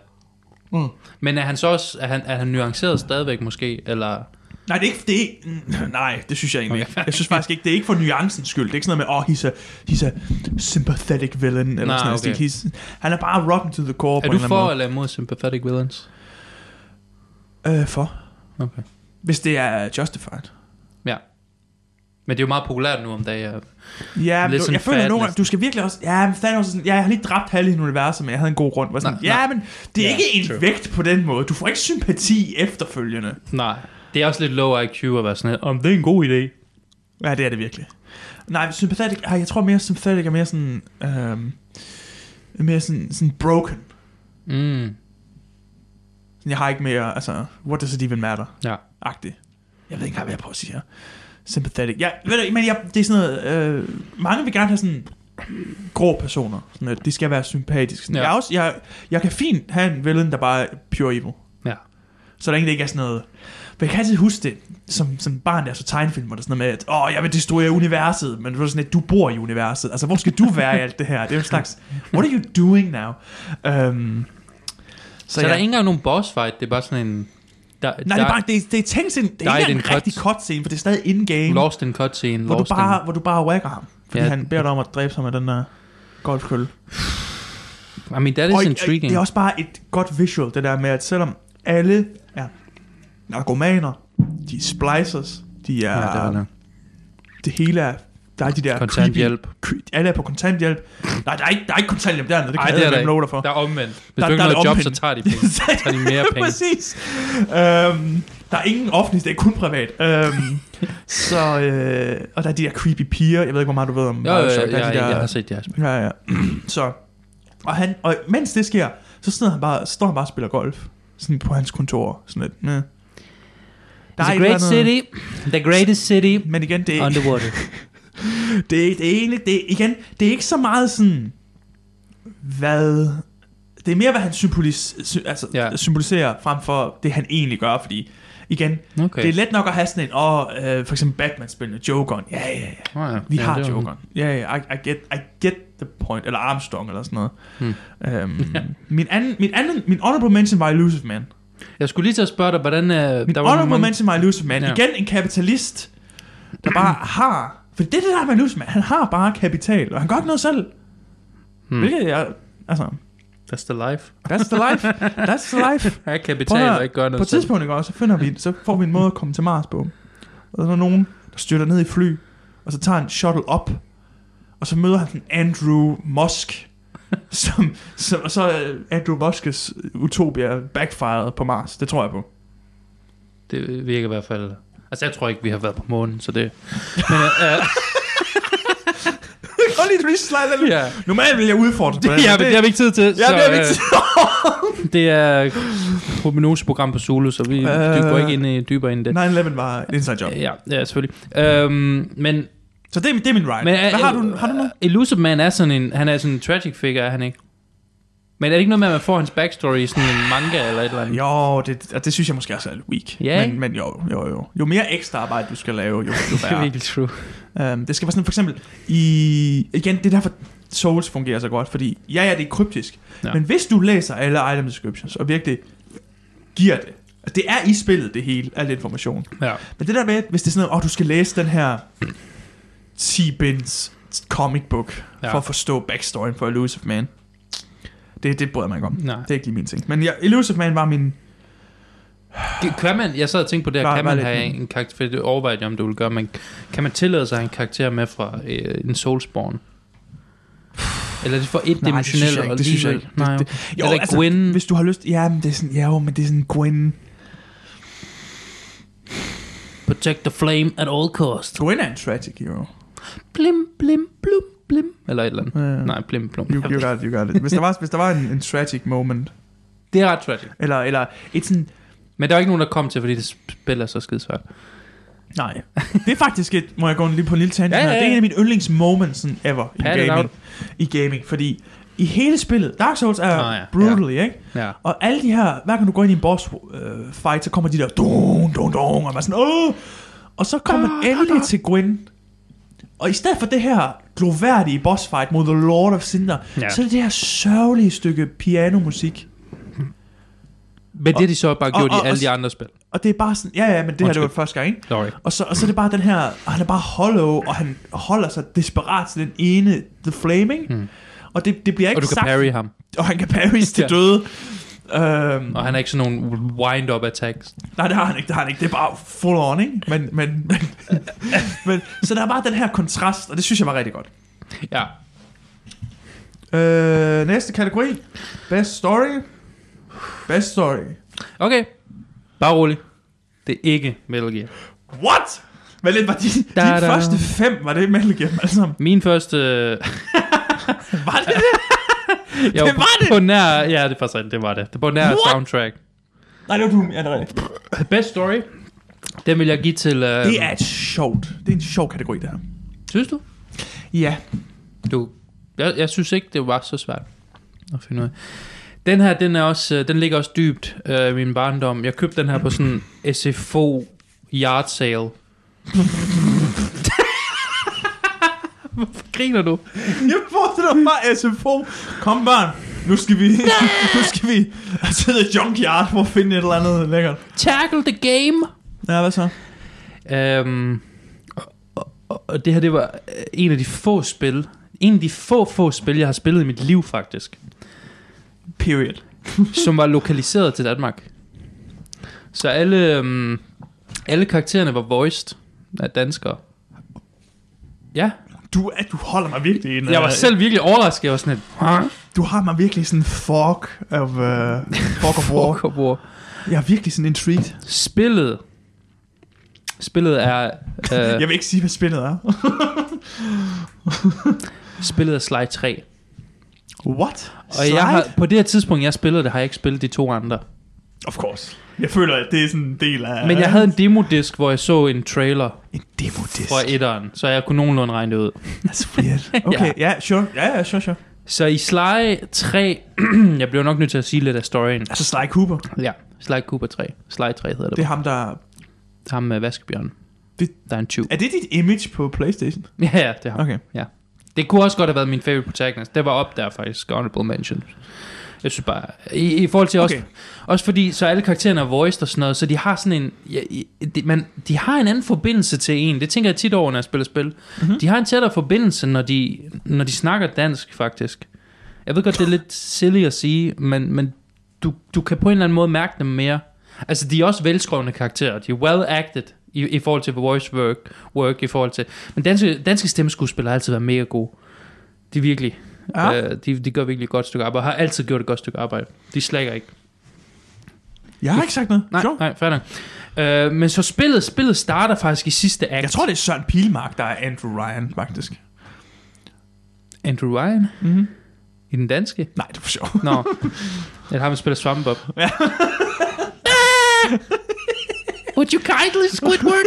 Mm.
Men er han så også, er han, er han nuanceret stadigvæk måske, eller...
Nej, det er ikke, det er, ikke- mm, nej, det synes jeg egentlig ikke. Jeg synes faktisk ikke, det er ikke for nuancens skyld. Det er ikke sådan noget med, åh, oh, he's, a, he's a sympathetic villain, eller
Nej,
sådan noget.
okay.
Okay. He's, han er bare rotten to the core
Er
på
du
en eller
for
anden
eller imod sympathetic villains?
måde. Øh, for.
Okay.
Hvis det er justified.
Men det er jo meget populært nu om dagen. ja.
Ja, men
Lidt
du,
sådan
jeg føler
fat
nogle gange,
næsten.
du skal virkelig også... Ja, men Thanos er sådan, ja, jeg har lige dræbt halve i universet, men jeg havde en god grund. Var sådan,
Nej,
ja,
nej.
men det er
Ja,
ja, ikke en
true.
vægt på den måde. Du får ikke sympati efterfølgende.
Nej. Det er også lidt low IQ at være sådan her, om det er en god idé.
Ja, det er det virkelig. Nej, sympathetic, ej, jeg tror mere sympathetic er mere sådan, øhm, mere sådan, sådan broken.
Mm.
Sådan, jeg har ikke mere, altså, what does it even matter?
Ja.
Agtig. Jeg ved ikke engang, hvad jeg prøver at sige her. Sympathetic. Ja, ved du, ikke, men jeg, det er sådan noget, øh, mange vil gerne have sådan grå personer. Sådan, at de skal være sympatiske. Sådan.
Ja.
Ja. Jeg, er også, jeg, jeg kan fint have en villain, der bare er pure evil.
Ja.
Så længe det ikke er sådan noget... Men jeg kan altid huske det, som, som barn der så tegnefilm, hvor der er sådan noget med, at åh, jeg vil destruere universet, men det var sådan, at du bor i universet. Altså, hvor skal du være i alt det her? Det er jo en slags, what are you doing now? Um,
Så, så ja. der er ikke engang nogen boss fight, det er bare sådan en... Der,
Nej,
der
det er bare, det, det er tænkt sådan, det
der er
er ikke
ikke
engang
en
en rigtig
cut.
cutscene, for det er stadig in-game,
Lost in cutscene,
hvor, du
lost
bare,
in...
hvor du bare whacker ham, fordi
Ja.
ja. han beder dig om at dræbe sig med den der golfkølle.
I mean, that is
Og i-
intriguing.
det er også bare et godt visual, det der med, at selvom alle er narkomaner, de er splicers, de er,
ja, det er
det,
det.
hele er, der er de der
Kontanthjælp.
creepy, cre- alle er på kontanthjælp. Nej, der er ikke, der er ikke kontanthjælp dernede, det
Ej,
kan
det er
jeg
der
ikke love dig for.
ikke. Der er omvendt. Hvis
Der-
du ikke
der er
har noget
det
job, så
omvendt.
tager de penge. Så tager de mere penge.
Præcis. Øhm, der er ingen offentlig, det er kun privat. Øhm, så, øh, og der er de der creepy piger, jeg ved ikke, hvor meget du ved om
Jo, jo, jo,
Bioshock. der er
jeg,
de der,
jeg har set jeres.
ja, ja. så, og, han, og mens det sker, så sidder han bare, står han bare og spiller golf. Sådan på hans kontor. Sådan lidt, næh. Der
It's a
ikke
great
noget-
city. The greatest city
Men igen, det er, ikke,
underwater.
det, er- det er egentlig, det er, igen, det er ikke så meget sådan, hvad... Det er mere, hvad han symbolis, sy, altså,
Ja.
ja. symboliserer, frem for det, han egentlig gør, fordi, igen,
Okay.
okay. det er let nok at have sådan en, åh, øh, for eksempel Batman-spillende, Jokeren, ja, ja, ja,
Oh, ja.
vi
Ja,
ja, har
det var-
Jokeren, ja, ja, I, I, get, I get the point, eller Armstrong, eller sådan noget.
Hmm.
Øhm, min, anden, min, anden, min honorable mention var Illusive Man.
Jeg skulle lige til at spørge dig, hvordan... Uh,
Min
der
honorable
mange-
mention var Illusive Man.
Ja.
Ja. Igen en kapitalist, der bare har... For det er det der med Illusive Man. Han har bare kapital, og han gør ikke noget selv.
Hmm.
Hmm. Hvilket jeg... Altså,
That's the life.
that's the life. That's the life.
Jeg kan
Prøv at
betale
høre,
og ikke gøre
På
noget
et tidspunkt, ikke også, så, finder vi, så får vi en måde at komme til Mars på. Og der er nogen, der styrter ned i fly, og så tager en shuttle op, og så møder han sådan Andrew Musk, som, som, og så er Andrew Muskes utopia backfired på Mars. Det tror jeg på.
Det virker i hvert fald... Altså, jeg tror ikke, vi har været på månen, så det... Men, uh,
Og lige et research slide.
Ja.
Normalt vil jeg udfordre på
Det,
den,
jeg,
men
det, det har vi ikke tid til. Ja,
Ja, det er vigtigt.
det er prognoseprogram på Zulu, så vi øh,
Øh,
går ikke ind i, dybere ind i det.
9-11 var et inside job.
Ja, ja, selvfølgelig. Øhm, men
Så det, er- det er min ride.
Men øh,
Men,
er-
Hvad har du, har du noget?
Elusive Man er sådan en, han er sådan en tragic figure, er han ikke? Men er det ikke noget med, at man får hans backstory i sådan en manga eller et eller andet?
Jo, det, og det synes jeg måske også er lidt weak.
øh, Ja, ikke?
men, men jo, jo, jo. Jo mere ekstra arbejde, du skal lave, jo, jo
Det er
værre.
virkelig true.
Um, det skal være sådan, for eksempel, i, igen, det er derfor Souls fungerer så godt, fordi ja, ja, det er kryptisk,
Ja.
ja. men hvis du læser alle item descriptions, og virkelig giver det, altså, det er i spillet det hele, al information.
Ja.
Men det der med, hvis det er sådan noget, åh, oh, du skal læse den her 10 bins comic book,
Ja.
ja. for at forstå backstoryen for Elusive Man, det, det bryder man ikke om.
Nej.
Det er ikke lige min ting. Men ja, Elusive Man var min...
Det- Kan man, jeg sad og tænkte på det her,
Bare-
kan
bare
man
lidt
have
mere.
en karakter, for det overvejede jeg, om du ville gøre, men kan man tillade sig at have en karakter med fra øh, en Soulsborne? Eller er det for
Nej, det
etdimensionelt
synes jeg ikke,
og
det synes jeg
alligevel-
ikke. Det-
Nej,
det- altså,
jo, Eller Gwen.
Hvis du har lyst... Ja, men det er sådan... Ja, jo, men det er sådan Gwen...
protect the flame at all cost.
Gwen er en tragic hero.
Blim, blim, blum, blim. Eller et eller andet.
Ja.
Nej, blim, blum.
You, you got it, you got it. Hvis der var, hvis der var en, en tragic moment,
Det er ret tragic.
eller, eller et sådan...
Men der er ikke nogen, der kom til, fordi det spiller så skide svært.
Nej. Det er faktisk et... Må jeg gå lige på en lille tangent
Ja,
ja,
ja,
ja, ja. Det
ja.
er en af mine yndlingsmoments sådan ever i
Pat it
gaming.
out.
I gaming, fordi i hele spillet, Dark Souls er
Nå,
oh,
ja.
ja. brutally, ja. ikke?
Ja.
Og alle de her, hver gang du går ind i en boss øh, fight, så kommer de der dun, dun, dun, og man er sådan, åh! Og så kommer
Ah,
man endelig til Gwen. Og i stedet for det her gloværdige boss fight mod The Lord of Cinder,
Ja.
ja. så er det det her sørgelige stykke pianomusik.
Men det har de så bare
og-
gjort
og-
i alle
og-
de andre spil.
Og det er bare sådan, ja ja, men det her det var
Undskyld.
første gang, ikke?
Sorry.
Og så, og så er det bare den her, og han er bare hollow, og han holder sig desperat til den ene, The Flaming. Mm. Og det, det bliver ikke
Hmm. Og du kan
sagt,
parry ham.
og han kan parries til
Ja.
døde. Øhm,
Og han er ikke sådan nogle wind-up attacks.
Nej, det har han ikke, det har han ikke. Det er bare full on, ikke? Men, men, men, men, så der er bare den her kontrast, og det synes jeg var rigtig godt.
Ja.
Øh, næste kategori. Best story. Best story.
Okay. Bare rolig. Det er ikke Metal Gear.
What? Hvad lidt var de,
Da-da.
de første fem, var det Metal Gear, dem alle sammen?
Min første... øh,
Var det det?
Jeg
Det var det!
På nær... Ja, det er faktisk rigtigt, det var det. Det var på nær
What?
soundtrack.
Nej, det var Doom, ja, det er rigtigt.
Best story. Den vil jeg give til... Øh,
Det er et sjovt. Det er en sjov kategori, det her.
Synes du?
Ja.
Du, jeg, jeg synes ikke, det var så svært at finde ud af. Den her, den, er også, øh, den ligger også dybt øh, i min barndom. Jeg købte den her på sådan en SFO yard sale. Hvorfor griner du?
Jeg forestiller mig bare SFO. Kom børn, nu skal vi, nu skal vi til The Junkyard for at finde et eller andet lækkert.
Tackle the game!
Ja, hvad så?
Øhm, og, og, og det her, det var øh, en af de få spil, en af de få, få spil, jeg har spillet i mit liv faktisk,
Period.
som var lokaliseret til Danmark. Så alle, øhm, alle karaktererne var voiced af danskere. Ja,
Du, er- du holder mig virkelig i en,
jeg var
øh,
selv virkelig overrasket. Jeg var sådan et, "Huh?
Du har mig virkelig sådan fuck of, uh, fuck of war.
Fuck, hvor-
Jeg er virkelig sådan intrigued.
Spillet. Spillet er... Øh,
Jeg vil ikke sige, hvad spillet er.
spillet er Sly 3.
What?
Og jeg har, på det her tidspunkt, jeg spillede det, har jeg ikke spillet de to andre.
Of course. Jeg føler, at det er sådan en del af...
Men jeg havde en demodisk, hvor jeg så en trailer
En demodisk.
fra etteren, så jeg kunne nogenlunde regne det ud.
That's weird. Okay, ja, yeah, sure. Ja, ja, sure, sure.
Så i Sly 3, jeg bliver nok nødt til at sige lidt af storyen.
Altså Sly Cooper.
Ja, Sly Cooper 3. Sly 3 hedder det.
Det
det.
er ham, der...
Ham med vaskebjørnen.
Det-
Der er en tyv.
Er det dit image på Playstation?
Ja, ja, det er ham.
Okay.
Ja. Det kunne også godt have været min favorite protagonist. Det var op der faktisk, honorable mention. Jeg synes bare, i, i forhold til okay.
Okay.
også, også fordi, så alle karaktererne er voiced og sådan noget, så de har sådan en, ja, i- de, man, de har en anden forbindelse til en. Det tænker jeg tit over, når jeg spiller spil. Mm-hmm. De har en tættere forbindelse, når de, når de snakker dansk faktisk. Jeg ved godt, det er lidt silly at sige, men, men du, du kan på en eller anden måde mærke dem mere. Altså, de er også velskrevne karakterer. De er well acted i, i forhold til voice work, work i forhold til... Men danske, danske stemmeskuespillere har altid været mega gode. De er virkelig...
Ja.
Øh, de, de gør virkelig et godt stykke arbejde. Har altid gjort et godt stykke arbejde. De slækker ikke.
Jeg har ikke sagt noget.
Nej,
Sure.
nej, fair nok. Øh, men så spillet, spillet starter faktisk i sidste act.
Jeg tror, det er Søren Pilmark, der er Andrew Ryan, faktisk.
Andrew Ryan
Mm-hmm.
i den danske.
Nej, det var sjovt.
Nå, at ham der spiller Swampbob.
Ja.
Would you kindly Squidward?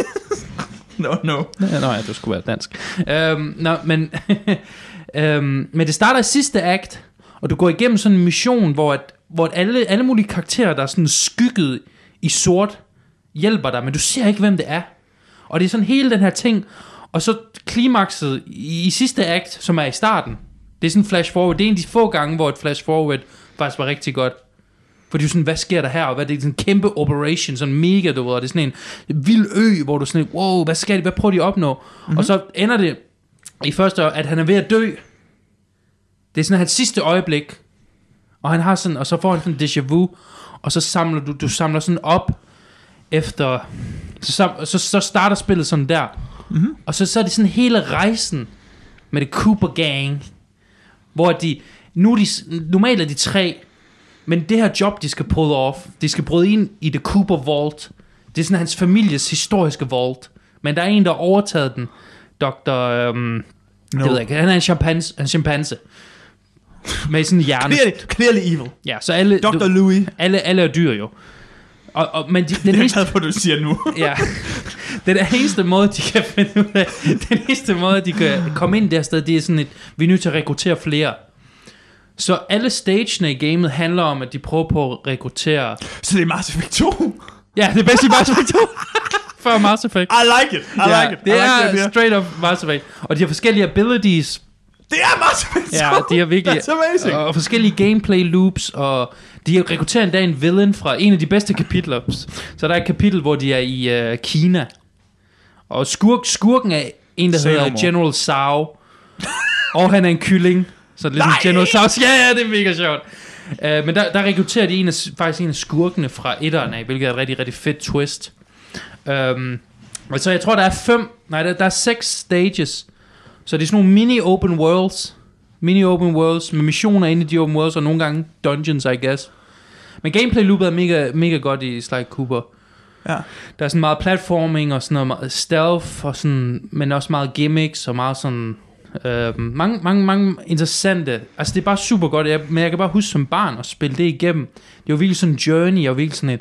No, no.
Ja, Nå ja, du skulle være dansk. Øhm, nå, men, øhm, men det starter i sidste akt, og du går igennem sådan en mission, hvor, at, hvor at alle, alle mulige karakterer, der er sådan skygget i sort, hjælper dig, men du ser ikke, hvem det er. Og det er sådan hele den her ting, og så klimakset i, i sidste akt, som er i starten, det er sådan flash forward. Det er en af de få gange, hvor et flash forward faktisk var rigtig godt. For det er jo sådan, hvad sker der her? Og hvad det er sådan en kæmpe operation, sådan mega, du ved. Og det er sådan en vild ø, hvor du sådan, wow, hvad skal de, hvad prøver de at opnå? Mm-hmm. Og så ender det i første, at han er ved at dø. Det er sådan hans sidste øjeblik. Og han har sådan, og så får han sådan déjà vu. Og så samler du, du samler sådan op efter, så, sam- så, så starter spillet sådan der. Mm-hmm. Og så, så er det sådan hele rejsen med det Cooper Gang, hvor de, nu er de, s- normalt er de tre, men det her job, de skal pull off, de skal bryde ind i The Cooper Vault. Det er sådan hans families historiske vault. Men der er en, der har overtaget den. Dr. Øhm, no.
No.
Det ved jeg ikke. Han er en chimpanse. En chimpanse. Med sådan en hjerne.
Clearly, clearly evil.
Ja, så alle,
Dr. Louis.
alle, alle er dyr jo. Og, og, men de,
Det
den,
er jeg
eneste,
glad for, at du siger nu.
ja, den eneste måde, de kan finde ud af, den eneste måde, de kan komme ind der sted, det er sådan et, vi er nødt til at rekruttere flere. Så alle stagene i gamet handler om, at de prøver på at rekruttere
Så det er Mass Effect 2.
Ja, det bedste i Mass Effect 2. Før Mass Effect.
I like it. I like it. I
det
like
er
it, yeah.
straight up Mass Effect. Og de har forskellige abilities,
Det er Mass Effect 2.
Ja, de er virkelig...
That's amazing.
Og forskellige gameplay loops, og de rekrutterer endda en villain fra en af de bedste kapitler. Så der er et kapitel, hvor de er i øh, Kina. Og skurk, skurken er en, der
Say no
hedder
more.
General Sao. og han er en kylling. Så det er ligesom
Nej!
General Sao. Ja, ja, det er mega sjovt. Uh, men der, der rekrutterer de en af, faktisk en af skurkene fra etteren af, hvilket er et rigtig, rigtig fedt twist. Um, og så jeg tror, der er fem, nej, der, der er seks stages. Så det er sådan nogle mini open worlds. Mini open worlds med missioner inde i de open worlds, og nogle gange dungeons, I guess. Men gameplay loopet er mega, mega godt i Sly Cooper.
ja.
Der er sådan meget platforming og sådan noget meget stealth, og sådan, men også meget gimmicks og meget sådan... Øh, mange, mange, mange interessante... Altså, det er bare super godt, jeg, men jeg kan bare huske som barn at spille det igennem. Det var virkelig sådan en journey, jeg var virkelig sådan et...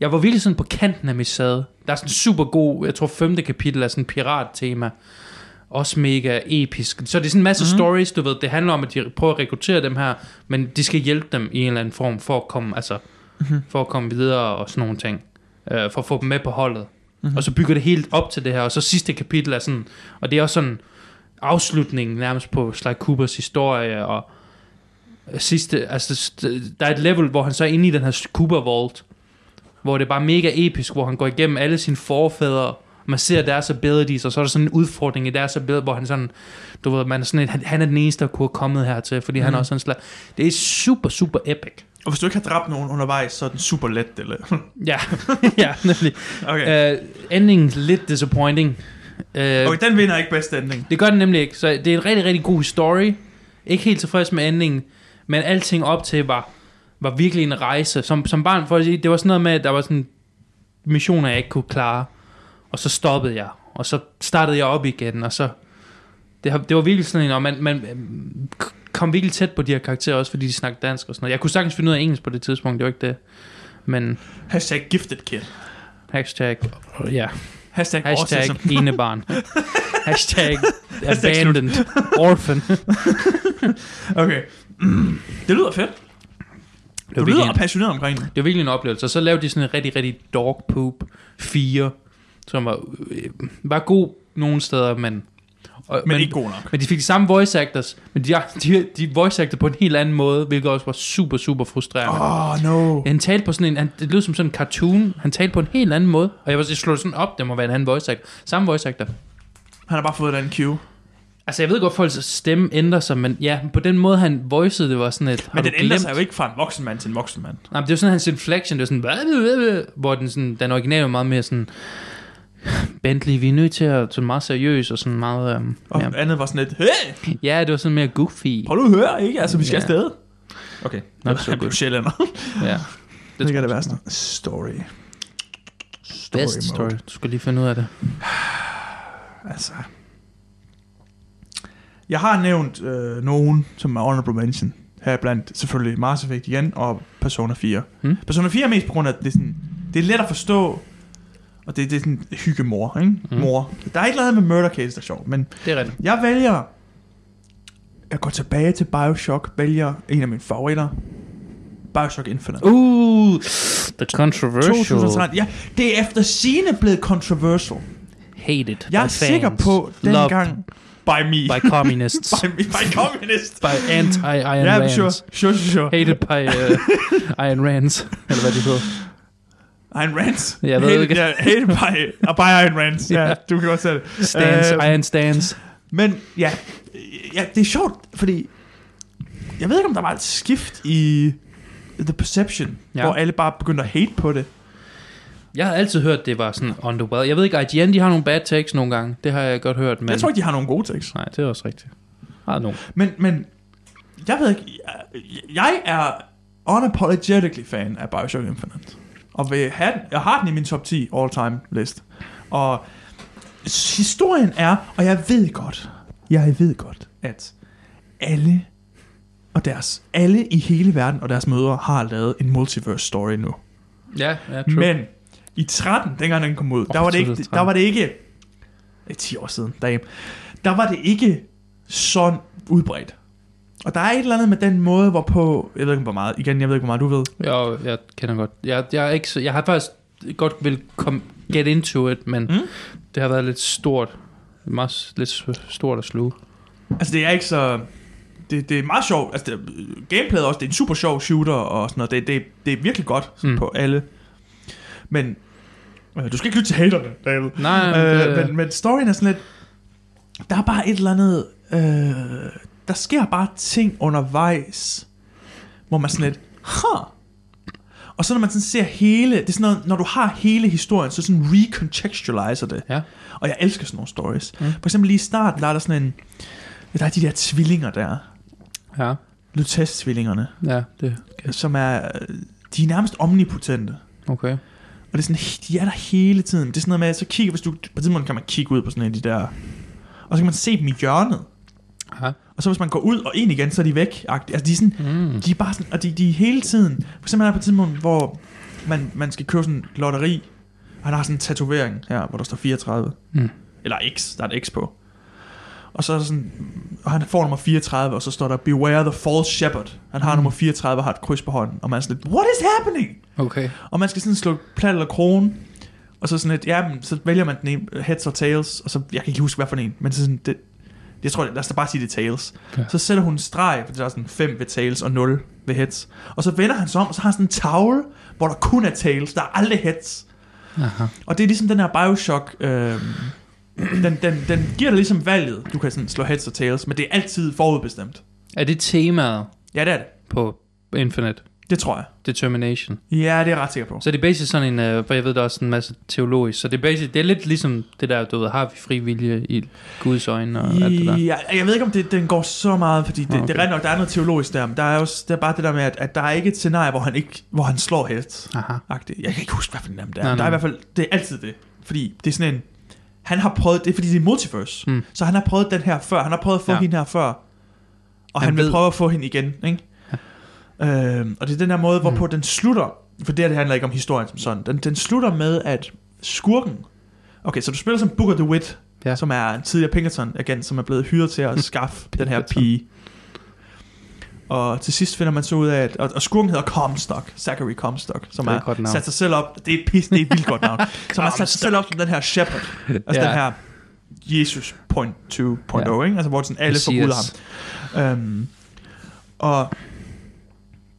Jeg var virkelig sådan på kanten af mit sæde. Der er sådan en super god, jeg tror femte kapitel er sådan pirattema. Også mega episk. Så det er sådan en masse mm-hmm. stories, du ved. Det handler om, at de prøver at rekruttere dem her, men de skal hjælpe dem i en eller anden form for at komme, altså,
Mhm.
mm-hmm. for at komme videre og sådan nogle ting øh, for at få dem med på holdet. Mm-hmm. Og så bygger det helt op til det her, og så sidste kapitel er sådan, og det er også sådan afslutningen nærmest på Sly Coopers historie, og sidste, altså st- der er et level, hvor han så er inde i den her Cooper Vault, hvor det er bare mega episk, hvor han går igennem alle sine forfædre, og man ser deres abilities, og så er der sådan en udfordring i deres ability, hvor han sådan, du ved, man er sådan et, han, han er den eneste, der kunne have kommet hertil, fordi mm. han er også sådan slag. Det er super, super epic.
Og hvis du ikke har dræbt nogen undervejs, så er den super let. Eller?
Ja, ja, nemlig.
Okay.
Okay. Uh, endingen lidt disappointing. Uh, okay.
okay, den vinder ikke best ending.
Det gør den nemlig ikke. Så det er en rigtig, rigtig god story. Ikke helt tilfreds med endingen, men alting op til var, var virkelig en rejse. Som, som barn, for at sige, det var sådan noget med, at der var sådan missioner, jeg ikke kunne klare. Og så stoppede jeg, og så startede jeg op igen, og så... Det, har- det var virkelig sådan en, og man, man øhm, k- kom virkelig tæt på de her karakterer, også fordi de snakkede dansk og sådan noget. Jeg kunne sagtens finde ud af engelsk på det tidspunkt, det var ikke det. Men
Hashtag gifted kid.
hashtag, ja.
Hashtag,
Hashtag
autism.
enebarn. Hashtag abandoned. Orphan.
Okay. Mm. Det lyder fedt.
Det
Du
var,
lyder
virkelig,
passioneret omkring det.
det var virkelig en oplevelse. Og så lavede de sådan en rigtig, rigtig dog poop 4, som var, øh, var god nogle steder, men... Og,
Men, men ikke god nok.
men de fik de samme voice actors, men de, de, de voice actor på en helt anden måde, hvilket også var super, super frustrerende.
Oh no.
Han talte på sådan en, han, det lød som sådan en cartoon, han talte på en helt anden måde, og jeg var jeg slog det sådan op, det må være en anden voice actor. Samme voice actor.
Han har bare fået den cue.
Altså, jeg ved godt, at folks stemme ændrer sig, men ja, på den måde, han voicede, det var sådan et... har
Men
du
den ændrer
glemt?
sig jo ikke fra en voksen mand til en voksen mand.
Nej, men det var sådan hans inflection, det var sådan... "Hvad, hvad, hvad, hvad?" Hvor den, sådan, den originale var meget mere sådan... Bentley, vi er nødt til at sådan meget seriøs og sådan meget... Øhm,
Og
ja.
ja. andet var sådan lidt, hey,
ja, det var sådan mere goofy.
prøv nu at høre, ikke? Altså, vi skal
Ja.
ja. afsted. Okay.
Not so
Han blev
good.
sjælænder.
Ja.
Det, det kan det være sådan noget. Story. Story
Best story. Du skal lige finde ud af det.
Altså. Jeg har nævnt øh, nogen, som er honorable mention. Her blandt selvfølgelig Mass Effect igen og Persona 4.
Hmm?
Persona 4 er mest på grund af, at det er, sådan, det er let at forstå, og det, det er sådan hyggemor, ikke?
Mm.
Mor. Der er ikke noget med murder case, der er sjovt, men
Det er rigtigt.
jeg vælger... Jeg går tilbage til Bioshock, vælger en af mine favoritter. Bioshock Infinite.
Uh, the controversial.
2013. Ja, det er efter sine blevet controversial.
Hated
Jeg er
by
sikker
fans.
på,
Loved
dengang... By me.
by communists.
by, me, by communist.
by anti-Iron
Ja,
Rands.
sure, sure, sure, sure.
Hated by uh, Iron Rands. Eller hvad det hedder.
Ayn Rand.
Jeg ved
Hated-
ikke.
Ja, hated by, uh, by Ayn Rand. Ja,
Ja.
du kan godt se det.
Stands,
Øh,
Iron Stands.
Men ja, ja, det er sjovt, fordi jeg ved ikke, om der var et skift i The Perception, ja.
Ja.
hvor alle bare begyndte at hate på det.
Jeg har altid hørt, det var sådan on the well. Jeg ved ikke, IGN, de har nogle bad takes nogle gange. Det har jeg godt hørt, men...
Men. Jeg tror ikke, de har nogle gode tekster.
Nej, det er også rigtigt. Har nogen.
Men, men jeg ved ikke, jeg, jeg er unapologetically fan af Bioshock Infinite. Og vil have, den- jeg har den i min top 10 all time list. Og s- historien er, og jeg ved godt, jeg ved godt, at alle og deres, alle i hele verden og deres mødre har lavet en multiverse story nu.
Ja, ja, true.
Men i 13, dengang den kom ud, der
Åh,
var det ikke,
2013.
der var det ikke, eh, 10 år siden, damn, der var det ikke sådan udbredt. Og der er et eller andet med den måde, hvorpå, jeg ved ikke hvor meget, igen, jeg ved ikke hvor meget du ved,
Jo, jeg kender godt. Jeg, jeg, er ikke, så- jeg har faktisk godt vil komme get into it, men
Mm.
mm. det har været lidt stort. Meget s- lidt s- stort at sluge.
altså det er ikke så, det, det er meget sjovt, altså det, gameplayet også, det er en super sjov shooter og sådan noget, det, det, det er virkelig godt mm.
Mm.
på alle, men øh, du skal ikke lytte til haterne, David.
Nej,
Øh,
det,
men, men storyen er sådan lidt Der er bare et eller andet øh, Der sker bare ting undervejs Hvor man sådan lidt Huh Og så når man sådan ser hele Det er sådan noget, når du har hele historien Så sådan recontextualiser det
Ja.
Og jeg elsker sådan nogle stories
Mm.
For eksempel lige i starten der er der sådan en Der er de der tvillinger der
ja,
Lutes-tvillingerne
ja, det,
Som er øh, De er nærmest omnipotente
okay.
og det er sådan, de er der hele tiden. Det er sådan noget med, at så kigger, hvis du, på et tidspunkt kan man kigge ud på sådan en af de der, og så kan man se dem i hjørnet.
Aha.
Og så hvis man går ud og ind igen, så er de væk. -agtigt. Altså de er sådan,
Mm.
de er bare sådan, og de, de er hele tiden. For eksempel er der på et tidspunkt, hvor man, man skal købe sådan et lotteri, og han har sådan en tatovering her, hvor der står 34.
Mm.
Eller X, der er et X på. Og så er der sådan, og han får nummer 34, og så står der, Beware the false shepherd. Han
Mm.
har nummer 34 og har et kryds på hånden. Og man er sådan lidt, what is happening?
Okay.
Og man skal sådan slå plat eller krone, og så sådan et, ja, men, så vælger man den ene, heads og tails, og så, jeg kan ikke huske, hvad for en, men så sådan, det, jeg tror, lad os da bare sige, det er tails. Ja.
Ja.
Så sætter hun en streg, for der er sådan 5 ved tails og 0 ved heads. Og så vender han sig om, og så har han sådan en tavle, hvor der kun er tails, der er aldrig heads.
Aha.
Og det er ligesom den her Bioshock, øh, den, den, den giver dig ligesom valget, du kan sådan slå heads og tails, men det er altid forudbestemt.
Er det temaet
Ja, det er det.
på Infinite
Det tror jeg.
Determination?
Ja, det er jeg ret sikker på.
Så det er basic sådan en, øh, for jeg ved, der er også en masse teologisk, så det er basic, det er lidt ligesom det der, du ved, har vi fri vilje i Guds øjne og alt det der?
Ja, jeg ved ikke, om det, den går så meget, fordi det, okay.
Ah,
det er
okay.
rent nok, der er noget teologisk der, men der er, også, der er bare det der med, at, at der er ikke et scenarie, hvor han, ikke, hvor han slår helt.
Aha.
-agtigt. Jeg kan ikke huske, hvad for en af dem det er.
Nej,
men der er i
nej.
hvert fald, det er altid det. Fordi det er sådan en, han har prøvet, det er fordi det er multiverse, mm.
Mm.
så han har prøvet den her før, han har prøvet at få ja.
Ja.
hende her før, og han,
Han
han vil
ved-
prøve at få hende igen, ikke? Ja. Øhm, og det er den her måde, hvorpå mm. den slutter, for det her det handler ikke om historien som sådan, den, den slutter med, at skurken, okay, så du spiller som Booker DeWitt, ja.
Ja.
som er en tidligere Pinkerton agent, som er blevet hyret til at skaffe den her
Pinkerton.
pige. Og til sidst finder man så ud af, at og, og skurken hedder Comstock, Zachary Comstock, som
Det er et
har
godt navn.
sat sig selv op, det er et pis, det er et vildt godt navn, som har sat sig selv op som den her shepherd, altså
Ja.
den her Jesus point 2.0, ja.
Ja.
ikke? altså hvor sådan alle forguder ham. Øhm, og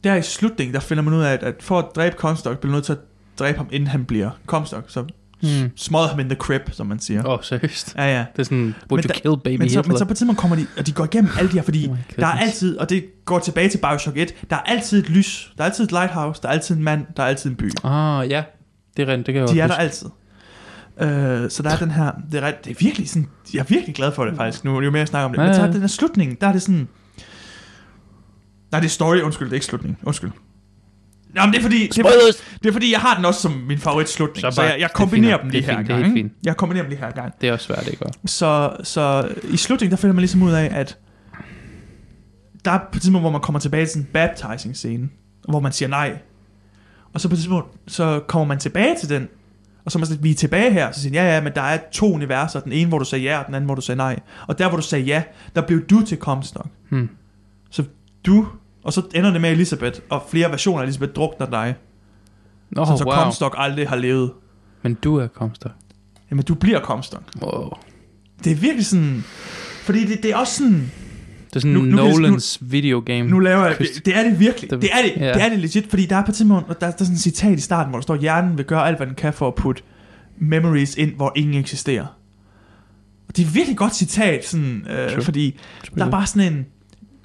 der i slutningen, der finder man ud af, at, at for at dræbe Comstock, bliver man nødt til at dræbe ham, inden han bliver Comstock. Så
Mm.
smadrer ham in the crib, som man siger.
Åh, oh, seriøst.
Ja, ja.
Det er sådan, would
Men
you
der-
kill baby
Men så,
Hitler?
men så på et tidspunkt kommer de, og de går igennem alle de her, fordi
Oh my
oh der er
goodness.
altid, og det går tilbage til Bioshock 1, der er altid et lys, der er altid et lighthouse, der er altid en mand, der er altid en by.
Ah, ja. Det er rent, det kan jeg
De er
godt
der
huske.
altid. Øh, så der er den her, det er, ret- det er virkelig sådan, jeg er virkelig glad for det faktisk nu, jo mere jeg snakker om det.
Ja,
Men så
ja.
er den her slutning, der er det sådan, nej det er story, undskyld, det er ikke slutning, undskyld. Nå, men det er fordi, det er,
Spoilers!
fordi- det er fordi, jeg har den også som min favorit slutning, så,
Så
så
bare-
jeg, jeg
det er
kombinerer
fint.
dem
Det er
lige her
fint, det er
gang.
helt
ikke?
fint.
Jeg kombinerer dem lige her gang.
Det er også svært, ikke?
Så, så i slutningen, der finder man ligesom ud af, at der er på et tidspunkt, hvor man kommer tilbage til sådan en baptizing scene, hvor man siger nej. Og så på et tidspunkt, så kommer man tilbage til den, og så er man sådan, vi er tilbage her, så siger han, ja, ja, men der er to universer, den ene, hvor du sagde ja, og den anden, hvor du sagde nej. Og der, hvor du sagde ja, der blev du til Comstock.
Hmm.
Så du, og så ender det med Elisabeth, og flere versioner af Elisabeth drukner dig,
Oh,
så, så
wow.
Comstock aldrig har levet.
Men du er Comstock.
Jamen, du bliver Comstock.
Wow.
Det er virkelig sådan, fordi det, det er også sådan,
Det er sådan
Nu-
nu,
nu kan jeg-
Nolans videogame.
Nu laver jeg
Christ-
Det er det virkelig.
Det-
Det er det.
ja.
Det er det legit, fordi der er på et tidspunkt, og der, der er sådan et citat i starten, hvor der står, hjernen vil gøre alt, hvad den kan for at putte memories ind, hvor ingen eksisterer. Og det er et virkelig godt citat, sådan, øh,
True.
fordi der er bare sådan en...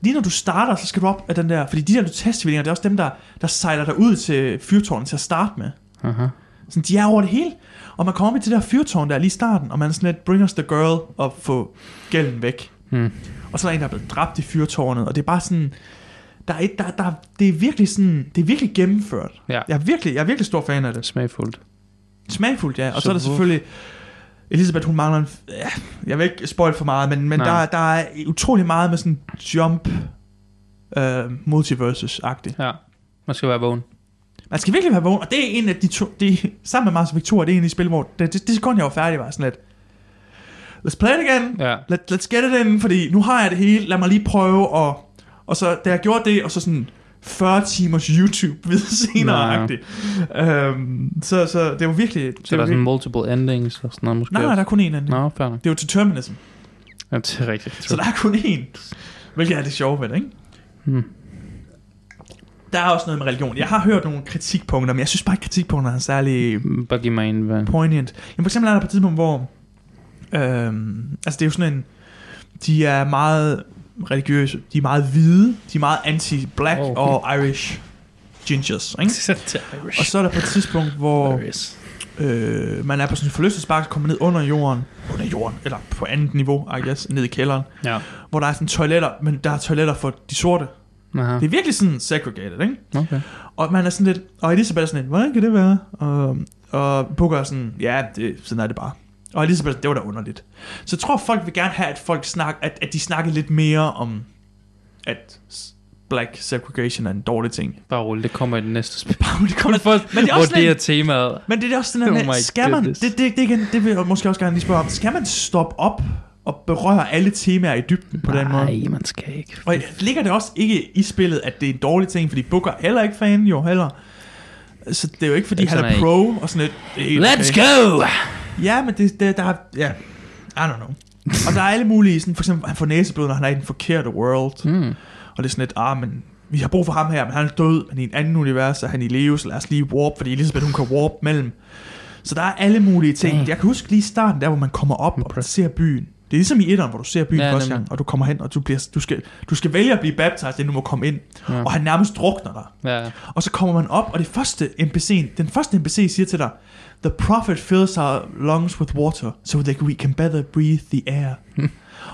Lige når du starter, så skal du op af den der... Fordi de der testvillinger, det er også dem, der, der sejler dig ud til fyrtårnet til at starte med.
Aha.
Sådan, de er over det hele. Og man kommer op i det der fyrtårn der lige i starten, og man er sådan lidt, bring us the girl, og få gælden væk.
Hmm.
Og så er der en, der er blevet dræbt i fyrtårnet, og det er bare sådan... Der er et, der, der, det er virkelig sådan, det er virkelig gennemført.
Ja,
Jeg er virkelig, jeg er virkelig stor fan af det.
smagfuldt.
Smagfuldt, ja. Og så,
Så
så er der
hvor-
selvfølgelig... Elisabeth, hun mangler en... f- Ja, jeg vil ikke spoil for meget, men, men
Nej.
der, der er utrolig meget med sådan jump øh, multiverses-agtigt.
Ja, man skal være vågen.
Man skal virkelig være vågen, og det er en af de to, det er, sammen med Mars og Victoria, det er en af de spil, hvor det, det, det sekund, jeg var færdig, var sådan lidt, let's play it again,
Ja.
Let, let's get it in, fordi nu har jeg det hele, lad mig lige prøve, og, og så da jeg gjorde det, og så sådan 40 timers YouTube ved senere, ja. øhm, så, så det var virkelig,
Så
det
der
var
er sådan
virkelig
multiple endings og sådan noget måske.
nej, nej, der er kun en anden.
også. Nå, fair nok.
Det er jo determinism,
Ja, det er rigtigt.
så der er kun en, hvilket er det sjove ved det, ikke?
Hmm.
Der er også noget med religion. Jeg har hørt nogle kritikpunkter, men jeg synes bare ikke, kritikpunkter er særlig
Mm, Bare giv mig en, hvad?
poignant. Jamen for eksempel er der på et tidspunkt, hvor... Øhm, altså det er jo sådan en... De er meget religiøse, de er meget hvide, de er meget anti-black
Oh.
og Irish gingers, ikke? Og så er der på et tidspunkt, hvor øh, man er på sådan en forlystelsespark, så kommer man ned under jorden, under jorden, eller på andet niveau, I guess, ned i kælderen,
Ja.
hvor der er sådan toiletter, men der er toiletter for de sorte.
Aha.
Det er virkelig sådan segregated, ikke?
Okay.
Og man er sådan lidt, og Elisabeth er sådan lidt, hvordan kan det være? Og, og Booker er sådan, ja, det, sådan er det bare. Og Elisabeth, det var da underligt. Så jeg tror, folk vil gerne have, at, folk snak, at, at de snakker lidt mere om, at s- black segregation er en dårlig ting.
Bare rolig, det kommer i det næste spil.
Bare, det kommer, men det er
Hvor
også
det
lidt,
er temaet.
men det er også sådan,
Oh
oh
my
skal man, det,
goodness.
det, det, igen, det vil jeg måske også gerne lige spørge om, skal man stoppe op og berøre alle temaer i dybden på den måde?
Nej, man skal ikke.
Og ligger det også ikke i spillet, at det er en dårlig ting, fordi Booker er heller ikke fan, jo heller. Så det er jo ikke, fordi
Det er
han
sådan,
er
at-
pro og sådan lidt. det er helt
Let's
okay.
go!
Ja, men det, det, der er, ja, I don't know. og der er alle mulige, sådan, for eksempel, han får næseblod, når han er i den forkerte world.
Mm.
Og det er sådan lidt, ah, men vi har brug for ham her, men han er død, men i en anden univers er han i live, så lad os lige warp, fordi Elisabeth, hun kan warp mellem. Så der er alle mulige ting.
Damn.
Jeg kan huske lige i starten, der hvor man kommer op og
Impressive.
ser byen. Det er ligesom i etteren, hvor du ser byen ja,
Ja,
første
nemlig.
gang, og du kommer hen, og du, bliver, du, skal, du skal vælge at blive baptized, inden du må komme ind. Ja.
Ja.
Og han nærmest drukner dig.
Ja.
Og så kommer man op, og det første NPC'en, den første NPC siger til dig, The prophet fills our lungs with water, so that we can better breathe the air.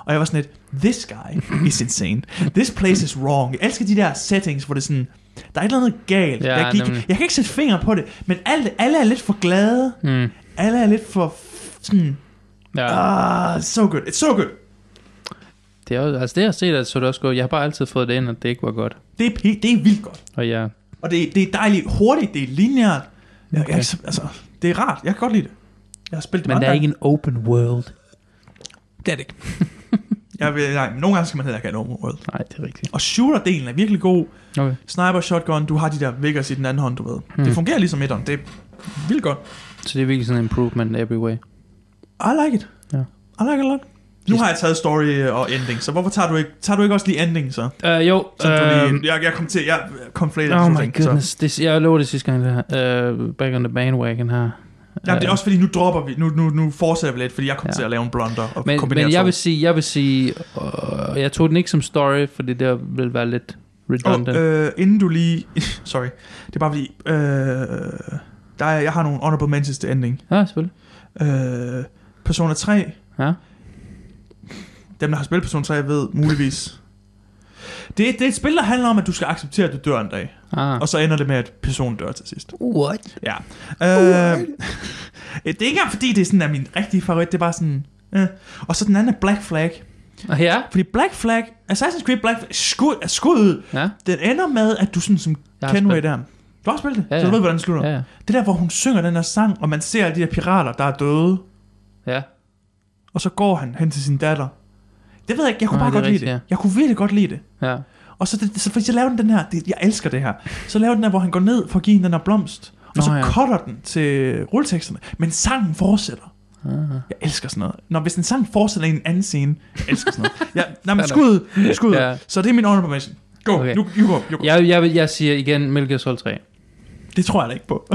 og jeg var sådan lidt, this guy is insane. This place is wrong. Jeg elsker de der settings, hvor det er sådan, der er et eller andet galt.
Ja,
jeg, kan ikke,
nemlig.
jeg kan ikke sætte fingre på det, men alle, alle er lidt for glade.
Mm.
Alle er lidt for f- sådan,
Ja.
ah, so good, it's so good.
Det er jo, altså det, jeg har set, at så det også godt. Jeg har bare altid fået det ind, at det ikke var godt.
Det er, p- det er vildt godt.
Og jeg,
Og det, det er dejligt hurtigt, det er lineært. Jeg, okay.
Okay.
jeg, altså, det er rart, jeg kan godt lide det. Jeg har spillet det
men
mange
der er
gange.
ikke en open world.
Det er det ikke. jeg vil, nej, men nogle gange skal man heller ikke have en overworld.
Nej, det er rigtigt.
Og shooter-delen er virkelig god.
Okay.
Sniper, shotgun, du har de der Vegas i den anden hånd, du ved. Hmm. Det
Hmm.
fungerer ligesom etteren. Det er vildt godt.
Så det er virkelig sådan en improvement every way.
I like it.
Ja.
I like it a lot. Nu har jeg taget story øh, og ending, så hvorfor tager du ikke, tager du ikke også lige ending, så?
Uh, jo,
så du
øhm,
lige, jeg, jeg kom til, jeg konflater
Oh
to
my
ting, Så.
goodness, det, jeg lovede det sidste gang, det her. Uh, back on the bandwagon her.
Jamen, det er
Øh,
også fordi, nu dropper vi, nu, nu, nu fortsætter vi lidt, fordi jeg kom
Ja.
til at lave en blunder og
men,
kombinere
men jeg
to.
vil sige, jeg vil sige, uh, jeg tog den ikke som story, fordi det ville være lidt redundant.
Og, øh, inden du lige... Sorry. Det er bare fordi... Øh, der er, jeg har nogle honorable mentions til ending.
ja, selvfølgelig.
Øh, Persona 3.
Ja.
Dem, der har spillet Persona 3, ved muligvis. Det, er- det er et spil, der handler om, at du skal acceptere, at du dør en dag.
Ah.
Og så ender det med, at personen dør til sidst.
What?
Ja. Øh, det er ikke engang, fordi det er sådan, er min rigtige favorit. Det er bare sådan... Øh. Og så den anden er Black Flag.
Og ja,
Fordi Black Flag, Assassin's Creed Black Flag, skud, er skud,
ja,
den ender med, at du sådan som
Jeg har
Kenway
spillet.
der. Du har også spillet det,
Ja,
så du
ja.
ved, hvordan det slutter.
ja, ja.
Det der, hvor hun synger den der sang, og man ser alle de der pirater, der er døde,
ja.
og så går han hen til sin datter. Det ved jeg ikke, jeg kunne
Nej,
bare
det er
godt lide
rigtigt,
det. Jeg kunne virkelig godt lide det.
ja.
Og så, det, så, for så laver den den her, det, jeg elsker det her, så laver den der, hvor han går ned for at give hende den her blomst, og
Nå,
så
ja.
cutter den til rulleteksterne, men sangen fortsætter.
Ah.
Jeg elsker sådan noget. Nå, hvis en sang fortsætter i en anden scene, jeg elsker sådan noget. Jeg, nej, men skud, skud.
Ja.
Så det er min honorable mention. Go,
Okay.
okay. you, you go, you go. Ja.
Jeg, jeg, vil- jeg siger igen Metal Gear Solid 3.
Det tror jeg da ikke på.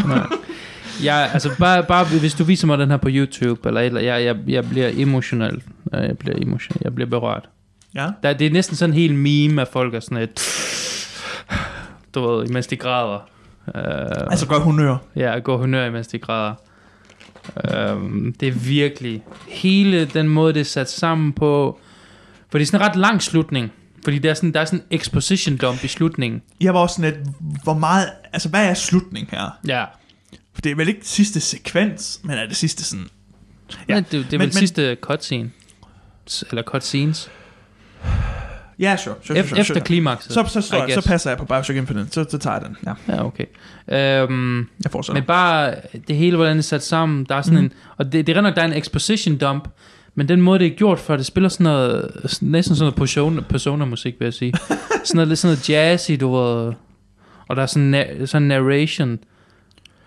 Jeg, altså bare, bare, hvis du viser mig den her på YouTube, eller, et eller jeg, jeg, jeg bliver emotionel. Ja, Jeg bliver emotionel. Jeg bliver berørt.
ja.
Der, det er næsten sådan en hel meme, at folk er sådan et... Du ved, imens de græder. Uh,
Altså godt honør.
Ja, gå honør, imens de græder. Øhm, det er virkelig hele den måde, det er sat sammen på. For det er sådan en ret lang slutning. Fordi der er sådan, der er sådan en exposition dump i slutningen.
Jeg var også sådan lidt, hvor meget, altså hvad er slutningen her?
Ja.
For det er vel ikke sidste sekvens, men er det sidste sådan,
ja.
Ja,
Men det, det er
men-
vel
men-
sidste cutscene. S- Eller cutscenes.
ja, sure, sure, sure,
Ef-
sure,
efter
sure.
klimakset.
Så, så, så,
I
så,
guess.
så passer jeg på Bioshock Infinite, så, så tager jeg den. Ja,
Ja, okay. Øhm,
jeg får så.
men bare det hele, hvordan det er sat sammen. Der er sådan mm.
Mhm.
en, og det, det er rent nok, der er en exposition dump. Men den måde, det er gjort for, det spiller sådan noget, næsten sådan noget persona, persona-musik, vil jeg sige. sådan noget, lidt sådan noget jazzy, du ved. Og der er sådan, na- sådan narration.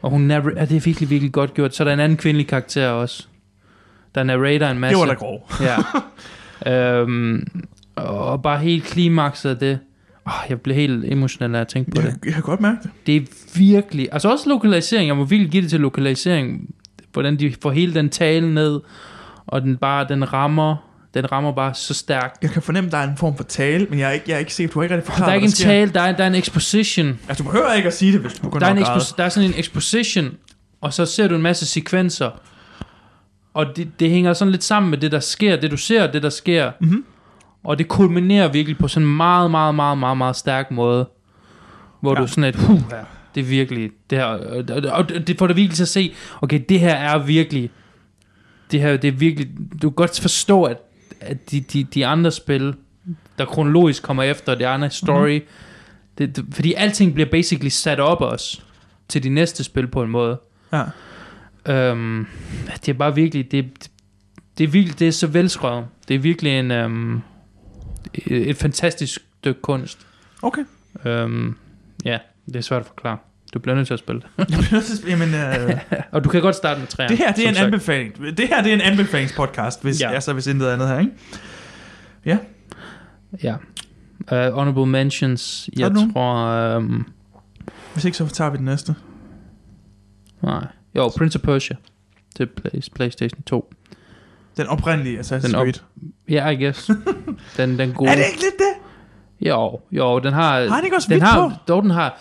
Og hun narr- ja, det er virkelig, virkelig godt gjort. Så er der en anden kvindelig karakter også. Der narrater en masse.
det var da grov.
ja. øhm, og bare helt klimakset af det. Oh, jeg blev helt emotionel, når jeg tænkte på det.
Jeg, jeg kan godt mærke det.
Det er virkelig... Altså også lokalisering. Jeg må virkelig give det til lokalisering. Hvordan de får hele den tale ned. Og den bare... Den rammer... Den rammer bare så stærkt.
Jeg kan fornemme, der er en form for tale, men jeg er ikke, jeg er ikke sikker, du har ikke rigtig
Der
forklaret,
er ikke en
hvad der sker.
tale, der er, der er en exposition.
Altså, du behøver ikke at sige det, hvis du går
Der er, en
nok
expos- der er sådan en exposition, og så ser du en masse sekvenser. Og det, det hænger sådan lidt sammen med det, der sker, det du ser, og det der sker.
Mhm.
Og det kulminerer virkelig på sådan en meget, meget, meget, meget, meget stærk måde. Hvor ja.
Ja.
du sådan et, huh, det er virkelig, det her, og- og- og det får dig virkelig til at se, okay, det her er virkelig, det her, det er virkelig, du kan godt forstå, at, at de, de, de andre spil, der kronologisk kommer efter, det andre story,
Mhm.
mm det, det, fordi alting bliver basically sat op os til de næste spil på en måde.
Ja.
Øhm, det er bare virkelig, det, det, det er virkelig, det er så velskrevet. Det er virkelig en, øhm, et et fantastisk stykke kunst.
Okay.
Øhm, ja, det er svært at forklare. Du bliver nødt til at spille det.
Jeg bliver nødt til at- Jamen, øh,
Og du kan godt starte med træerne.
det her, det er
som
en
sagt.
anbefaling. Det her, det er en anbefalingspodcast, hvis,
Ja.
ja. altså, hvis intet andet her, ikke?
Ja. Uh, honorable mentions,
Har
jeg
du nogen?
tror... Øhm,
Hvis ikke, så tager vi den næste.
nej. Jo, Prince of Persia til Play- PlayStation 2.
Den oprindelige Assassin's
Den op-
Creed.
Ja, yeah, I guess. den, den gode...
Er det ikke lidt det?
Jo, jo, den har...
Har den ikke også
den
vidt
har,
på?
dog, den har...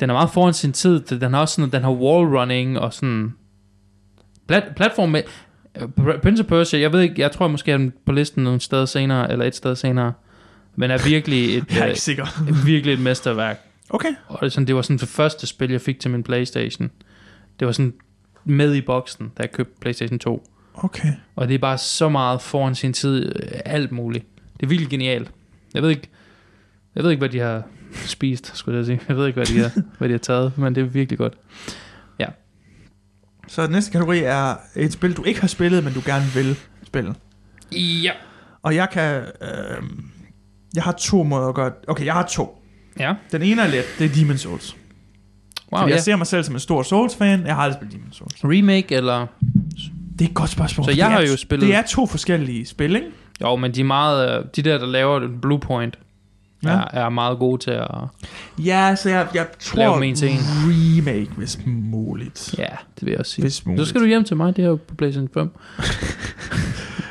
Den er meget foran sin tid. Den har også sådan... Den har wallrunning og sådan... Plat, platform med... Prince of Persia, jeg ved ikke, jeg tror måske, jeg er på listen nogle steder senere, eller et sted senere, men er virkelig et,
Jeg er
øh,
ikke sikker.
virkelig et mesterværk.
Okay.
Og det, er sådan, det var sådan det første spil, jeg fik til min Playstation. Det var sådan med i boksen, da jeg købte Playstation 2.
Okay.
Og det er bare så meget foran sin tid, øh, alt muligt. Det er virkelig genialt. Jeg ved ikke, jeg ved ikke hvad de har spist, skulle jeg sige. Jeg ved ikke, hvad de har, hvad de har taget, men det er virkelig godt.
Så den næste kategori er et spil, du ikke har spillet, men du gerne vil spille.
Ja.
Og jeg kan... Øh, jeg har to måder at gøre... Okay, jeg har to.
Ja.
Den ene er let, det er Demon's Souls.
Wow,
Fordi
ja.
jeg ser mig selv som en stor Souls-fan. Jeg har aldrig spillet Demon's Souls.
Remake eller...
Det er et godt spørgsmål.
Så
Det
jeg
er,
har jo spillet-
Det er to forskellige spil, ikke?
Jo, men de er meget... øh, De der, der laver Bluepoint, ja.
Ja.
er, er meget gode til at...
Ja, så jeg, jeg
Lav
tror
dem en til en.
remake, hvis muligt.
Ja, det vil jeg også sige.
Hvis muligt.
Nu skal du hjem til mig, det er jo på PlayStation 5.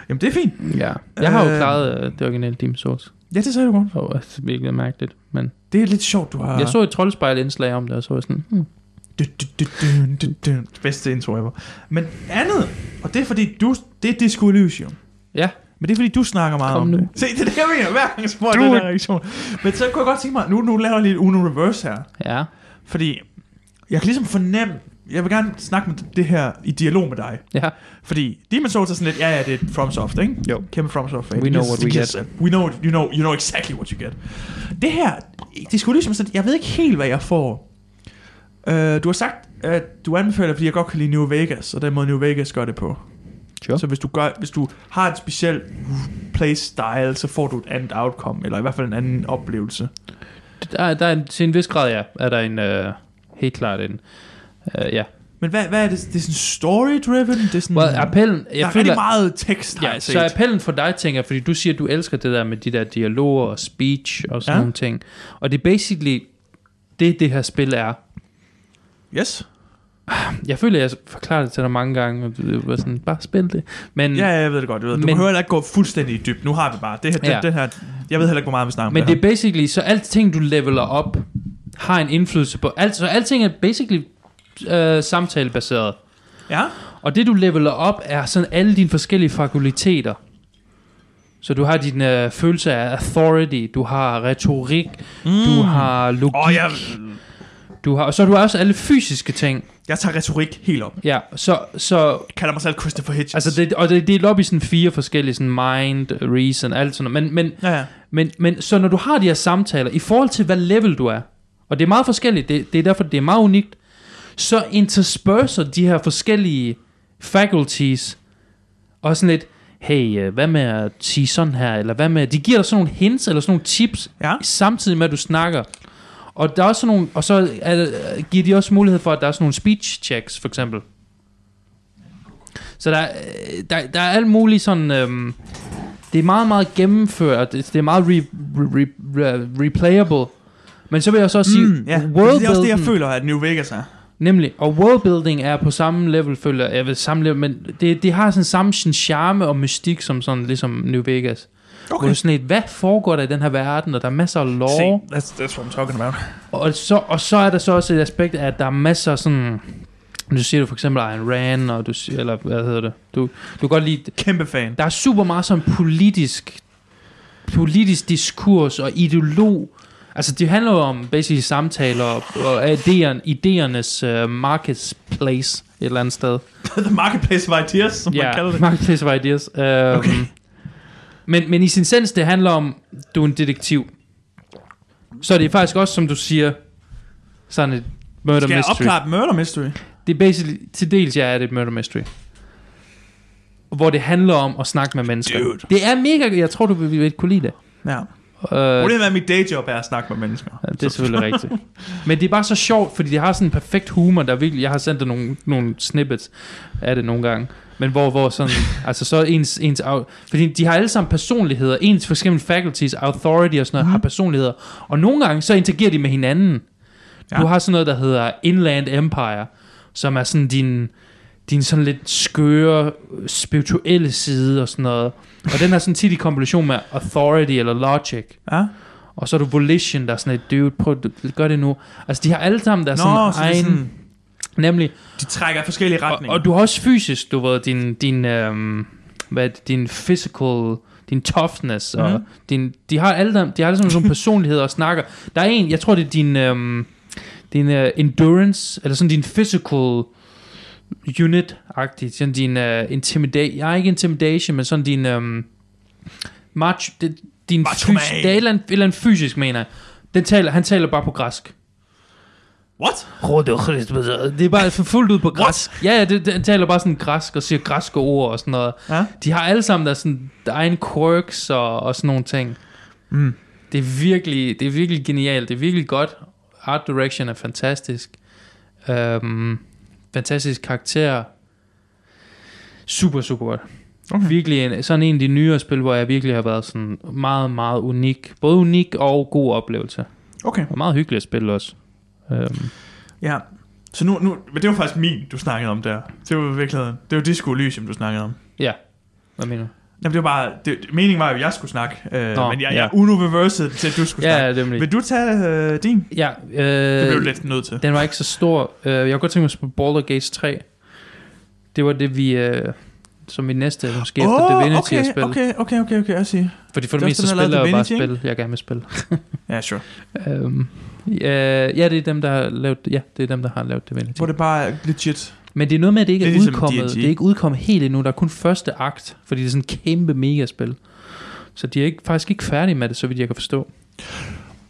Jamen, det er fint.
Ja. Jeg har jo
Øh.
klaret øh, det originale Demon's Souls.
Ja, det sagde du godt.
Og det er virkelig mærkeligt. Men
Det er lidt sjovt, du har...
jeg så et troldspejl-indslag om det, og så var jeg sådan, hmm,
Du, du, du, du, du, du. Det bedste intro ever. Men andet, og det er fordi du... Det er Disco Elysium.
Ja.
Men det er fordi, du snakker meget
Kom
om
nu.
det. Se, det er det, jeg mener. Hver gang jeg spørger
Do
den
it.
her reaktion. Men så kunne jeg godt tænke mig... Nu, nu laver jeg lige et Uno Reverse her.
ja,
Fordi jeg kan ligesom fornemme, jeg vil gerne snakke med det her i dialog med dig.
Ja.
Fordi Demon Souls er sådan lidt, ja, ja, det er FromSoft, ikke?
Jo.
Kæmpe FromSoft fan.
We know what we get.
We know, you know, you know exactly what you get. Det her, det skulle ligesom sådan, jeg ved ikke helt, hvad jeg får. Uh, du har sagt, at du anbefaler, fordi jeg godt kan lide New Vegas, og den måde New Vegas gør det på.
Sure.
Så hvis du, gør, hvis du har et specielt playstyle, så får du et andet outcome, eller i hvert fald en anden oplevelse.
Der, der er en, til en vis grad, ja, er der en, øh, helt klart en, øh, ja.
Men hvad, hvad er det? Det er sådan story-driven? Det er sådan,
Well, appellen, jeg
Mm. der er
føler,
rigtig meget tekst, har
ja,
jeg
så
set.
appellen for dig, tænker jeg, fordi du siger, at du elsker det der med de der dialoger og speech og sådan
Ja.
ja. nogle ting. Og det er basically det, det her spil er.
Yes.
Jeg føler, jeg forklarer det til dig mange gange, og du var sådan, bare spil det. Men,
Ja, ja, jeg ved det godt. Jeg ved. det. Du
Mm. Men-
behøver heller ikke gå fuldstændig i dyb. Nu har vi bare det her. Det,
Ja.
det her jeg ved heller ikke, hvor meget vi snakker om
men
det,
det er basically, så alt ting, du leveler op, har en indflydelse på alt. Så alting er basically øh, samtalebaseret.
her. Ja?
Og det du leveler op er sådan alle dine forskellige fakulteter. Så du har din øh, følelse af authority, du har retorik, mm. du har logik,
Åh, jeg,
du har, og så har du også alle fysiske ting.
jeg tager retorik helt op.
Ja, så, så
Jeg kalder mig selv Christopher Hitchens.
altså det, og det, det er delt op i sådan fire forskellige, sådan mind, reason, alt sådan noget. Men, men,
Ja, ja.
men, men så når du har de her samtaler, i forhold til hvad level du er, og det er meget forskelligt, det, det er derfor, det er meget unikt, så intersperser de her forskellige faculties, og sådan lidt, hey, øh, hvad med at sige sådan her, eller hvad med, de giver dig sådan nogle hints, eller sådan nogle tips,
Ja.
samtidig med, at du snakker. Og, der er også sådan nogle, og så er, der- giver de også mulighed for, at der er sådan nogle speech checks, for eksempel. Så der, er, øh, der, der er alt muligt sådan... Øhm, det er meget, meget gennemført. Det det er meget re, re, re, re, replayable. Men så vil jeg så også sige,
Mm, ja. Det er også det, jeg føler, at New Vegas er.
Nemlig, og worldbuilding er på samme level, føler jeg, jeg ved, samme level, men det, det har sådan samme sin charme og mystik som sådan, ligesom New Vegas. Hvor du er sådan lidt, hvad foregår der i den her verden, og der er masser af lore,
Se, that's, that's what I'm talking about.
og så, og så er der så også et aspekt af, at der er masser af sådan, nu siger du for eksempel Ayn Rand, og du siger, eller hvad hedder det, du, du kan godt lide,
Kæmpe fan.
der er super meget sådan politisk, politisk diskurs og ideolog. Altså det handler jo om basically samtaler og, og idéerne, idéernes uh, marketplace et eller andet sted.
The Marketplace of Ideas, som man kalder det.
marketplace of ideas. Uh, okay. men, men i sin sens, det handler om, du er en detektiv. Så det er faktisk også, som du siger, sådan et murder
Skal jeg
mystery.
opklare et murder mystery?
Det er basically, til dels ja, er det et murder mystery. Hvor det handler om at snakke med mennesker.
Dude.
Det er mega, jeg tror du vil, vil kunne lide det.
Ja.
Uh, det,
Problemet er, at mit dayjob er at snakke med mennesker.
det er selvfølgelig rigtigt. Altså. Men det er bare så sjovt, fordi det har sådan en perfekt humor, der virkelig, jeg har sendt dig nogle, nogle snippets af det nogle gange. Men hvor, hvor sådan, altså så er ens, ens, au- fordi de har alle sammen personligheder, ens for eksempel faculties, authority og sådan noget, mm. har personligheder. Og nogle gange, så interagerer de med hinanden.
Ja.
Ja. Du har sådan noget, der hedder Inland Empire, som er sådan din, din sådan lidt skøre, øh, spirituelle side og sådan noget. Og den er sådan tit i kombination med authority eller logic.
Ja?
Og så er du Volition, der er sådan et, dude, prøv, du, gør det nu. Altså, de har alle sammen, der er
Nå,
sådan
så det er
egen,
sådan,
nemlig.
de trækker i forskellige
Og,
retninger.
og, du har også fysisk, du ved, din, din, øhm, hvad er det, din physical, din toughness, og
Mhm.
din, de har alle dem, de har alle sammen sådan nogle personligheder og snakker. Der er en, jeg tror det er din, øhm, din øh, endurance, eller sådan din physical unit-agtigt, sådan din øh, intimidation, jeg er ikke intimidation, men sådan din, øhm, mach, det, din
Macho
fys,
man.
det er et eller andet, et eller andet fysisk, mener jeg. Den taler, han taler bare på græsk.
What?
Det er bare for fuldt ud på græsk. Ja, ja, det, det, han taler bare sådan græsk og siger græske ord og sådan noget.
Ja?
De har alle sammen der sådan der egen quirks og, og sådan nogle ting.
Mm.
Det er virkelig, det er virkelig genialt. Det er virkelig godt. Art direction er fantastisk. Øhm, fantastisk karakter. Super, super godt.
Okay.
Virkelig en, sådan en af de nyere spil, hvor jeg virkelig har været sådan meget, meget unik. Både unik og god oplevelse.
Okay.
Og meget hyggeligt at spille også. Øhm,
Ja. Så nu, nu, men det var faktisk min, du snakkede om der. Det var i virkeligheden. Det var Disco Elysium, du snakkede om.
ja, hvad mener du?
Jamen, det var bare, det, meningen var jo, at jeg skulle snakke, øh,
Nå,
men jeg,
ja.
jeg unoversed til, at du skulle
Ja,
snakke.
ja, nemlig.
Vil du tage øh, din?
Ja, øh,
Det blev du lidt nødt til.
Den var ikke så stor. Øh, jeg kunne godt tænke mig at spille Baldur's Gate 3. Det var det, vi øh, som min næste, måske oh, efter Divinity
okay,
at spille.
Okay, okay, okay, okay, jeg siger.
Fordi for det
Det er
meste
også dem, der
spiller
lavede
jeg bare
Divinity,
spil, jeg gerne vil spille.
Ja, sure.
øhm, ja, ja, det er dem, der har lavet, ja, det er dem, der har lavet Divinity.
Hvor det bare er legit.
Men det er noget med, at det ikke
Det
er,
er
det er
ligesom
udkommet.
D&D.
Det er ikke udkommet helt endnu. Der er kun første akt, fordi det er sådan en kæmpe megaspil. Så de er ikke, faktisk ikke færdige med det, så vidt jeg kan forstå.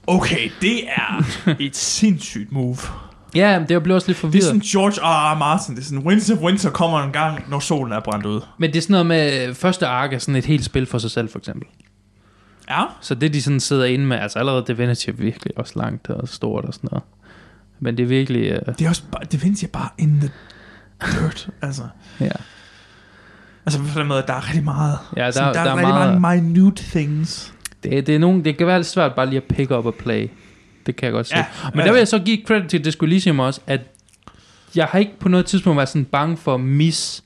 Okay, det er et sindssygt move.
Ja, men det er blevet også lidt
Det er
forvirret.
sådan George R. R. Martin. Det er sådan, Winds of Winter kommer en gang, når solen er brændt ud.
Men det er sådan noget med, øh, første ark er sådan et helt spil for sig selv, for eksempel.
Ja.
Så det, de sådan sidder inde med, altså allerede Divinity er virkelig også langt og stort og sådan noget. Men det er virkelig, øh,
Det er også bare, det findes jeg bare in the dirt. altså,
ja.
altså på den måde, der er rigtig meget.
Ja, der-
sådan, der,
der
er,
er
rigtig
meget-
mange minute things.
Det, det, er nogen, det kan være lidt svært bare lige at pick up og play. Det kan jeg godt se.
Ja,
Ja, Men
ja.
der vil jeg så give credit til Disco Elysium også, at jeg har ikke på noget tidspunkt været sådan bange for mis.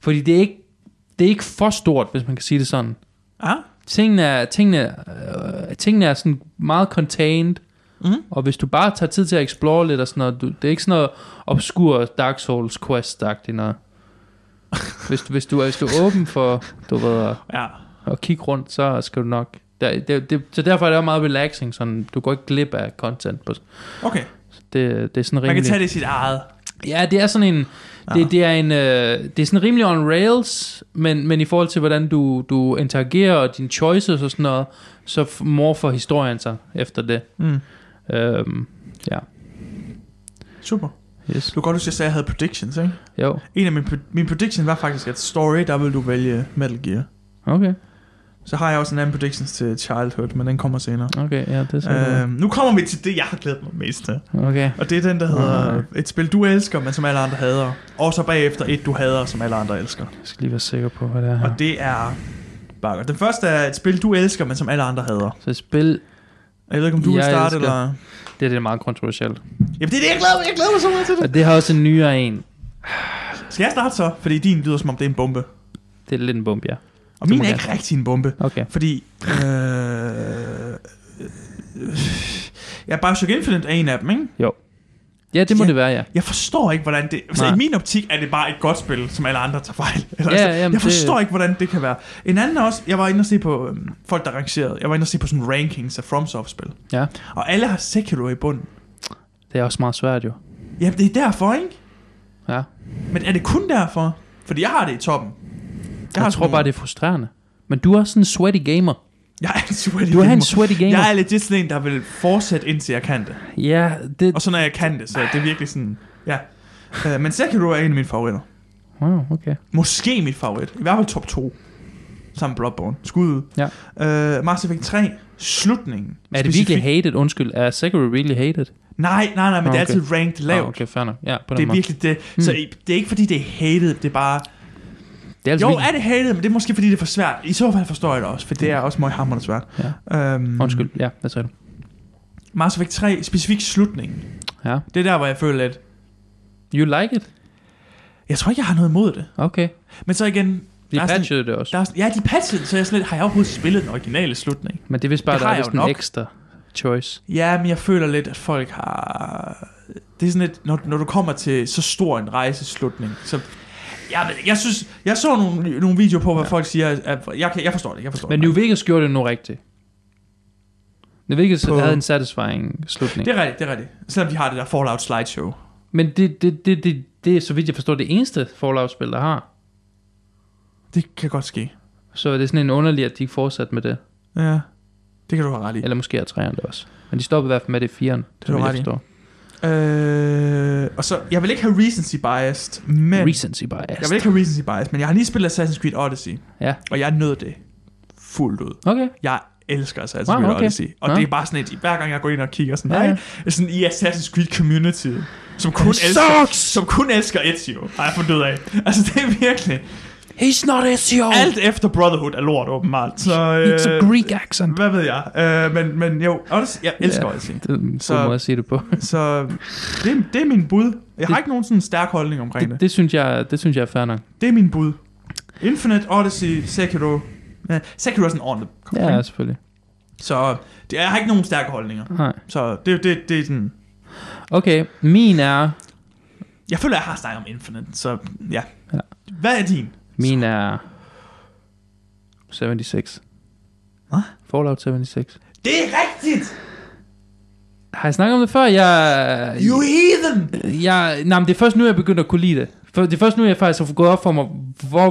Fordi det er ikke, det er ikke for stort, hvis man kan sige det sådan.
Ja,
Tingene er, tingene, er- øh, tingene er sådan meget contained.
Mhm.
Og hvis du bare tager tid til at explore lidt og sådan noget, du, det er ikke sådan noget obskur Dark Souls quest agtigt noget. Hvis, du- hvis, du, er- hvis du er åben for, du ved, at-
ja.
og kigge rundt, så skal du nok... Der, det, det, så derfor er det også meget relaxing, sådan, du går ikke glip af content. På,
Okay,
det, det er sådan
man kan
rimelig...
tage det i sit eget.
Ja, det er sådan en...
Ja.
Det, det, er en, øh, det er sådan rimelig on rails, men, men i forhold til, hvordan du, du interagerer og dine choices og sådan noget, så f- morfer historien sig efter det.
Mm.
Øhm, ja,
Super.
yes.
Du kan godt huske, jeg sagde, at jeg havde predictions, ikke?
Jo,
En af mine, pre- min prediction var faktisk, at story, der vil du vælge Metal Gear.
okay,
Så har jeg også en anden predictions til Childhood, men den kommer senere.
okay, ja, det er sådan.
Øhm, nu kommer vi til det, jeg har glædet mig mest til.
Okay,
Og det er den, der hedder
Ah.
et spil, du elsker, men som alle andre hader. Og så bagefter et, du hader, som alle andre elsker.
jeg skal lige være sikker på, hvad det er her.
Og det er... Bare godt. Den første er et spil, du elsker, men som alle andre hader.
Så et spil,
Jeg ved ikke, om du vil
Jeg
starte,
elsker.
eller...
det, her, det er meget kontroversielt.
Jamen, det er det, jeg glæder mig, jeg glæder mig så meget til det.
Og det har også en nyere en.
Skal jeg starte så? Fordi din lyder, som om det er en bombe.
Det er lidt en bump, ja. Du
Og min
må
er
gerne.
ikke rigtig en bombe.
Okay.
Fordi... Øh, øh, jeg er bare så Infinite er en af dem, ikke?
Ja, det må
Ja.
det være, ja.
Jeg forstår ikke, hvordan det... Altså,
Nej.
I min optik er det bare et godt spil, som alle andre tager fejl. Eller,
Ja,
altså,
jamen,
jeg
det-
forstår ikke, hvordan det kan være. En anden er også... Jeg var inde og se på øhm, folk, der rangerede. Jeg var inde og se på sådan rankings af FromSoft-spil.
Ja.
Og alle har Sekiro i bunden.
Det er også meget svært jo.
Ja, det er derfor, ikke?
Ja.
Men er det kun derfor? Fordi jeg har det i toppen.
Jeg, jeg tror bare, det er frustrerende. Men du er også sådan en sweaty gamer.
Jeg er en sweaty
Du er en
gamer.
sweaty gamer.
Jeg er legit sådan en, der vil fortsætte indtil jeg kan det.
Ja, det...
Og så når jeg kan det, så det er virkelig sådan... Ja. Øh, men Sekiro er en af mine favoritter.
Wow, okay.
Måske mit favorit. I hvert fald top 2. Sammen med Bloodborne. Skud.
Ja.
Øh, Mass Effect 3. Slutningen.
Er det
Specifikt-
virkelig hated? Undskyld, er Sekiro really hated?
Nej, nej, nej, men okay. det er
Ah,
altid ranked lavt.
Ah, okay, fair nok. Ja, på den
Det er
måde.
virkelig det. Så
Hmm.
i- det er ikke fordi, det er hated. Det er bare...
det er altså
Jo,
virkelig...
er det hated, men det er måske fordi, det er for svært. I så fald forstår jeg det også, for det er også meget hammerende svært. Ja. Øhm,
Undskyld, ja, hvad sagde du?
Mass Effect 3, specifikt slutningen.
Ja.
Det er der, hvor jeg føler, at
You like it?
jeg tror ikke, jeg har noget imod det.
Okay.
Men så igen,
De
Der er sådan-
patchede det også.
der er, sådan- ja, de patchede den, så jeg slet, har jeg overhovedet spillet den originale slutning?
Men det er vist bare,
Det
der
har
er
jeg
vist
jo
en
nok.
ekstra choice.
Ja, men jeg føler lidt, at folk har... Det er sådan lidt, når, når du kommer til så stor en rejseslutning, så... Jeg, ved, ikke, jeg synes, jeg så nogle, nogle videoer på, hvor ja. folk siger, at jeg, kan, jeg forstår det, jeg forstår
Men
det.
New Vegas gjorde det nu rigtigt. New Vegas
På-
havde en satisfying slutning.
Det er rigtigt, det er rigtigt. Selvom de har det der Fallout slideshow.
Men det, det, det, det, det er, så vidt jeg forstår, det eneste Fallout-spil, der har.
Det kan godt ske.
Så er det sådan en underlig, at de ikke fortsatte med det.
Ja, det kan du have ret i.
Eller måske er træerne det også. Men de stoppede i hvert fald med det i firen. Det er
du ret
jeg
i.
forstår.
Øh, og så, jeg vil ikke have recency biased, men...
Recency bias.
Jeg vil ikke have recency bias, men jeg har lige spillet Assassin's Creed Odyssey.
Ja.
Og jeg nød det fuldt ud.
Okay.
Jeg elsker Assassin's
Wow,
Creed
okay.
Odyssey. Og
Nå.
det er bare sådan et, hver gang jeg går ind og kigger sådan,
Ja,
nej,
ja.
sådan i Assassin's Creed community, som kun,
It
elsker,
sucks!
som kun elsker Ezio, har jeg fundet ud af. Altså det er virkelig,
He's not Ezio.
alt efter Brotherhood er lort åbenbart. Så,
It's a
øh,
Greek accent.
hvad ved jeg? Øh, men, men jo, Odyssey, jeg elsker
Ja.
Odyssey.
Det er en
Så-
god måde at sige det på.
Så det, det er min bud. Jeg har
Det-
ikke nogen sådan stærk holdning omkring
Det, det, synes jeg, det synes jeg er fair nok.
Det er min bud. Infinite, Odyssey, Sekiro. Ja, Sekiro er sådan ordentligt.
Ja, selvfølgelig.
Så det, jeg har ikke nogen stærke holdninger.
Nej.
Så det, det, det er sådan...
Okay, min er...
Jeg føler, jeg har snakket om Infinite, så ja.
Ja.
Hvad er din?
Min er 76.
Hvad?
Fallout 76.
Det er rigtigt!
Har jeg snakket om det før? Jeg,
You heathen!
jeg, nej, men det er først nu, jeg begynder at kunne lide det. For, det er først nu, jeg faktisk har gået op for mig, hvor,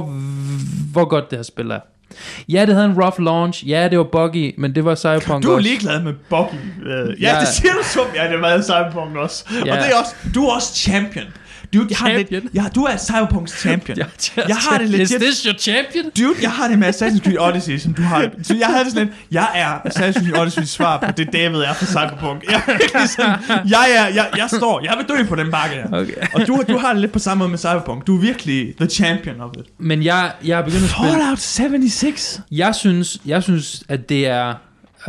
hvor godt det her spil er. Ja, det havde en rough launch. Ja, det var buggy, men det var Cyberpunk
Du er
også.
ligeglad med Bobby. Øh, Ja,
Jeg-
det siger du som, ja, det er meget Cyberpunk også. Og
Ja.
det er også, du er også champion. Du er
Champion?
Lidt, ja, du er Cyberpunks champion.
Jeg, jeg,
Jeg har det
Is
legit-
this your champion?
Dude, jeg har det med Assassin's Creed Odyssey, som du har det. Så jeg havde det sådan lidt, jeg er Assassin's Creed Odyssey's svar på det, David er for Cyberpunk. Jeg, er virkelig sådan, jeg, er, jeg, jeg står, jeg vil dø på den bakke her.
Okay.
Og du, du har det lidt på samme måde med Cyberpunk. Du er virkelig the champion of it.
Men jeg, jeg er begyndt at spille...
Fallout 76?
Jeg synes, jeg synes at det er... Øh,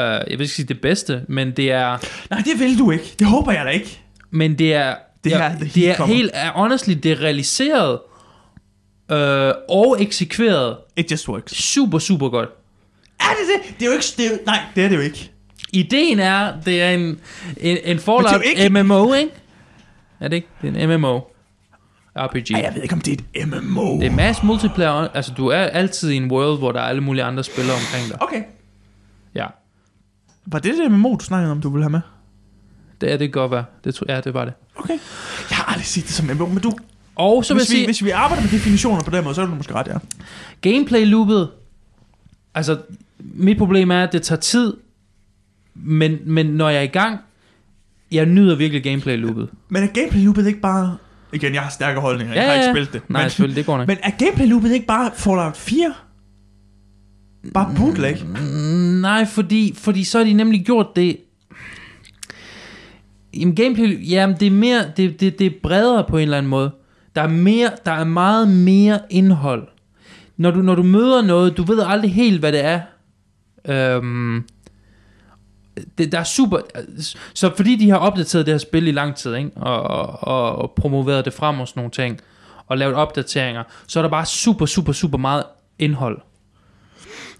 jeg vil ikke sige det bedste, men det er...
Nej, det vil du ikke. Det håber jeg da ikke.
Men det er...
Det
jeg-
her, the heat
det er
kommer.
helt... Er, honestly, det er realiseret øh, og eksekveret
It just works.
super, super godt.
Er det det? Det er jo ikke... Det er, jo- nej, det er det jo ikke.
Ideen er, det er en, en, en
Men det
Fallout
er jo ikke-
MMO, ikke? Er det ikke? Det er en MMO. RPG.
Ej, jeg ved ikke, om det er et MMO.
Det er mass multiplayer. Altså, du er altid i en world, hvor der er alle mulige andre spillere omkring dig.
Okay.
Ja,
Var det det MMO, du snakkede om, du ville have med?
det, er det kan godt være. Det tror, ja, det var det.
Okay. Jeg har aldrig set det som MMO, men du...
Og så vil jeg
Hvis vi,
sige,
hvis vi arbejder med definitioner på den måde, så er du måske ret, ja.
gameplay loopet. Altså, mit problem er, at det tager tid. Men, men når jeg er i gang, jeg nyder virkelig gameplay loopet.
Men er gameplay loopet ikke bare... Igen, jeg har stærke holdninger, jeg
Ja,
har
ja,
ikke
ja.
spillet det.
Nej,
men,
selvfølgelig, det går nok.
men er gameplay loopet ikke bare Fallout 4? Bare bootleg?
Nej, fordi, fordi så har de nemlig gjort det... Jamen gameplay, jamen det er mere, det, det, det er bredere på en eller anden måde. Der er, mere, der er meget mere indhold. Når du, når du møder noget, du ved aldrig helt, hvad det er. Øhm, det, der er super... Så fordi de har opdateret det her spil i lang tid, ikke? Og, og, og, og promoveret det frem og sådan nogle ting, og lavet opdateringer, så er der bare super, super, super meget indhold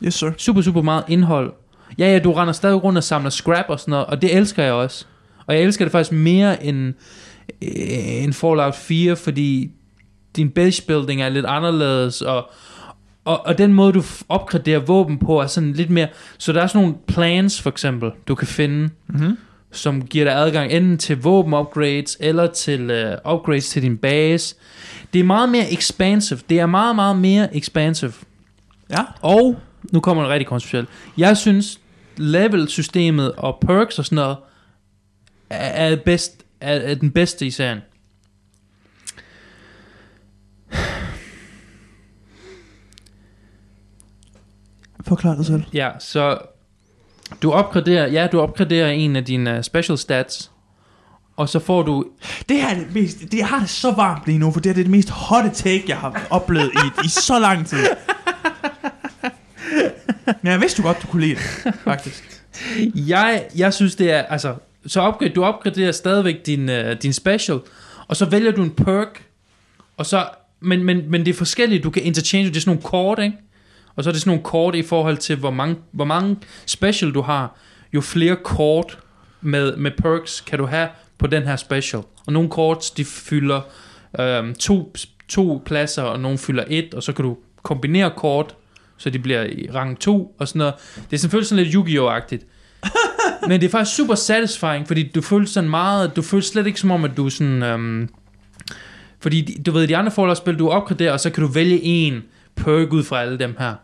Yes, sir.
super, super meget indhold. Ja, ja, du render stadig rundt og samler scrap og sådan noget, og det elsker jeg også. Og jeg elsker det faktisk mere end, øh, end Fallout 4, fordi din base building er lidt anderledes, og, og, og den måde, du f- opgraderer våben på, er sådan lidt mere... Så der er sådan nogle plans, for eksempel, du kan finde,
Mm-hmm.
som giver dig adgang enten til våben-upgrades, eller til øh, upgrades til din base. Det er meget mere expansive. Det er meget, meget mere expansive.
Ja.
Og nu kommer det rigtig konceptuelt. Jeg synes, level-systemet og perks og sådan noget, er, er, bedst, er, er den bedste i serien.
Forklar dig selv.
Ja, så du opgraderer, ja, du opgraderer en af dine øh, special stats, og så får du,
Det her er det mest... Det, jeg har det så varmt lige nu, for det her det er det mest hotte take, jeg har oplevet i, i så lang tid. Men jeg vidste du godt, du kunne lide det, faktisk.
jeg, jeg synes det er, altså, så opgraderer, du opgraderer stadigvæk din, øh, din special, og så vælger du en perk, og så, men, men, men det er forskelligt, du kan interchange, det er sådan nogle kort, ikke? Og så er det sådan nogle kort i forhold til, hvor mange, hvor mange special du har. Jo flere kort med, med perks kan du have på den her special. Og nogle kort, de fylder øhm, to, to pladser, og nogle fylder et, og så kan du kombinere kort, så de bliver i rang 2 og sådan noget. Det er selvfølgelig sådan lidt Yu-Gi-Oh-agtigt. Men det er faktisk super satisfying, fordi du føles sådan meget, du føles slet ikke som om, at du er sådan, øhm, fordi de- du ved, i de andre Fallout-spil, du opgraderer, og så kan du vælge en perk ud fra alle dem her.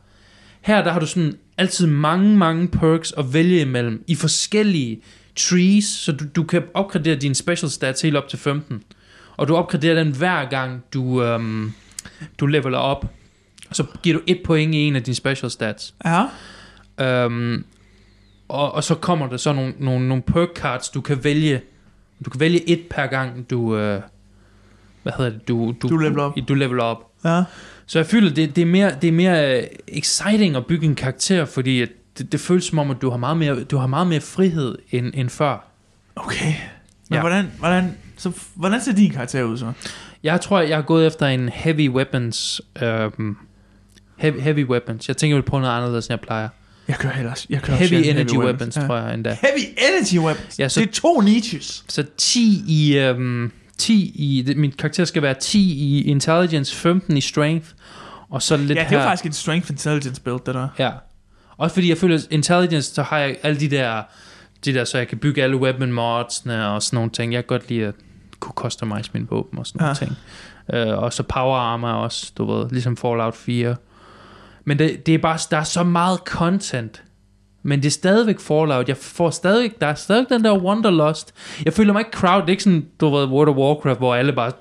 Her, der har du sådan altid mange, mange perks at vælge imellem, i forskellige trees, så du, du kan opgradere dine special stats helt op til 15. Og du opgraderer den hver gang, du, øhm, du leveler op. Og så giver du et point i en af dine special stats.
Ja.
Øhm, og, og så kommer der så nogle, nogle, nogle perk cards, du kan vælge. Du kan vælge et per gang, du... Øh, hvad hedder det? Du,
Du leveler op.
Du leveler op.
Ja.
Så jeg føler, det, det er mere, det er mere øh, exciting at bygge en karakter, fordi at det, det føles som om, at du har meget mere, du har meget mere frihed end, end før.
Okay. Men ja.
Ja.
hvordan, hvordan, så, hvordan ser din karakter ud så?
Jeg tror, jeg har gået efter en heavy weapons... Øh, heavy, heavy weapons. Jeg tænker vel på noget anderledes, end jeg plejer.
Jeg kører ellers. Jeg kører
Heavy
sjældent
energy weapons, tror jeg endda.
Heavy energy weapons?
Ja,
Ja,
så-
så... Det er to niches.
Så 10 i... Øhm, 10 i det, min karakter skal være 10 i intelligence, 15 i strength Og så lidt
ja, det er jo
her.
faktisk en strength intelligence build, det der.
Ja. Også fordi jeg føler, at intelligence, så har jeg alle de der, de der, så jeg kan bygge alle weapon modsene og sådan nogle ting. Jeg kan godt lide at kunne customize min våben og sådan nogle
Ja.
ting. Uh, og så power armor også, du ved, ligesom Fallout 4. Men det, det er bare, der er så meget content. Men det er stadigvæk Fallout. Jeg får stadigvæk, der er stadigvæk den der Wanderlust. Jeg føler mig ikke crowd. Det er ikke sådan, du ved, World of Warcraft, hvor alle bare...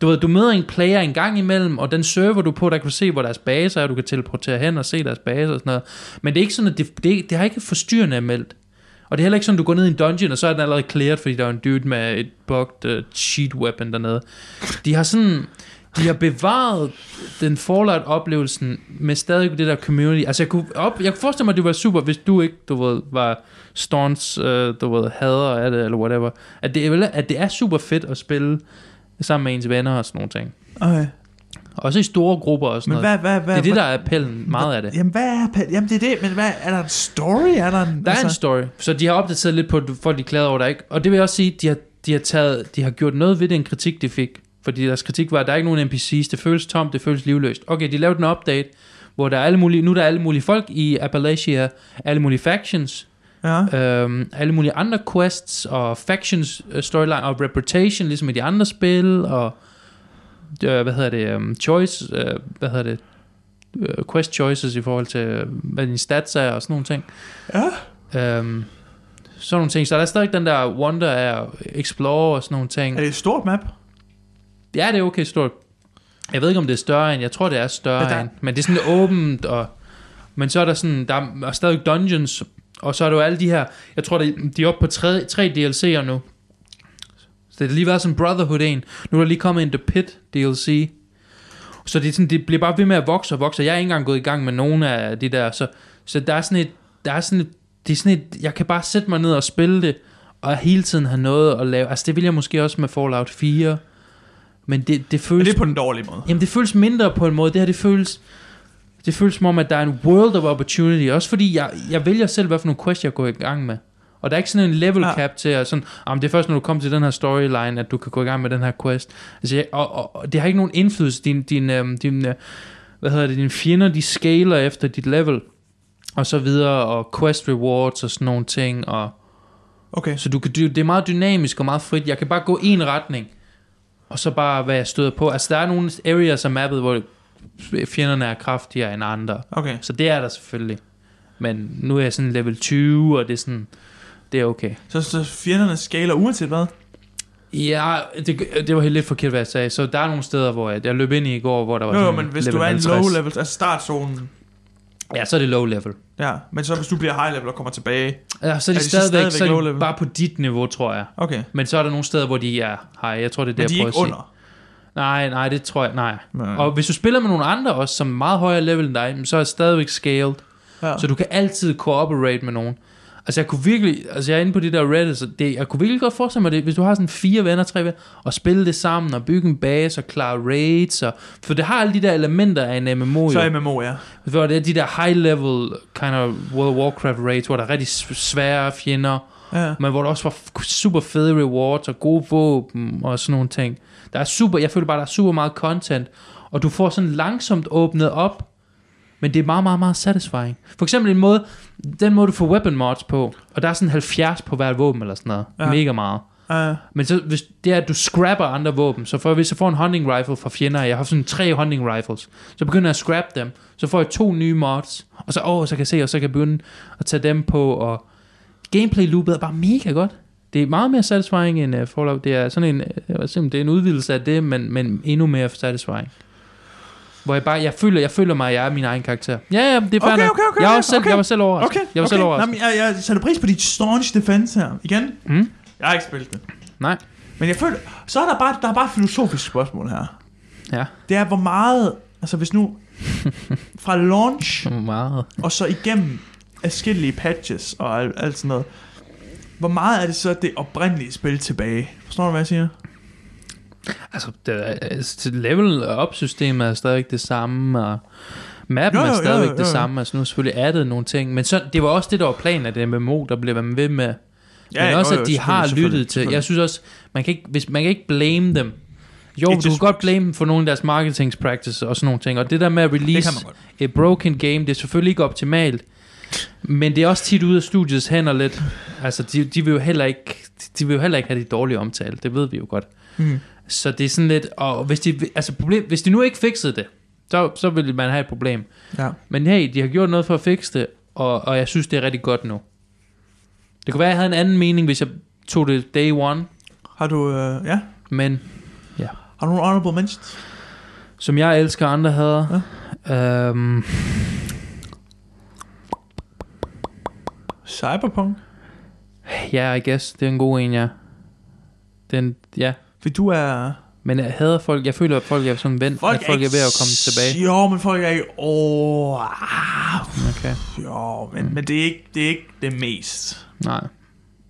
Du ved, du møder en player en gang imellem, og den server du på, der kan du se, hvor deres base er, og du kan teleportere hen og se deres base og sådan noget. Men det er ikke sådan, at det, det, det har ikke forstyrrende meldt. Og det er heller ikke sådan, at du går ned i en dungeon, og så er den allerede cleared, fordi der er en dude med et bugged uh, cheat weapon dernede. De har sådan... De har bevaret den Fallout-oplevelsen med stadig det der community. Altså, jeg kunne, op, jeg kunne forestille mig, at det var super, hvis du ikke, du ved, var Storms, øh, du ved, hader af det, eller whatever. At det, er vel- at det er super fedt at spille sammen med ens venner og sådan nogle ting.
Okay.
Også i store grupper og sådan
Men
noget.
hvad, hvad, hvad,
det er det,
hvad-
der er appellen, meget af det.
Jamen, hvad er pal- Jamen, det er det, men hvad, er der en story? Er der en... altså-
Der er en story, så de har opdateret lidt på, at folk de klagede over der ikke. Og det vil jeg også sige, de har, de har, taget, de har gjort noget ved den kritik, de fik. Fordi deres kritik var, at der er ikke nogen NPC's, det føles tomt, det føles livløst. Okay, de lavede en update, hvor der er alle mulige, nu er der er alle mulige folk i Appalachia, alle mulige factions,
ja.
øhm, alle mulige andre quests og factions øh, storyline og reputation, ligesom i de andre spil, og øh, hvad hedder det, um, choice, øh, hvad hedder det, øh, quest choices i forhold til, øh, hvad dine stats er og sådan nogle ting.
Ja.
Øhm, sådan nogle ting. Så der er stadig den der wonder af at explore og sådan nogle ting.
Er det et stort map?
Ja, det er okay stort. Jeg ved ikke, om det er større end, jeg tror, det er større
Men
men
der-
end, men det er sådan åbent, og, men så er der sådan, der er stadig dungeons, og så er der jo alle de her, jeg tror, det- de er oppe på tre, tre DLC'er nu. Så det har lige været sådan Brotherhood en, nu er der lige kommet en The Pit DLC, så det, er sådan, det bliver bare ved med at vokse og vokse, og jeg er ikke engang gået i gang med nogen af de der, så, så der er sådan et, der er sådan et, det er sådan et, jeg kan bare sætte mig ned og spille det, og hele tiden have noget at lave, altså det vil jeg måske også med Fallout 4, men det, det
Men
føles
det er på den dårlige måde.
Jamen det føles mindre på en måde. Det her det føles det føles som om, at der er en world of opportunity. Også fordi jeg, jeg vælger selv, hvad for nogle quests jeg går i gang med. Og der er ikke sådan en level
Ja.
cap til, at sådan, om det er først, når du kommer til den her storyline, at du kan gå i gang med den her quest. Altså, jeg, og, og, og, det har ikke nogen indflydelse. Din, din, øhm, din, øh, hvad hedder det, dine fjender, de scaler efter dit level, og så videre, og quest rewards og sådan nogle ting, og
Okay.
så du kan, dy- det er meget dynamisk og meget frit. Jeg kan bare gå en retning, og så bare, hvad jeg støder på. Altså, der er nogle areas af mappet, hvor fjenderne er kraftigere end andre.
Okay.
Så det er der selvfølgelig. Men nu er jeg sådan level 20, og det er sådan, det er okay.
Så, så fjenderne skaler uanset hvad?
Ja, det, det var helt lidt forkert, hvad jeg sagde. Så der er nogle steder, hvor jeg, jeg løb ind i i går, hvor der var
Jo, jo,
sådan
men hvis
level
du er i
50.
low level, altså startzonen,
Ja, så er det low level.
ja, men så hvis du bliver high level og kommer tilbage,
Ja, så er de,
de så
stadigvæk,
stadigvæk
så er de
low level?
bare på dit niveau, tror jeg.
okay,
Men så er der nogle steder, hvor de er hej. Jeg tror, det er det,
men
jeg
de er
prøver
ikke
at sige.
under.
Nej, nej, det tror jeg, nej.
Nej.
Og hvis du spiller med nogle andre også, som er meget højere level end dig, jamen, så er det stadigvæk scaled.
Ja.
Så du kan altid cooperate med nogen. Altså jeg kunne virkelig, altså jeg er inde på det der Reddit, så det, jeg kunne virkelig godt forestille mig det, hvis du har sådan fire venner, tre venner, og spille det sammen, og bygge en base, og klare raids, og, for det har alle de der elementer af en MMO jo.
Så MMO, ja.
Hvor det er de der high level, kind of World of Warcraft raids, hvor der er rigtig s- svære fjender,
ja.
men hvor der også var f- super fede rewards og gode våben og sådan nogle ting. Der er super, jeg føler bare, der er super meget content, og du får sådan langsomt åbnet op, men det er meget, meget, meget satisfying. For eksempel en måde, den måde du får weapon mods på, og der er sådan 70 på hvert våben eller sådan noget.
Ja.
Ja. Mega meget.
Uh,
Men så, hvis det er, at du scrapper andre våben, så for, hvis jeg får en hunting rifle fra fjender, jeg har sådan tre hunting rifles, så begynder jeg at scrap dem, så får jeg to nye mods, og så, åh, så kan jeg se, og så kan jeg begynde at tage dem på, og gameplay loopet er bare mega godt. Det er meget mere satisfying end uh, Fallout. Det er sådan en, uh, det er en udvidelse af det, men, men endnu mere satisfying. Hvor jeg bare, jeg føler, jeg føler mig, at jeg er min egen karakter. Ja, ja, det er fair
Okay,
nok.
okay, okay,
jeg, er
okay,
også selv,
okay.
jeg var selv overrasket.
okay,
jeg var
okay.
selv overrasket.
Jamen, jeg, jeg sætter pris på dit staunch defense her. Igen,
Mm?
jeg har ikke spillet det.
Nej.
Men jeg føler, så er der bare, der er bare et filosofisk spørgsmål her.
Ja,
Det er, hvor meget, altså hvis nu, fra launch
meget.
og så igennem forskellige patches og alt, alt sådan noget, hvor meget er det så det oprindelige spil tilbage? Forstår du, hvad jeg siger?
Altså, det er- altså, level op systemet er stadigvæk det samme, og mappen
Jo,
jo, jo,
jo,
er
jo,
stadigvæk
jo,
det
jo.
samme. Altså, nu er selvfølgelig addet nogle ting, men så, det var også det, der var planen, at det MMO, der blev man ved med. Men
jo,
også,
jo,
at de
selvfølgelig,
har
selvfølgelig,
lyttet til. Jeg synes også, man kan ikke, hvis, man kan ikke blame dem. Jo,
It
du kan
just
godt
works.
blame dem for nogle af deres marketing practices og sådan nogle ting. Og det der med at
Det kan
release
man godt.
et broken game, det er selvfølgelig ikke optimalt. Men det er også tit ude af studiets hænder lidt. Altså, de, de, vil jo heller ikke, de vil jo heller ikke have de dårlige omtale. Det ved vi jo godt.
Mm.
Så det er sådan lidt... Og hvis de, altså problem, hvis de nu ikke fiksede det, så, så ville man have et problem.
Ja.
Men hey, de har gjort noget for at fikse det, og, og jeg synes, det er rigtig godt nu. Det kunne være, at jeg havde en anden mening, hvis jeg tog det day one,
Har du, øh, ja,
men
har du nogle honorable mentions?
som jeg elsker og andre havde... Ja. Øhm,
Cyberpunk?
ja, yeah, I guess, det er en god en, ja. Den, ja.
Fordi du er...
Men jeg hader folk, jeg føler, at folk er sådan vendt, folk at folk er ved at komme tilbage.
Jo, men folk er ikke... Åh, ah,
Okay,
jo, men, men det, er ikke, det er ikke det mest.
nej.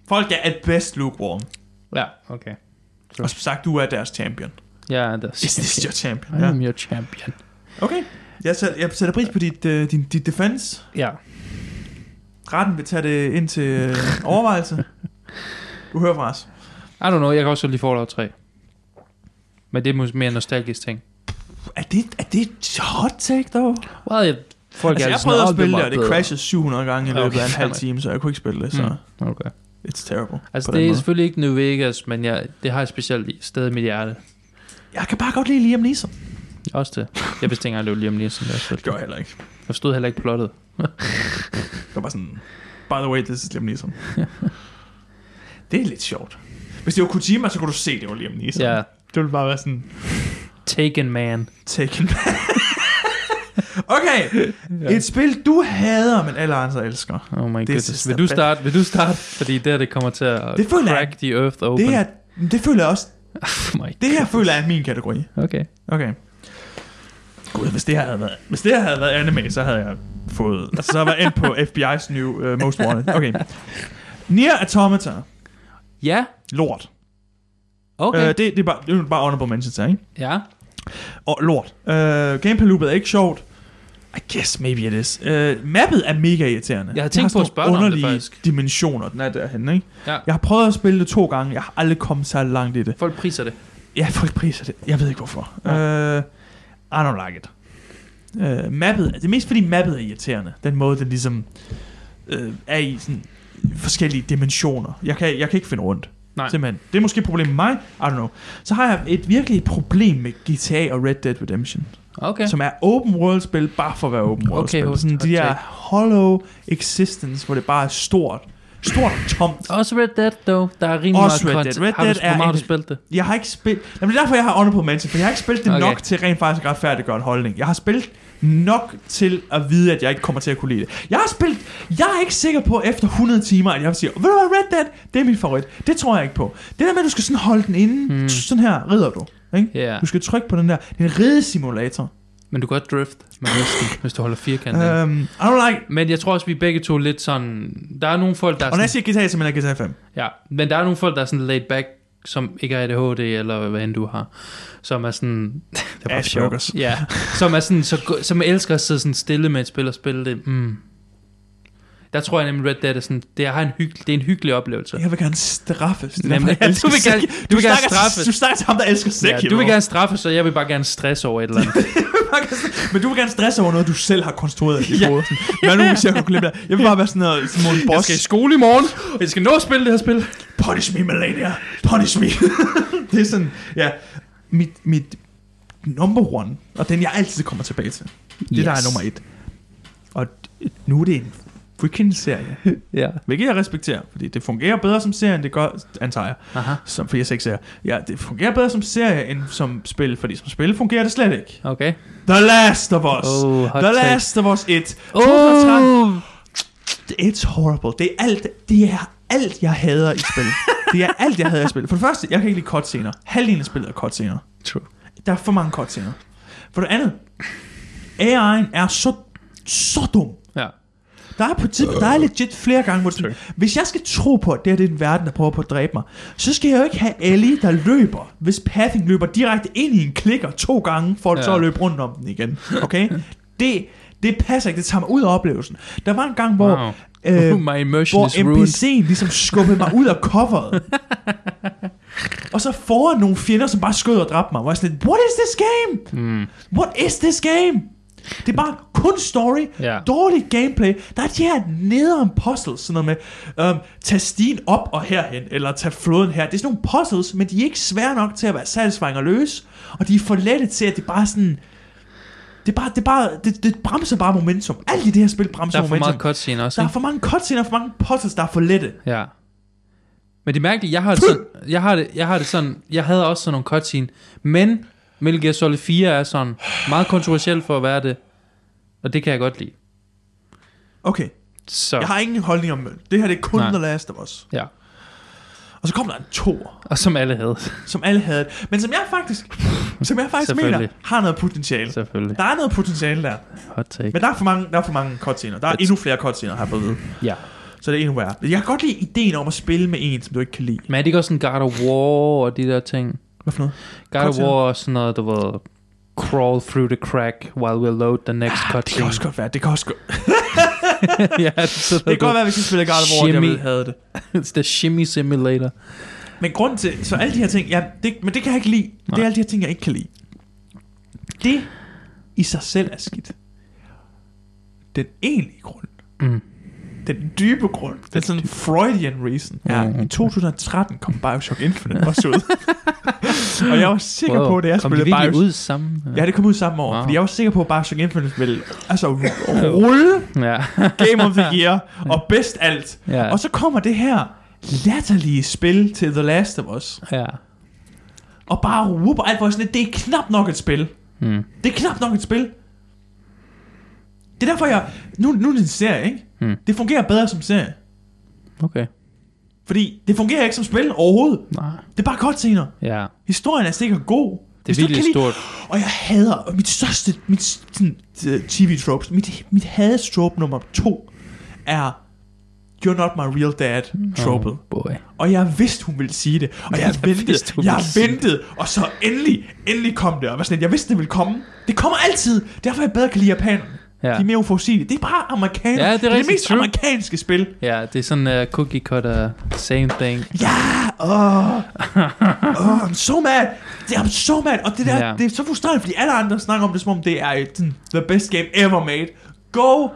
Folk er at best lukewarm.
Ja, okay.
Og som sagt, du er deres champion.
Jeg er der.
Is this your champion?
I
Ja.
am your champion.
Okay. Jeg, sæt, jeg sætter pris på dit, øh, din, dit defense.
Ja,
Retten vil tage det ind til øh, overvejelse. Du hører fra os.
I don't know, jeg kan også godt lide Fallout 3. Men det er måske mere en nostalgisk ting.
Er det, er det et hot take, dog?
Well, jeg, folk
Altså,
er
jeg
altid sådan,
prøvede at
"Åh,
spille det,
meget
og det
bedre."
crashede 700 gange i
Okay,
løbet af en
fair
halv
nok.
time, så jeg kunne ikke spille det, så
Mm. Okay.
it's terrible.
Altså,
på den
det er
måde.
selvfølgelig ikke New Vegas, men jeg, det har jeg specielt i- sted i mit hjerte.
Jeg kan bare godt lide Liam Neeson.
Også det. Jeg vidste ikke engang, at det var Liam Neeson. Der
Det gør jeg heller ikke.
jeg forstod heller ikke plottet.
Det var bare sådan, by the way, this is Liam Neeson. det er lidt sjovt. Hvis det var Kojima, så kunne du se, det var Liam Neeson.
Ja,
Det ville bare være sådan,
Taken Man.
taken Okay, et spil, du hader, men alle andre elsker.
Oh my
is
goodness.
the
Vil du
best.
starte? Vil du starte? Fordi der det kommer til at
Det føler jeg.
crack the earth open.
Det her, det føler jeg også,
Oh my
det her
goodness.
føler jeg er min kategori.
Okay.
Okay. Gud, hvis det her havde været, hvis det her havde været anime, så havde jeg fået... Altså, så havde jeg endt på FBI's new uh, Most Wanted. Okay. Nier Automata.
Ja,
Lort. Okay.
okay.
Uh, det, det, er bare, det er bare honorable mentions her, ikke?
ja.
Og lort. Uh, gameplay loopet er ikke sjovt. I guess maybe it is. Uh, mappet er mega irriterende.
Jeg har
Det
tænkt
sådan
på at spørge
nogle
dig om det,
underlige
faktisk.
dimensioner, den er derhenne, ikke?
Ja.
Jeg har prøvet at spille det to gange. Jeg har aldrig kommet så langt i det.
Folk priser det.
Ja, folk priser det. Jeg ved ikke hvorfor. Uh, I don't like it. Uh, mappet, det er mest fordi mappet er irriterende. Den måde, den ligesom uh, er i sådan forskellige dimensioner. Jeg kan, jeg kan ikke finde rundt.
Nej.
Simpelthen. Det er måske et problem med mig. I don't know. Så har jeg et virkelig et problem med GTA og Red Dead Redemption.
Okay.
Som er open world spil, bare for at være open world spil.
hot-
sådan
hot
de der
take.
hollow existence, hvor det bare er stort. Stort og tomt.
Også Red Dead, dog. Der er rimelig
Også
meget
Red
content.
Dead. Red
har du,
Dead er
hvor meget har
en-
du spillet det?
Jeg har ikke spillet... Jamen, det er derfor, jeg har honorable mention, for jeg har ikke spillet det
Okay.
okay. nok til rent faktisk at retfærdiggøre en holdning. Jeg har spillet nok til at vide, at jeg ikke kommer til at kunne lide det. Jeg har spillet... Jeg er ikke sikker på efter 100 timer, at jeg vil sige, ved du hvad, Red Dead, det er min favorit. Det tror jeg ikke på. Det der med, at du skal sådan holde den inde,
Mm.
mm. sådan her rider du. Ikke?
Ja.
Du skal trykke på den der. Det er en ridesimulator.
Men du kan godt drift med hesten, hvis du holder firkanten.
Ja, um, I don't like...
Men jeg tror også, vi begge to er lidt sådan... Der er nogle folk, der er
Og når
sådan,
jeg siger GTA, så mener jeg GTA 5.
Ja, men der er nogle folk, der er sådan laid back, som ikke har ADHD, eller hvad end du har, som er sådan... det er bare
Asperger's.
sjovt. Ja, som er sådan, så, go- som elsker at sidde sådan stille med et spil og spille det. Mm. Der tror jeg nemlig, Red Dead er sådan, det, har en hyggelig, det er en hyggelig oplevelse.
Jeg vil gerne straffes. Det er
Nemlig.
derfor,
Ja,
jeg
du
elsker
vil gerne-
Sekiro.
du vil gerne
snakker-
straffes.
Du snakker til ham, der elsker Sekiro.
ja, du vil gerne straffe, så jeg vil bare gerne stresse over et eller andet.
Men du vil gerne stresse over noget, du selv har konstrueret i
Ja.
ja. hovedet. Sådan, Hvad nu, hvis jeg kunne glemme det? her? Jeg vil bare være sådan noget Simon
Jeg
Boss.
skal i skole i morgen, og jeg skal nå at spille det her spil.
Punish me, Melania. Punish me. det er sådan, ja. Mit, mit number one, og den jeg altid kommer tilbage til. Det yes. der er
Yes.
nummer et. Og d- nu er det en freaking serie.
Ja.
Hvilket jeg respekterer, fordi det fungerer bedre som serie, end det gør, antager jeg.
Aha,
Som, fordi jeg ser ikke serier. Ja, det fungerer bedre som serie, end som spil, fordi som spil fungerer det slet ikke.
okay.
The Last of Us.
Oh, hot
The
take.
Last of Us 1. 2013.
Oh,
It's horrible. Det er alt, det er alt jeg hader i spil. det er alt, jeg hader i spil. For det første, jeg kan ikke lide cutscener. Halvdelen af spillet er cutscener.
True.
Der er for mange cutscener. For det andet, AI'en er så, så dum.
Ja.
Der er, på tid, der er legit flere gange, hvor det er sådan, hvis jeg skal tro på, at det her det er en verden, der prøver på at dræbe mig, så skal jeg jo ikke have Ellie, der løber, hvis Pathing løber direkte ind i en klikker to gange, for
Ja.
ja. så at løbe rundt om den igen. Okay? det, det passer ikke, det tager mig ud af oplevelsen. Der var en gang, hvor...
Wow.
øh,
My immersion
hvor
is ruined.
NPC'en ligesom skubbede mig ud af coveret. Og så foran nogle fjender, som bare skød og dræbte mig. Hvor jeg sådan lidt, what is this
Hmm.
game? Mm. What is this game? Det er bare kun story,
Ja.
dårligt gameplay. Der er de her nederen puzzles, sådan noget med, øhm, tag stien op og herhen, eller tag floden her. Det er sådan nogle puzzles, men de er ikke svære nok til at være satisfying og løse, og de er for lette til, at det bare er sådan... Det, er bare, det, er bare, det, det bremser bare momentum. Alt i det her spil bremser
Der er for
momentum.
meget cutscene også,
der er
ikke?
for mange cutscener, for mange puzzles, der er for lette.
Ja. Men det er mærkeligt, jeg har det sådan, jeg har det, jeg har det sådan, jeg havde også sådan nogle cutscene, men Metal Gear Solid 4 er sådan meget kontroversiel for at være det, og det kan jeg godt lide.
Okay,
Så,
jeg har ingen holdning om det. Det her det er kun
Nej.
The Last of Us.
ja,
Og så kom der en toer,
og som alle havde,
som alle havde, men som jeg faktisk, som jeg faktisk mener,
Selvfølgelig.
har noget potentiale.
selvfølgelig.
Der er noget potentiale der.
Hot take.
Men der er for mange, der er for mange cutscener. Der er
Et-
endnu flere cutscener her på ved.
Ja.
Så det er endnu værre. Jeg kan godt lide ideen om at spille med en, som du ikke kan lide.
Men er det ikke også sådan God of War og de der ting?
Hvad for noget?
God of
Cutscene.
War og sådan noget, der var crawl through the crack while we load the next
Ah, Det kan
cutscene.
også godt være. Det kan også godt,
ja, det,
det kan godt være, hvis vi spiller God of War, at jeg
Shimmy.
ville have det.
It's the shimmy simulator.
Men grund til, så alle de her ting, ja, det, men det kan jeg ikke lide. Nej. Det
Nej.
er alle de her ting, jeg ikke kan lide. Det i sig selv er skidt. Den egentlige grund,
Mm.
den dybe grund, den sådan Freudian reason, er,
Mm.
i 2013 kom Bioshock Infinite også ud. og jeg var sikker wow. på, da jeg
Kom de
spillede
virkelig
Bioshock,
ud sammen?
Ja, det kom ud samme år,
Wow.
wow. fordi jeg var sikker på, at Bioshock Infinite ville altså, rulle
Ja.
Game of the Year og bedst alt.
Ja.
Og så kommer det her latterlige spil til The Last of Us,
ja.
og bare whoop, alt for sådan lidt, det er knap nok et spil.
Mm.
Det er knap nok et spil. Det er derfor, jeg... Nu, nu er det en serie, ikke?
Hmm.
Det fungerer bedre som serie.
Okay.
Fordi det fungerer ikke som spil overhovedet.
Nej.
Det er bare godt senere.
Ja.
Historien er sikkert god.
Det
Hvis
er
du ikke
virkelig
kan lide-
stort.
Og jeg hader, og mit største, mit sådan, tv tropes, mit, mit hadestrop nummer to er, you're not my real dad
Hmm.
tropet. Mm.
Boy.
Og jeg vidste, hun ville sige det. Og jeg,
Jeg
ventede,
vidste, hun
jeg
ville sige det.
ventede, og så endelig, endelig kom det. Og jeg var sådan, lidt, jeg vidste, det ville komme. Det kommer altid. Derfor jeg bedre kan lide japanerne.
Ja.
Ja. De er mere uforudsigelige. Det er bare amerikanere.
Ja, det er
det, er det
rigtigt,
mest
true.
amerikanske spil.
Ja, det er sådan uh, cookie cutter, same thing.
Ja, åh, åh, I'm so mad, det er I'm so mad, og det der,
Ja.
yeah. det er så frustrerende, fordi alle andre snakker om det, som om det er et, sådan, the best game ever made. Go!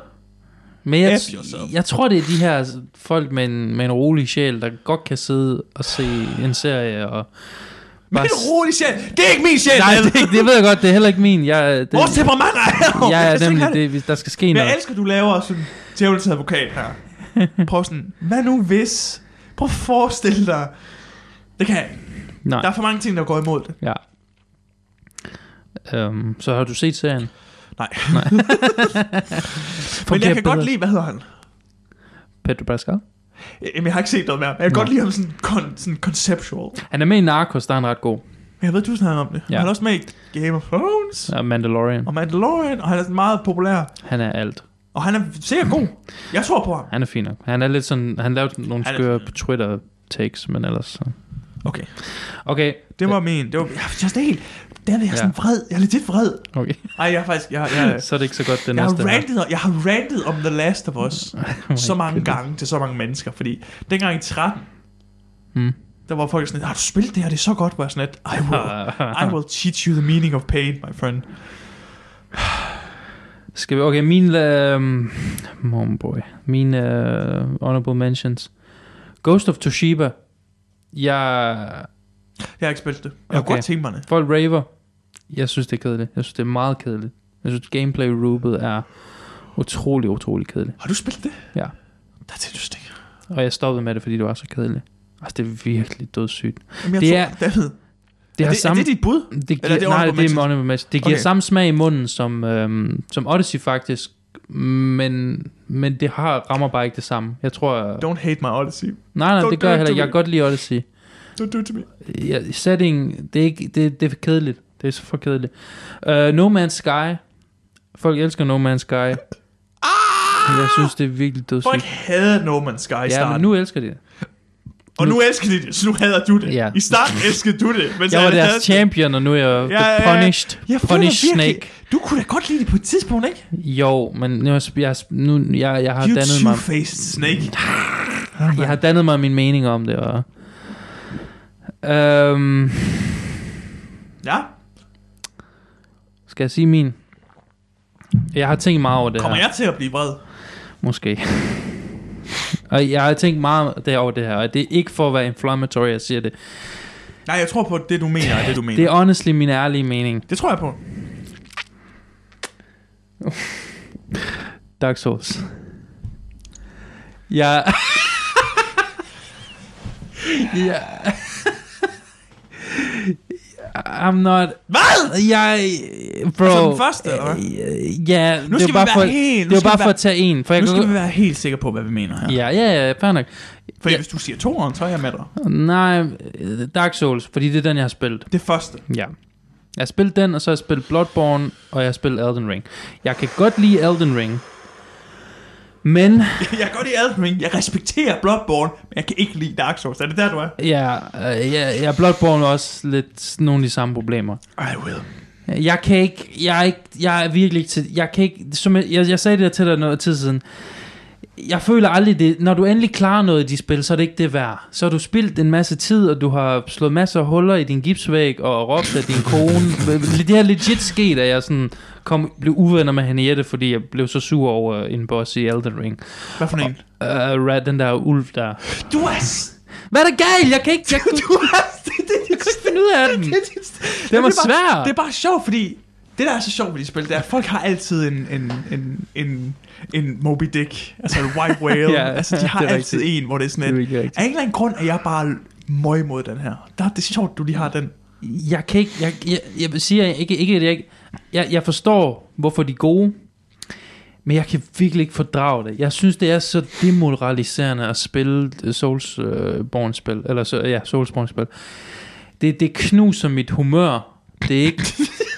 Men jeg,
F yourself.
jeg tror, det er de her folk med en, med en rolig sjæl, der godt kan sidde og se en serie. Og
Min
bare s-
rolig sjæl, det er ikke min sjæl,
Nej,
David.
det, det ved jeg godt, det er heller ikke min. Jeg, det,
Vores temperament er
jeg
Jeg
er
skal ikke
nemlig
have det.
det, der skal ske
Men
noget.
jeg elsker, du laver sådan djævelens advokat her. Prøv sådan, hvad nu hvis? Prøv at forestille dig. Det kan jeg ikke.
Nej.
Der er for mange ting, der går imod det.
Ja. Øhm, så har du set serien?
Nej.
Nej.
Men jeg kan
bedre.
godt lide, hvad hedder han?
Pedro Pascal.
Jamen, jeg har ikke set noget mere. Men jeg kan
Nå.
godt lide ham sådan, kon- sådan conceptual.
Han er med i Narcos, der er han ret god.
Men jeg ved, du snakker om det.
Ja.
Ja. Han er også med i Game of Thrones, ja.
Og Mandalorian.
og Mandalorian, og han er sådan meget populær.
Han er alt.
Og han er sikkert god. Jeg tror på ham.
Han er fin nok. Han er lidt sådan... Han lavede nogle
Han er-
skøre på Twitter takes, men ellers... Så.
Okay.
Okay.
Det var min. Det var, jeg er sådan helt... Der er jeg
Ja.
sådan vred. Jeg er lidt vred.
Okay.
Ej, jeg er faktisk... Jeg, jeg,
så er det ikke så godt, det
jeg, har
næste her. Oh
rantet, jeg har rantet om The Last of Us så mange gange til så mange mennesker, fordi dengang i 13,
Mm.
der var folk sådan, lidt, har du spillet det her, det er så godt, var jeg sådan, lidt, I will, I will teach you the meaning of pain, my friend.
Skal vi... Okay, min... øhm, Mom boy. Mine øh, honorable mentions. Ghost of Toshiba. Jeg...
Jeg har ikke spillet det. Jeg har
Okay.
okay. godt tænkt mig det.
Folk raver. Jeg synes, det er kedeligt. Jeg synes, det er meget kedeligt. Jeg synes, gameplay loopet er utrolig, utrolig kedeligt.
Har du spillet det?
Ja.
That's interesting.
Og jeg stoppede med det, fordi det var så kedeligt. Altså, det er virkelig dødssygt.
Jamen, jeg
Det
det tror,
er-
er, David,
Det
er
har
det,
samme...
er det dit bud?
det, giver,
eller er det
nej,
honorable
det er
mention?
honorable mention. Det giver
Okay.
samme smag i munden som, øhm, som Odyssey faktisk, men, men det har, rammer bare ikke det samme. Jeg tror... Jeg,
Don't hate my Odyssey.
nej, nej,
don't
det gør
do
jeg heller
it to
ikke. Jeg kan
me.
godt lide Odyssey.
Don't do it to me.
Ja, setting, det er, ikke, det, det er for kedeligt. Det er så for kedeligt. Uh, no Man's Sky. Folk elsker No Man's Sky. Ah!
Ah!
Jeg synes, det er virkelig
Folk
dødssygt.
havde No Man's Sky i
Ja,
starten.
men nu elsker de det.
og nu elsker de det, så nu hader du det.
Ja.
I starten elskede du det, men så
Jeg var
havde
deres
det.
champion, og nu er jeg
Ja,
the
ja, ja.
punished,
Jeg føler
punished
virkelig-
snake.
Du kunne da godt lide det på et tidspunkt, ikke?
Jo, men nu, er jeg, jeg, nu, jeg, jeg, har
you
dannet mig,
two-faced snake.
jeg har dannet mig min mening om det. Og, Øhm, Mm.
Ja,
skal jeg sige min? Jeg har tænkt meget over det
kommer
her.
jeg til at blive vred?
Måske. og jeg har tænkt meget der over det her, og det er ikke for at være inflammatory, jeg siger det.
Nej, jeg tror på det, du mener, er det, du mener.
Det er honestly min ærlige mening.
Det tror jeg på.
Dark Souls. Jeg... jeg... I'm not...
Hvad?
Jeg... Bro...
Altså den første, eller hvad?
øh, Ja,
Nu
det
skal
var bare
vi være
for...
helt-
det
nu
var
skal
bare
vi
for
være-
at tage en, for jeg
Nu skal
kan...
vi være helt sikre på, hvad vi mener her.
Ja, ja, ja, fair nok.
For
Ja.
hvis du siger toeren, så er jeg med dig.
Nej, øh, Dark Souls, fordi det er den, jeg har spillet.
Det første.
Ja. Jeg har spillet den, og så har jeg spillet Bloodborne, og jeg har spillet Elden Ring. Jeg kan godt lide Elden Ring, men
Jeg går i Elden Ring. Jeg respekterer Bloodborne, men jeg kan ikke lide Dark Souls. Er det der, du er?
ja, øh, ja, ja, Bloodborne er også lidt nogle af de samme problemer.
I will.
Jeg kan ikke, jeg er, ikke, jeg er virkelig ikke til, jeg kan ikke, som jeg, jeg, jeg sagde det her til dig noget tid siden, jeg føler aldrig det, når du endelig klarer noget i de spil, så er det ikke det værd. Så har du spildt en masse tid, og du har slået masser af huller i din gipsvæg, og råbt af din kone. Det her legit sket, at jeg sådan kom, blev uvenner med Henriette, fordi jeg blev så sur over en boss i Elden Ring.
Hvad for en?
Uh, rat, den der ulv der.
Du er... s-
Hvad er der galt? Jeg kan ikke, jeg, kunne,
Du er... Det, det, det,
jeg kunne ikke finde ud af den.
det, det, det,
Den var
det er bare-
svær.
Det er bare sjovt, fordi... Det, der er så sjovt ved de spil, det er, at folk har altid en, en, en, en, en Moby Dick, altså en white whale.
Ja,
ja, altså, de har
det er
altid
rigtigt.
en, hvor det er sådan
Det er
et...
virkelig rigtigt.
Er en eller anden grund, at jeg bare møg mod den her? Der, det er sjovt, du lige har den.
jeg kan ikke, jeg, jeg, jeg vil sige, jeg, ikke, ikke, at jeg, ikke- jeg, jeg forstår, hvorfor de er gode, men jeg kan virkelig ikke fordrage det. Jeg synes, det er så demoraliserende at spille øh, Soulsborne-spil, eller så, ja, Soulsborne-spil. Det, det knuser mit humør. Det er ikke...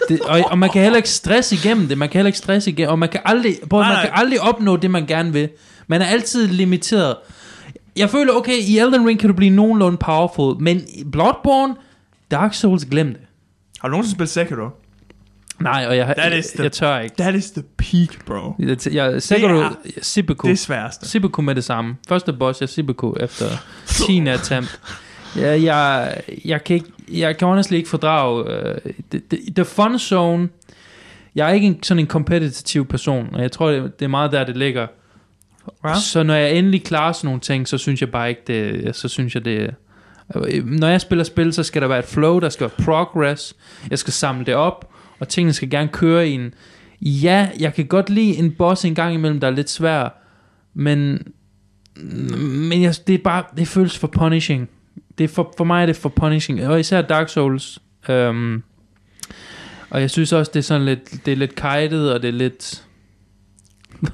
Det, og, og, man kan heller ikke stresse igennem det. Man kan heller ikke stresse igennem, og man kan aldrig, prøv,
Nej,
man
nej.
kan aldrig opnå det, man gerne vil. Man er altid limiteret. Jeg føler, okay, i Elden Ring kan du blive nogenlunde powerful, men i Bloodborne, Dark Souls, glem det.
Har du nogensinde spillet Sekiro?
Nej, og jeg,
That
jeg,
is the-
jeg tør ikke.
That is the peak, bro.
Jeg, jeg sikker
Det
du,
er-
Sibiku.
Det er sværeste.
Sibiku med det samme. Første boss, jeg Sibiku efter 10. attempt. Jeg, jeg, jeg, kan ikke, jeg kan honestly ikke fordrage... Uh, the, the, the fun zone... Jeg er ikke en, sådan en kompetitiv person, og jeg tror, det, det er meget der, det ligger.
Ja.
Så når jeg endelig klarer sådan nogle ting, så synes jeg bare ikke, det, så synes jeg det øh, når jeg spiller spil, så skal der være et flow, der skal være progress, jeg skal samle det op, og tingene skal gerne køre i en, ja, jeg kan godt lide en boss en gang imellem, der er lidt svær, men, men jeg, det er bare, det føles for punishing. Det er for, for mig er det for punishing, og især Dark Souls, øhm, og jeg synes også, det er sådan lidt, det er lidt kited, og det er lidt,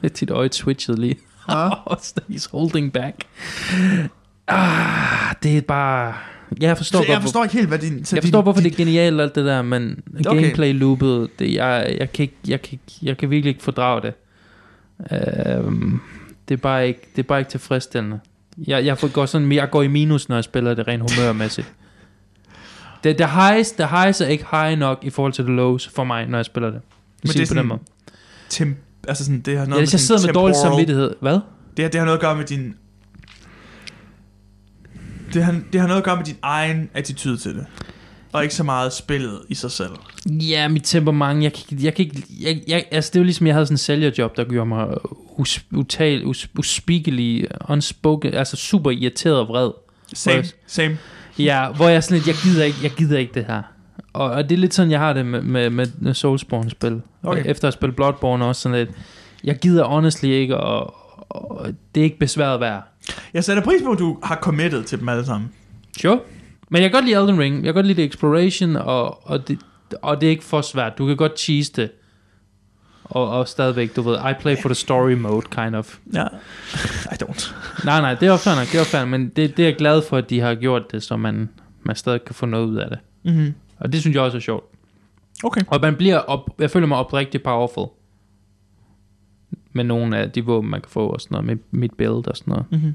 dit øje twitchede lige. He's holding back. Ah, det er bare... Ja, jeg forstår,
Så jeg
hvorfor,
forstår ikke helt, hvad din... så
jeg forstår
din,
hvorfor det er genialt alt det der, men
Okay.
gameplay loopet, det, jeg, jeg, kan ikke, jeg, kan ikke, jeg kan virkelig ikke fordrage det. Øhm, det, er bare ikke, det er bare ikke tilfredsstillende. Jeg, jeg, får, går sådan, jeg går i minus, når jeg spiller det rent humørmæssigt. Det, det, highs, det highs er ikke high nok i forhold til det lows for mig, når jeg spiller det.
Men
Men det er
det er
på den
sådan-
måde.
Tem, altså sådan, det har
Ja,
noget
hvis jeg
sådan
sidder med dårlig
temporal-
samvittighed. Hvad?
Det, har- det har noget at gøre med din... Det har, det har noget at gøre med din egen attitude til det. Og ikke så meget spillet i sig selv.
Ja, mit temperament, jeg kan, ikke- jeg kan ikke, jeg, jeg, altså det var ligesom, jeg havde sådan en sælgerjob, der gjorde mig us, utal, us, uspigelig, unspoken, altså super irriteret og vred.
Same,
Yes.
same.
Ja, hvor jeg sådan lidt, jeg gider ikke, jeg gider ikke det her. Og, og det er lidt sådan, jeg har det med, med, med, med Soulsborne-spil.
Okay.
Okay. Efter at spille Bloodborne også sådan lidt, jeg gider honestly ikke, og, og det er ikke besværet værd.
Jeg sætter pris på, at du har committed til dem alle sammen.
Sure. Men jeg kan godt lide Elden Ring. Jeg kan godt lide det exploration, og, og, det, og det er ikke for svært. Du kan godt cheese det. Og, og stadigvæk, du ved, I play for the story mode, kind of.
Ja. I don't.
Nej, nej, det er jo fair nok, det er jo fair nok, men det, det er jeg glad for, at de har gjort det, så man, man stadig kan få noget ud af det.
Mm-hmm.
Og det synes jeg også er sjovt.
Okay.
Og man bliver, op, jeg føler mig oprigtigt powerful. Med nogle af de våben, man kan få og sådan noget, med mit build og sådan noget.
Mm-hmm.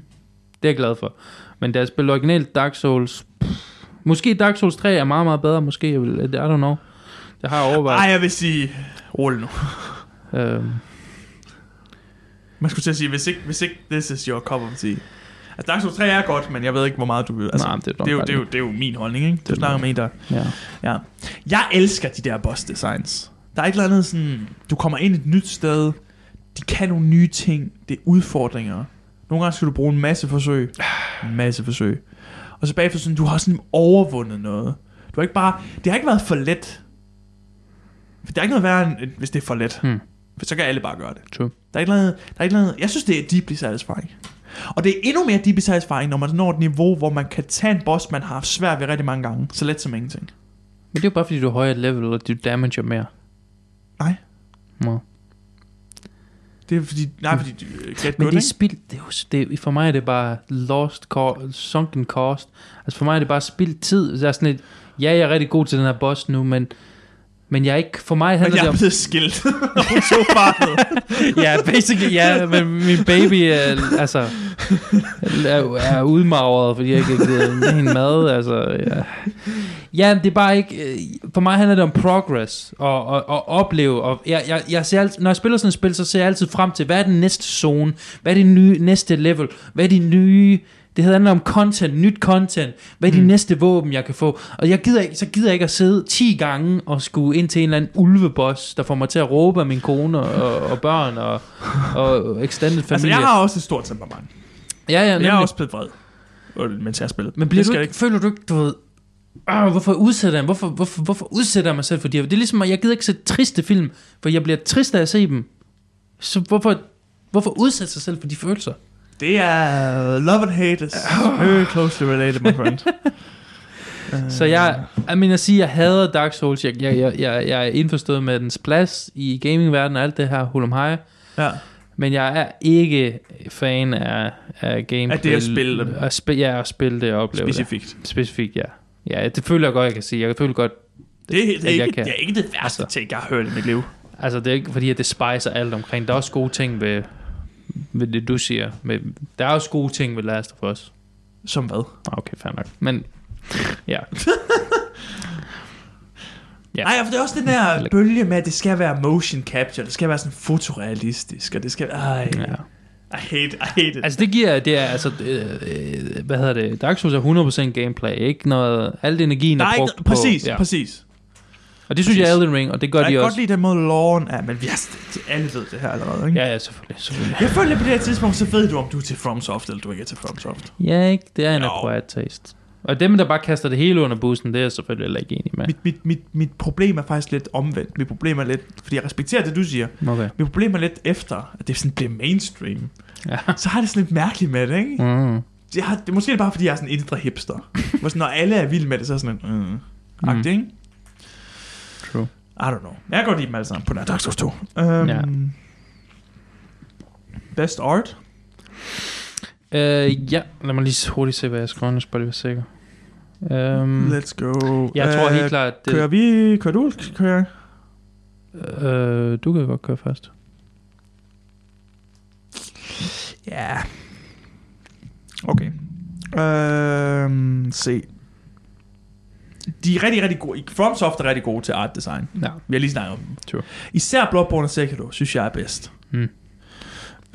Det er jeg glad for. Men da jeg spillede originalt Dark Souls... Pff, måske Dark Souls 3 er meget, meget bedre. Måske, jeg vil, I don't know. Det har jeg
Ej,
overvejet.
jeg vil sige... Rul nu.
Øhm,
Man skulle til at sige, hvis ikke, hvis ikke this is your cup of tea. Altså, Dark Souls 3 er godt, men jeg ved ikke, hvor meget du... Altså,
Nej, men det er nok
det, er jo,
bare
det, er jo,
det.
det er jo min holdning, ikke? Du
er
snakker
nok-
med en, der...
Ja.
Ja. Jeg elsker de der boss designs. Der er et eller andet sådan... Du kommer ind et nyt sted, de kan nogle nye ting, det er udfordringer. Nogle gange skal du bruge en masse forsøg. En masse forsøg. Og så bagefter sådan, du har sådan overvundet noget. Du har ikke bare... Det har ikke været for let. For det er ikke noget værre, end hvis det er for let.
Hmm.
For så kan alle bare gøre det.
True.
Der er ikke noget, der er ikke noget, jeg synes, det er deeply satisfying. Og det er endnu mere deeply satisfying, når man når et niveau, hvor man kan tage en boss, man har haft svært ved rigtig mange gange. Så let som ingenting.
Men det er jo bare fordi, du er højere level, og du damager mere.
Nej.
Nå.
Det er fordi, nej, fordi øh, get
Men det
good,
er
ikke?
spild, det er jo, s- det, er- for mig er det bare lost co- sunken cost. Altså for mig er det bare spild tid. Jeg er sådan et, ja, jeg er rigtig god til den her boss nu, men, men jeg er ikke, for mig
Men
handler
jeg
det
er
om,
blevet skilt. Og hun tog barnet.
ja, basically, ja, men min baby er, altså, er, er udmagret, fordi jeg ikke har givet hende mad, altså, ja. ja. det er bare ikke, øh, for mig handler det om progress, og, og, og opleve, og jeg, jeg, jeg ser altid, når jeg spiller sådan et spil, så ser jeg altid frem til, hvad er den næste zone, hvad er det nye, næste level, hvad er de nye, det handler om content, nyt content, hvad er de
Mm.
mm. næste våben, jeg kan få, og jeg gider ikke, så gider jeg ikke at sidde 10 gange og skulle ind til en eller anden ulveboss, der får mig til at råbe af min kone og, og børn og, og extended familie.
altså, jeg har også et stort temperament.
ja, ja,
Jeg er
nemlig.
også blevet vred. Øh, Mens jeg har spillet.
Men bliver
Det
du
skal
ikke,
jeg
ikke, føler du ikke, du ved, "Åh, hvorfor udsætter jeg, hvorfor, hvorfor, hvorfor udsætter jeg mig selv for de her? Det er ligesom, at jeg gider ikke se triste film, for jeg bliver trist af at se dem. Så hvorfor, hvorfor udsætte sig selv for de følelser?
Det er love and hate is very closely related, my friend. Øh,
Så jeg, jeg mener at sige, jeg hader Dark Souls. Jeg, jeg, jeg, jeg, jeg er indforstået med dens plads i gamingverdenen og alt det her hulum hej.
Ja.
Men jeg er ikke fan af, af gameplay.
Af det at spille dem.
At spille, ja, at spille det og opleve
Specifikt.
det. Specifikt, ja. Ja, det føler jeg godt, jeg kan sige. Jeg føler godt,
Det, det, er
at jeg
ikke,
kan.
det er ikke det værste
Altså.
ting, jeg har hørt i mit liv.
Altså, det er ikke fordi, at det spejser alt omkring. Der er også gode ting ved, ved det, du siger. Med, der er også gode ting ved Last of Us.
Som hvad?
Nå, Okay, fair nok. Men ja, Ja.
Nej, for det er også den der
Eller-
bølge med, at det skal være motion capture, det skal være sådan fotorealistisk, og det skal Ej,
ja.
I hate, I hate it. Altså,
Altså, det giver, det er, altså, øh, øh, hvad hedder det? Dark Souls er 100% gameplay, ikke noget, alt energien
der
er
er
brugt
ikke, præcis,
på, ja.
præcis.
Og det synes jeg er
præcis.
Elden Ring, og det gør
Jeg
de
kan godt
også.
lide den måde, loven er, men vi har st- alle ved det her allerede, ikke?
Ja, ja, selvfølgelig, selvfølgelig.
Jeg føler på det her tidspunkt, så ved du, om du er til FromSoft, eller du ikke er til FromSoft.
Ja, ikke? Det er en
Jo.
acquired taste. Og dem, der bare kaster det hele under bussen, det er jeg selvfølgelig heller ikke enig med.
Mit, mit, mit, mit problem er faktisk lidt omvendt. Mit problem er lidt, fordi jeg respekterer det, du siger.
Okay.
Mit problem er lidt efter, at det sådan bliver mainstream.
Ja.
Så har jeg det sådan lidt mærkeligt med det, ikke?
Mm.
jeg har, det er måske bare, fordi jeg er sådan en indre hipster. Hvor sådan, når alle er vilde med det, så er sådan en... Mm, mm. ikke?
True.
I don't know. Jeg kan godt lide dem alle sammen på nær Dark Souls 2. Um,
Ja.
Best art?
Øh, ja, lad mig lige hurtigt se, hvad jeg skriver, nu skal jeg bare lige være sikker. Øhm,
Let's go.
jeg tror helt klart, at
Øh, Kører
det,
vi... Kører du? eller Kører jeg?
øh, du kan godt køre først.
Ja. Yeah. Okay. Øhm, se. De er rigtig, rigtig gode. FromSoft er rigtig gode til art design.
Ja.
Vi har lige snakket om dem.
Sure.
Især Bloodborne og Sekiro, synes jeg er bedst.
Mm.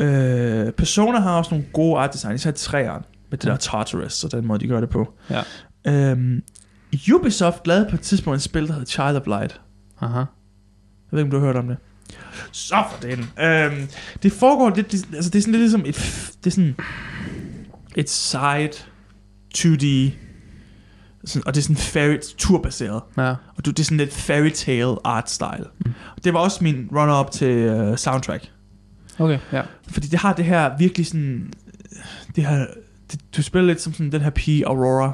Øh, Persona har også nogle gode art design, især træerne, med det
Ja.
der Tartarus, og den måde, de gør det på.
Ja.
Øhm, Ubisoft lavede på et tidspunkt et spil, der hed Child of Light.
Aha.
Jeg ved ikke, om du har hørt om det. Så for den. Øhm, det foregår lidt, det, altså det er sådan lidt ligesom et, f- det er sådan et side 2D, sådan, og det er sådan fairy, turbaseret.
Ja.
Og du, det er sådan lidt fairy tale art style. Mm. Det var også min runner-up til uh, soundtrack.
Okay, ja.
Fordi det har det her virkelig sådan... Det her, det, du spiller lidt som sådan den her pige Aurora.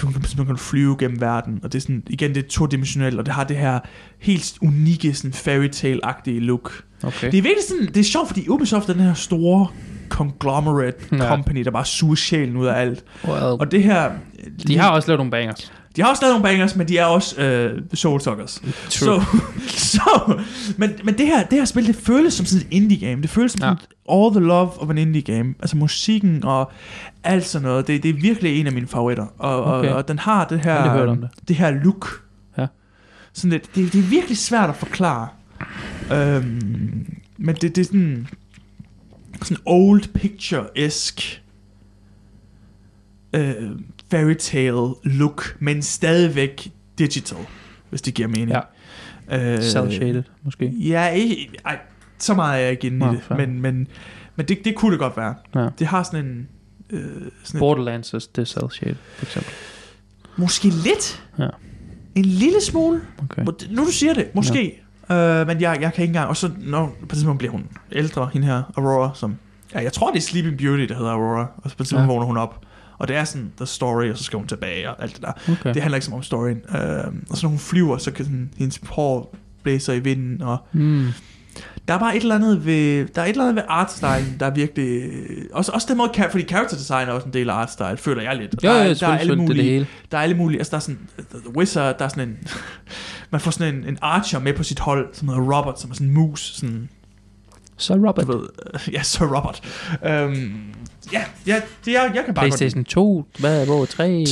Du kan simpelthen kan flyve gennem verden, og det er sådan, igen, det er todimensionelt, og det har det her helt unikke, sådan fairy tale-agtige look.
Okay.
Det er virkelig sådan, det er sjovt, fordi Ubisoft er den her store conglomerate
Ja.
company, der bare suger sjælen ud af alt.
Well,
Og det her...
de har også lavet nogle bangers.
de har også lavet nogle bangers, men de er også øh, soulsuckers.
True.
Så, så men, men det her, det her spil, det føles som sådan et indie-game. Det føles som
Ja.
ja. all the love of an indie-game. Altså musikken og alt sådan noget. Det, det er virkelig en af mine favoritter. Og, okay.
Okay.
og, og den har det
Jeg har aldrig
her,
hørt om det.
det her look.
Ja.
Sådan lidt, det, det er virkelig svært at forklare. Øhm, men det, det er sådan, sådan old picture-esk øh, fairy tale look, men stadigvæk digital, hvis det giver mening.
Ja.
Øh,
Cell-shaded, måske.
Ja, ikke, ej, så meget er jeg ikke inde
Nå,
i det,
fair.
men, men, men det, det kunne det godt være.
Ja.
Det har sådan en... Øh, sådan en
Borderlands, det er cell-shaded, for eksempel.
måske lidt.
Ja.
En lille smule.
Okay.
Må- Nu du siger det, måske. Ja. Øh, men jeg, jeg kan ikke engang... Og så når, på et tidspunkt bliver hun ældre, hende her, Aurora, som... Ja, jeg tror, det er Sleeping Beauty, der hedder Aurora. Og så på et tidspunkt
Ja.
ja. vågner hun op. Og det er sådan, the story, og så skal hun tilbage og alt det der.
okay.
Det handler ikke så meget om storyen. Øh, og så når hun flyver, så kan sådan, hendes hår blæser i vinden, og
Mm.
Der er bare et eller andet ved, der er et eller andet ved artstyle, der er virkelig... øh, Også, også den måde, ka- fordi character design er også en del af artstyle, føler jeg lidt.
Jo,
der,
jo,
er-
jeg
der er alle
det, er det
mulige,
hele.
der er alle mulige, altså der er sådan, The Wizard, der er sådan en, man får sådan en, en archer med på sit hold, som hedder Robert, som er sådan en mus, sådan,
Så Robert.
du ved, øh, ja, så Robert. Øhm, ja, ja, det jeg, jeg kan bare godt lide.
PlayStation 2, hvad er hvor 3?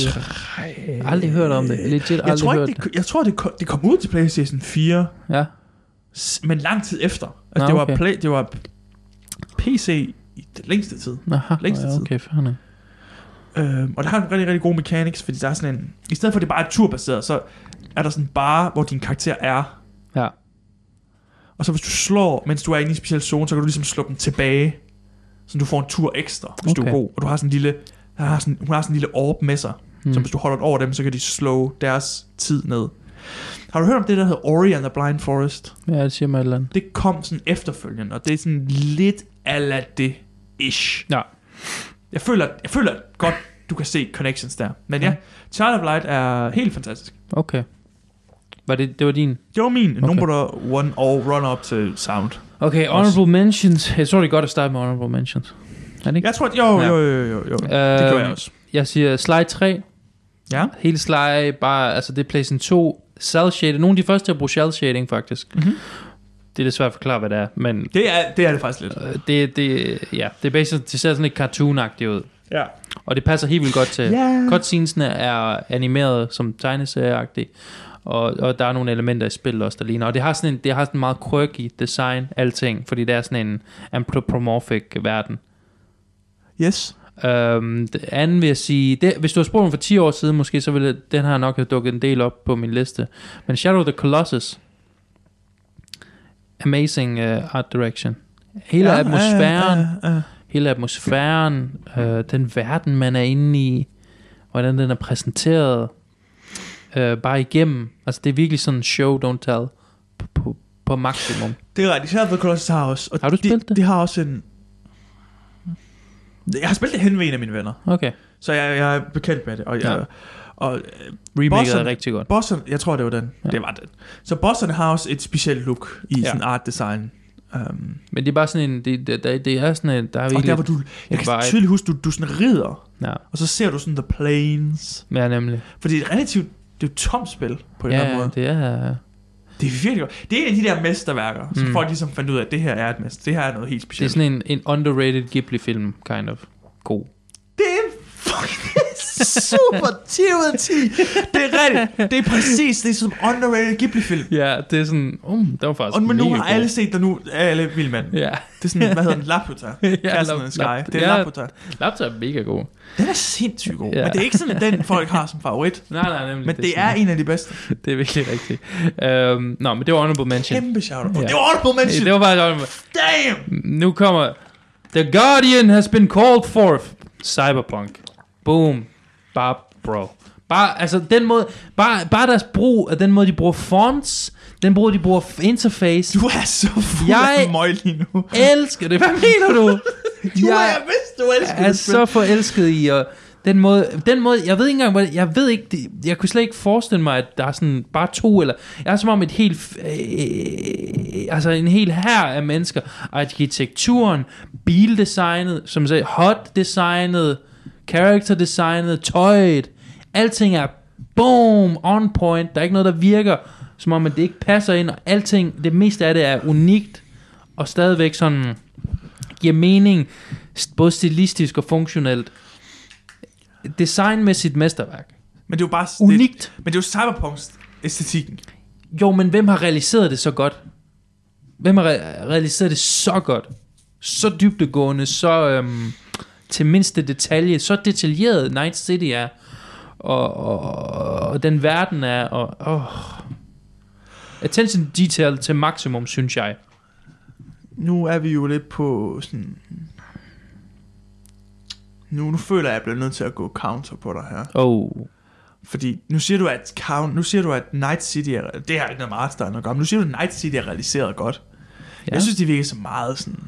Aldrig hørt om det. Legit aldrig
Jeg tror,
hørt
ikke, det, jeg tror det, kom, det kom ud til Playstation 4,
det. Ja.
s- men lang tid efter. Altså,
Nå,
det, var
okay.
play, det var PC i det længste tid.
Aha,
Længste
ja,
tid.
okay, fair nok.
Øhm, og der har en rigtig, rigtig god mechanics, fordi der er sådan en... I stedet for, at det bare er turbaseret, så er der sådan en bare, hvor din karakter er.
Ja.
Og så hvis du slår, mens du er inde i en speciel zone, så kan du ligesom slå dem tilbage. Så du får en tur ekstra, hvis okay. du er
Okay.
god. Og du har sådan en lille... Der har sådan, hun har sådan en lille orb med sig.
Hmm.
Mm. Så hvis du holder den over dem, så kan de slå deres tid ned. Har du hørt om det, der hedder Ori and the Blind Forest?
Ja, det siger mig et eller andet.
Det kom sådan efterfølgende, og det er sådan lidt ala det ish.
Ja.
Jeg føler, jeg føler godt, du kan se connections der. Men ja,
Ja.
Child of Light er helt fantastisk.
Okay. Var det, det var din?
Det var min okay.
Okay.
nummer one og run-up til Sound.
Okay, honorable mentions. Jeg tror, det er godt at starte med honorable mentions. Er det ikke?
Jeg tror, at... Jo,
Ja. Øhm.
jo, jo, jo, jo.
Ja,
Det gjorde jeg også.
Jeg siger Sly 3.
Ja.
Hele Sly, bare, altså det er PlayStation 2. Cell shading. Nogle af de første, der bruger cell shading, faktisk.
Mhm.
Det er lidt svært at forklare, hvad det er, men
Det er, det er det faktisk lidt.
øh, det, det, ja, det er basically, det ser sådan lidt cartoon ud.
Ja.
Og det passer helt vildt godt til.
Ja.
Cutscenesene er animeret som tegneserieagtigt, og, og der er nogle elementer i spillet også, der ligner. Og det har sådan en, det har sådan en meget quirky design, alting, fordi det er sådan en anthropomorphic verden.
Yes.
Um, det andet vil jeg sige, det, hvis du har spurgt mig for 10 år siden måske, så ville den her nok have dukket en del op på min liste. Men Shadow of the Colossus, amazing uh, art direction. Hele ja, atmosfæren, ja, ja.
Ja, ja, ja.
hele atmosfæren, øh, den verden, man er inde i, hvordan den er præsenteret, øh, bare igennem. Altså, det er virkelig sådan show, don't tell, på, på, på maksimum.
Det er rigtigt. Shadow of the Colossus har også... Og
Har du spillet
de,
det?
De har også en... Jeg har spillet det hen ved en af mine venner,
Okay,
så jeg, jeg er bekendt med det. Og, jeg,
Ja.
og øh,
remaket
Bosserne-
er rigtig godt.
Bosserne, jeg tror det var den.
Ja.
Ja. Det var den. Så bosserne har også et specielt look i
Ja.
ja. sådan art design. Um,
Men det er bare sådan en, det, det, det- det er sådan en, der er
og
virkelig...
der hvor du, jeg kan
vibe.
tydeligt huske, du, du sådan rider,
Ja,
og så ser du sådan the planes.
ja nemlig.
For det er et relativt, det er jo et tomt spil på en eller anden
Ja,
måde.
det er...
Det er virkelig godt. Det er en af de der mesterværker, mm. som
Mm.
folk ligesom fandt ud af, at det her er et mester. Det her er noget helt
Det er
specielt.
sådan en, en underrated Ghibli-film, kind of. God.
Det er fucking super 10 ud af 10. Det er rigtigt. Det er præcis det er som underrated Ghibli-film.
Ja, det er sådan... Um, det var faktisk
Og men nu
mega
har
god.
alle set der nu, alle vild mand.
Ja,
Det er sådan, hvad hedder den? Laputa.
Ja,
Castle in
Lap-
the Sky.
Lap-
det er
ja.
Laputa.
Laptop er mega god.
Den er sindssygt god,
Ja.
men det er ikke sådan den, folk har som favorit.
Nej, nej, nemlig.
Men det
sådan-
er en af de bedste.
Det er virkelig rigtigt. Um, nå, men det var honorable mention.
Kæmpe shout
Ja.
Det var honorable mention.
Det var faktisk honorable.
Damn!
Nu kommer... The Guardian has been called forth. Cyberpunk. Boom. Bare bro. Bare, altså den måde, bare, bare deres brug, af den måde, de bruger fonts, den måde, de bruger f- interface.
Du er så fuld
Jeg-
af møg lige nu.
elsker det. Hvad mener du?
Du er,
jeg
jeg vidste, du elsker
er
det spil.
så forelsket i, og den måde, den måde, jeg ved ikke engang, hvordan, jeg ved ikke, det, jeg kunne slet ikke forestille mig, at der er sådan bare to, eller, jeg er som om et helt, øh, altså en hel her af mennesker, arkitekturen, bildesignet, som sagde, hot designet, character designet, tøjet, alting er boom, on point, der er ikke noget, der virker, som om, at det ikke passer ind, og alting, det meste af det er unikt, og stadigvæk sådan, giver mening, st- både stilistisk og funktionelt. Designmæssigt mesterværk.
Men det er jo bare...
Unikt.
Det, men det er jo cyberpunk-æstetikken.
Jo, men hvem har realiseret det så godt? Hvem har re- realiseret det så godt? Så dybtegående, så øhm, til mindste detalje, så detaljeret Night City er, og, og, og den verden er, og oh. attention to detail til maksimum, synes jeg.
Nu er vi jo lidt på sådan... Nu, nu føler jeg, at jeg bliver nødt til at gå counter på dig her.
Oh.
Fordi nu siger du, at, Count, nu siger du, at Night City er... Det har ikke noget meget større at gøre, men nu siger du, at Night City er realiseret godt. Ja. Jeg synes, det virker så meget sådan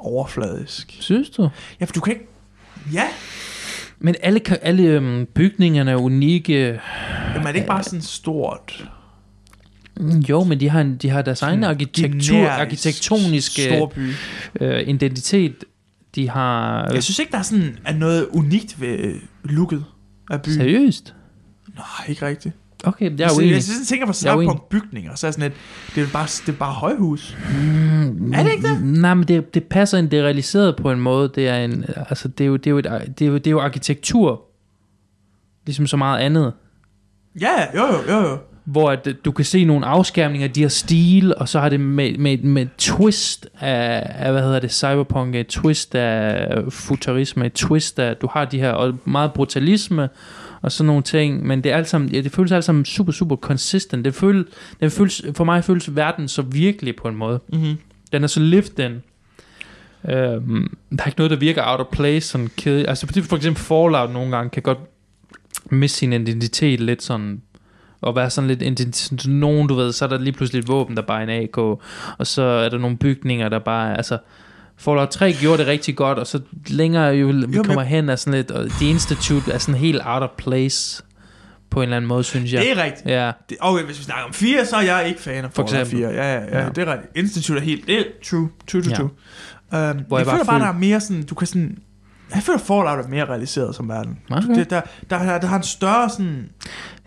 overfladisk.
Synes du?
Ja, for du kan ikke... Ja,
Men alle, ka- alle øhm, bygningerne er unikke.
men er det ikke bare sådan stort,
Mm, Jo, men de har, en, de har deres egen arkitektur,
generisk
arkitektoniske
storby?
øh, identitet. De har... øh,
Jeg synes ikke, der er sådan er noget unikt ved øh, looket af byen.
Seriøst?
Nej, ikke rigtigt.
Okay, jeg
Jeg,
er
jeg,
uenig.
jeg, synes, jeg tænker
Jeg
på
er
snart
uenig.
på bygninger, så er jeg sådan lidt, det er bare, det er bare højhus.
Mm,
Er det ikke det?
Nej, men det, det passer ind. Det er realiseret på en måde. Det er, en, altså, det er, jo, det er, jo, et, det er, jo, det er jo arkitektur, ligesom så meget andet.
Ja, jo, jo, jo, jo.
hvor at, øh, du kan se nogle afskærmninger, de har stil, og så har det med, med, med et twist af, af, hvad hedder det, cyberpunk, et twist af futurisme, et twist af, du har de her, og meget brutalisme, og sådan nogle ting, men det er alt sammen, ja, det føles alt sammen super, super consistent. Det føles, den føles, for mig føles verden så virkelig på en måde.
Mm-hmm.
Den er så lift, den. Øhm, der er ikke noget, der virker out of place, sådan kede. Altså fordi for eksempel Fallout nogle gange kan godt miste sin identitet lidt sådan, og være sådan lidt identitet, sådan nogen, du ved, så er der lige pludselig et våben, der bare er en AK, og så er der nogle bygninger, der bare er, altså, Fallout 3 gjorde det rigtig godt, og så længere jo, vi
men-
kommer hen, er sådan lidt, og The Institute er sådan helt out of place, på en eller anden måde, synes jeg.
Det er rigtigt.
Ja,
Det, okay, hvis vi snakker om fire, så er jeg ikke fan af
For
For Fallout
eksempel.
4. Ja, ja, ja,
Ja.
ja, det er rigtigt. Institute er helt, det er true, true,
Ja.
true, ja. true. Um,
Hvor
jeg,
jeg bare
føler bare,
føl-
der er mere sådan, du kan sådan, jeg føler Fallout er mere realiseret som verden.
okay.
Det, der, der, der, der har en større sådan,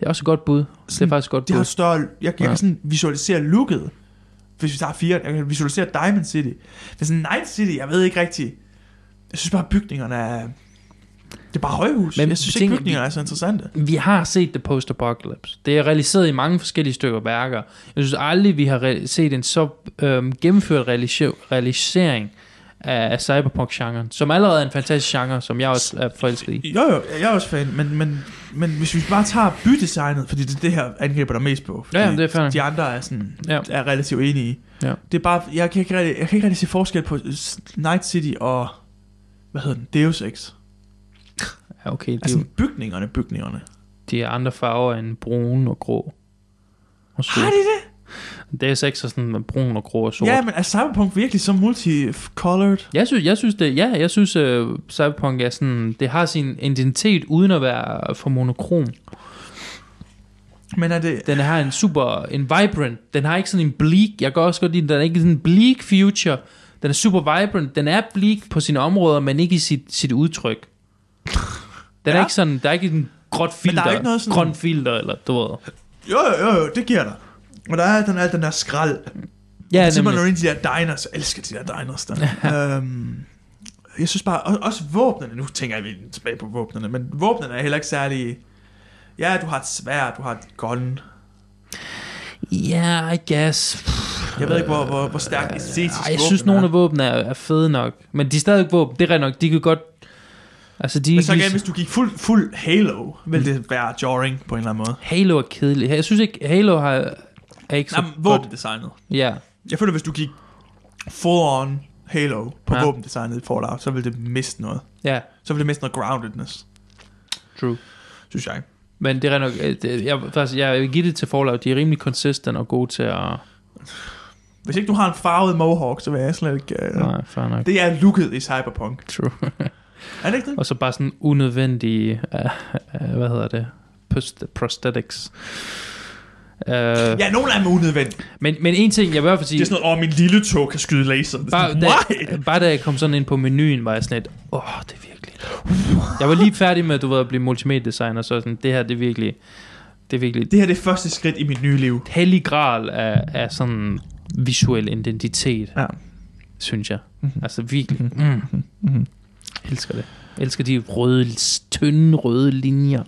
det er også et godt bud. Det er
Sådan,
faktisk et godt
det
bud.
har et større, jeg, jeg
Ja.
kan sådan visualisere looket, hvis vi tager fire, jeg kan visualisere Diamond City. Men sådan Night City, jeg ved ikke rigtigt, jeg synes bare, bygningerne er, det er bare højhus.
Men
Men jeg synes
tænk-
ikke, bygningerne er så interessante.
vi har set The Post-Apocalypse. Det er realiseret i mange forskellige stykker værker. Jeg synes aldrig, vi har re- set en så øhm, gennemført realise- realisering af, af cyberpunk-genren, som allerede er en fantastisk genre, som jeg også er forelsket i.
Jo, jo, jeg er også fan, men, men, men hvis vi bare tager bydesignet, fordi det er det her angriber der mest på.
Ja,
fordi
det er fair.
De andre er sådan,
Ja.
ja. er relativt enige i.
Ja.
Det er bare, jeg kan, ikke rigtig, jeg kan ikke rigtig se forskel på øh, s- Night City og, hvad hedder den, Deus Ex.
Ja, okay, det er,
Altså
jo-
bygningerne, bygningerne.
de er andre farver end brun og grå. Og sort.
Har de det?
Det er sex og sådan brun og grå og sort.
Ja, men er Cyberpunk virkelig så multicolored?
Jeg synes, jeg synes det, ja, jeg synes uh, Cyberpunk er sådan, det har sin identitet uden at være for monokrom.
Men er det...
Den har en super, en vibrant, den har ikke sådan en bleak, jeg kan også godt lide, den den er ikke sådan en bleak future, den er super vibrant, den er bleak på sine områder, men ikke i sit, sit udtryk. Den ja. er
Ja.
ikke sådan, der er ikke en gråt
Men der
filter,
er ikke noget sådan-
grøn filter, eller du ved.
Jo, jo, jo, jo, det giver dig. Og der er den, al den der skrald.
Ja,
Ja,
nemlig.
simpelthen nogle af de der diners. Jeg elsker de der diners der. øhm, jeg synes bare, og- også våbnene, nu tænker jeg virkelig tilbage på våbnene, men våbnene er heller ikke særlig... Ja, du har et svær, du har et gun.
Ja, yeah, I guess.
Jeg ved ikke, hvor, hvor, hvor stærkt æstetisk
Ej, jeg synes, nogle af våbnene er, er fede nok, men de er stadig våben, det er rigtigt nok, de kan godt, altså de er
Men
ikke
så igen,
lige-
hvis du gik fuld, fuld Halo, ville det være jarring på en eller anden måde.
Halo er kedelig. Jeg synes ikke, Halo har, er ikke så
Nej, men våbendesignet.
godt. Ja.
Jeg føler, hvis du gik full on Halo på
Ja.
ja. våbendesignet i Fallout, så ville det miste noget.
Ja,
Så ville det miste noget groundedness,
true.
synes jeg.
Men det er nok, øh, det- jeg, faktisk, jeg vil give det til Fallout, de er rimelig consistent og gode til at...
Hvis ikke du har en farvet mohawk, så vil jeg slet ikke... Uh...
Nej, fair nok.
Det er looket i Cyberpunk.
True.
Er det ikke det?
og så bare sådan unødvendige, uh, uh, hvad hedder det, Post- prosthetics. Uh, ja.
Ja, nogle af dem er unødvendige.
men, men en ting, jeg vil i hvert fald
Det
sige,
er sådan noget, åh, min lille tog kan skyde laser. Det er
bare,
sådan, why?
da, bare da jeg kom sådan ind på menuen, var jeg sådan lidt, åh, oh, det er virkelig... jeg var lige færdig med, du ved, at blive multimediedesigner, så sådan, det her, det er virkelig, det er virkelig
Det her det er første skridt i mit nye liv.
hellig gral af, af sådan visuel identitet,
Ja.
synes jeg. Mm-hmm. Altså virkelig. Mm. Mm-hmm. Elsker det. Elsker de røde, tynde røde linjer.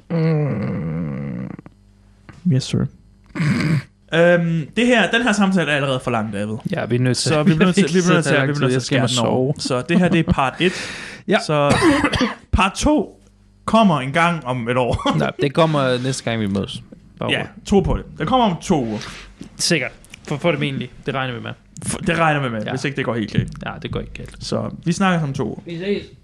Yes, sir. øhm, det her, den her samtale er allerede for lang, David.
Ja, vi er nødt til.
Så vi bliver nødt til, vi bliver nødt til, vi bliver nødt til at
skal
skære den over. Så det her, det er part 1.
Ja.
Så part 2 kommer en gang om et år.
Nej, det kommer næste gang, vi mødes. Bare
ja,
rolig.
tro på det. Det kommer om to uger.
Sikkert. For, for det egentlig. Det regner vi med.
F- Det regner vi med,
Ja.
ja. hvis ikke det går helt galt.
Ja, det går ikke galt.
Så vi snakker om to uger.
Vi ses.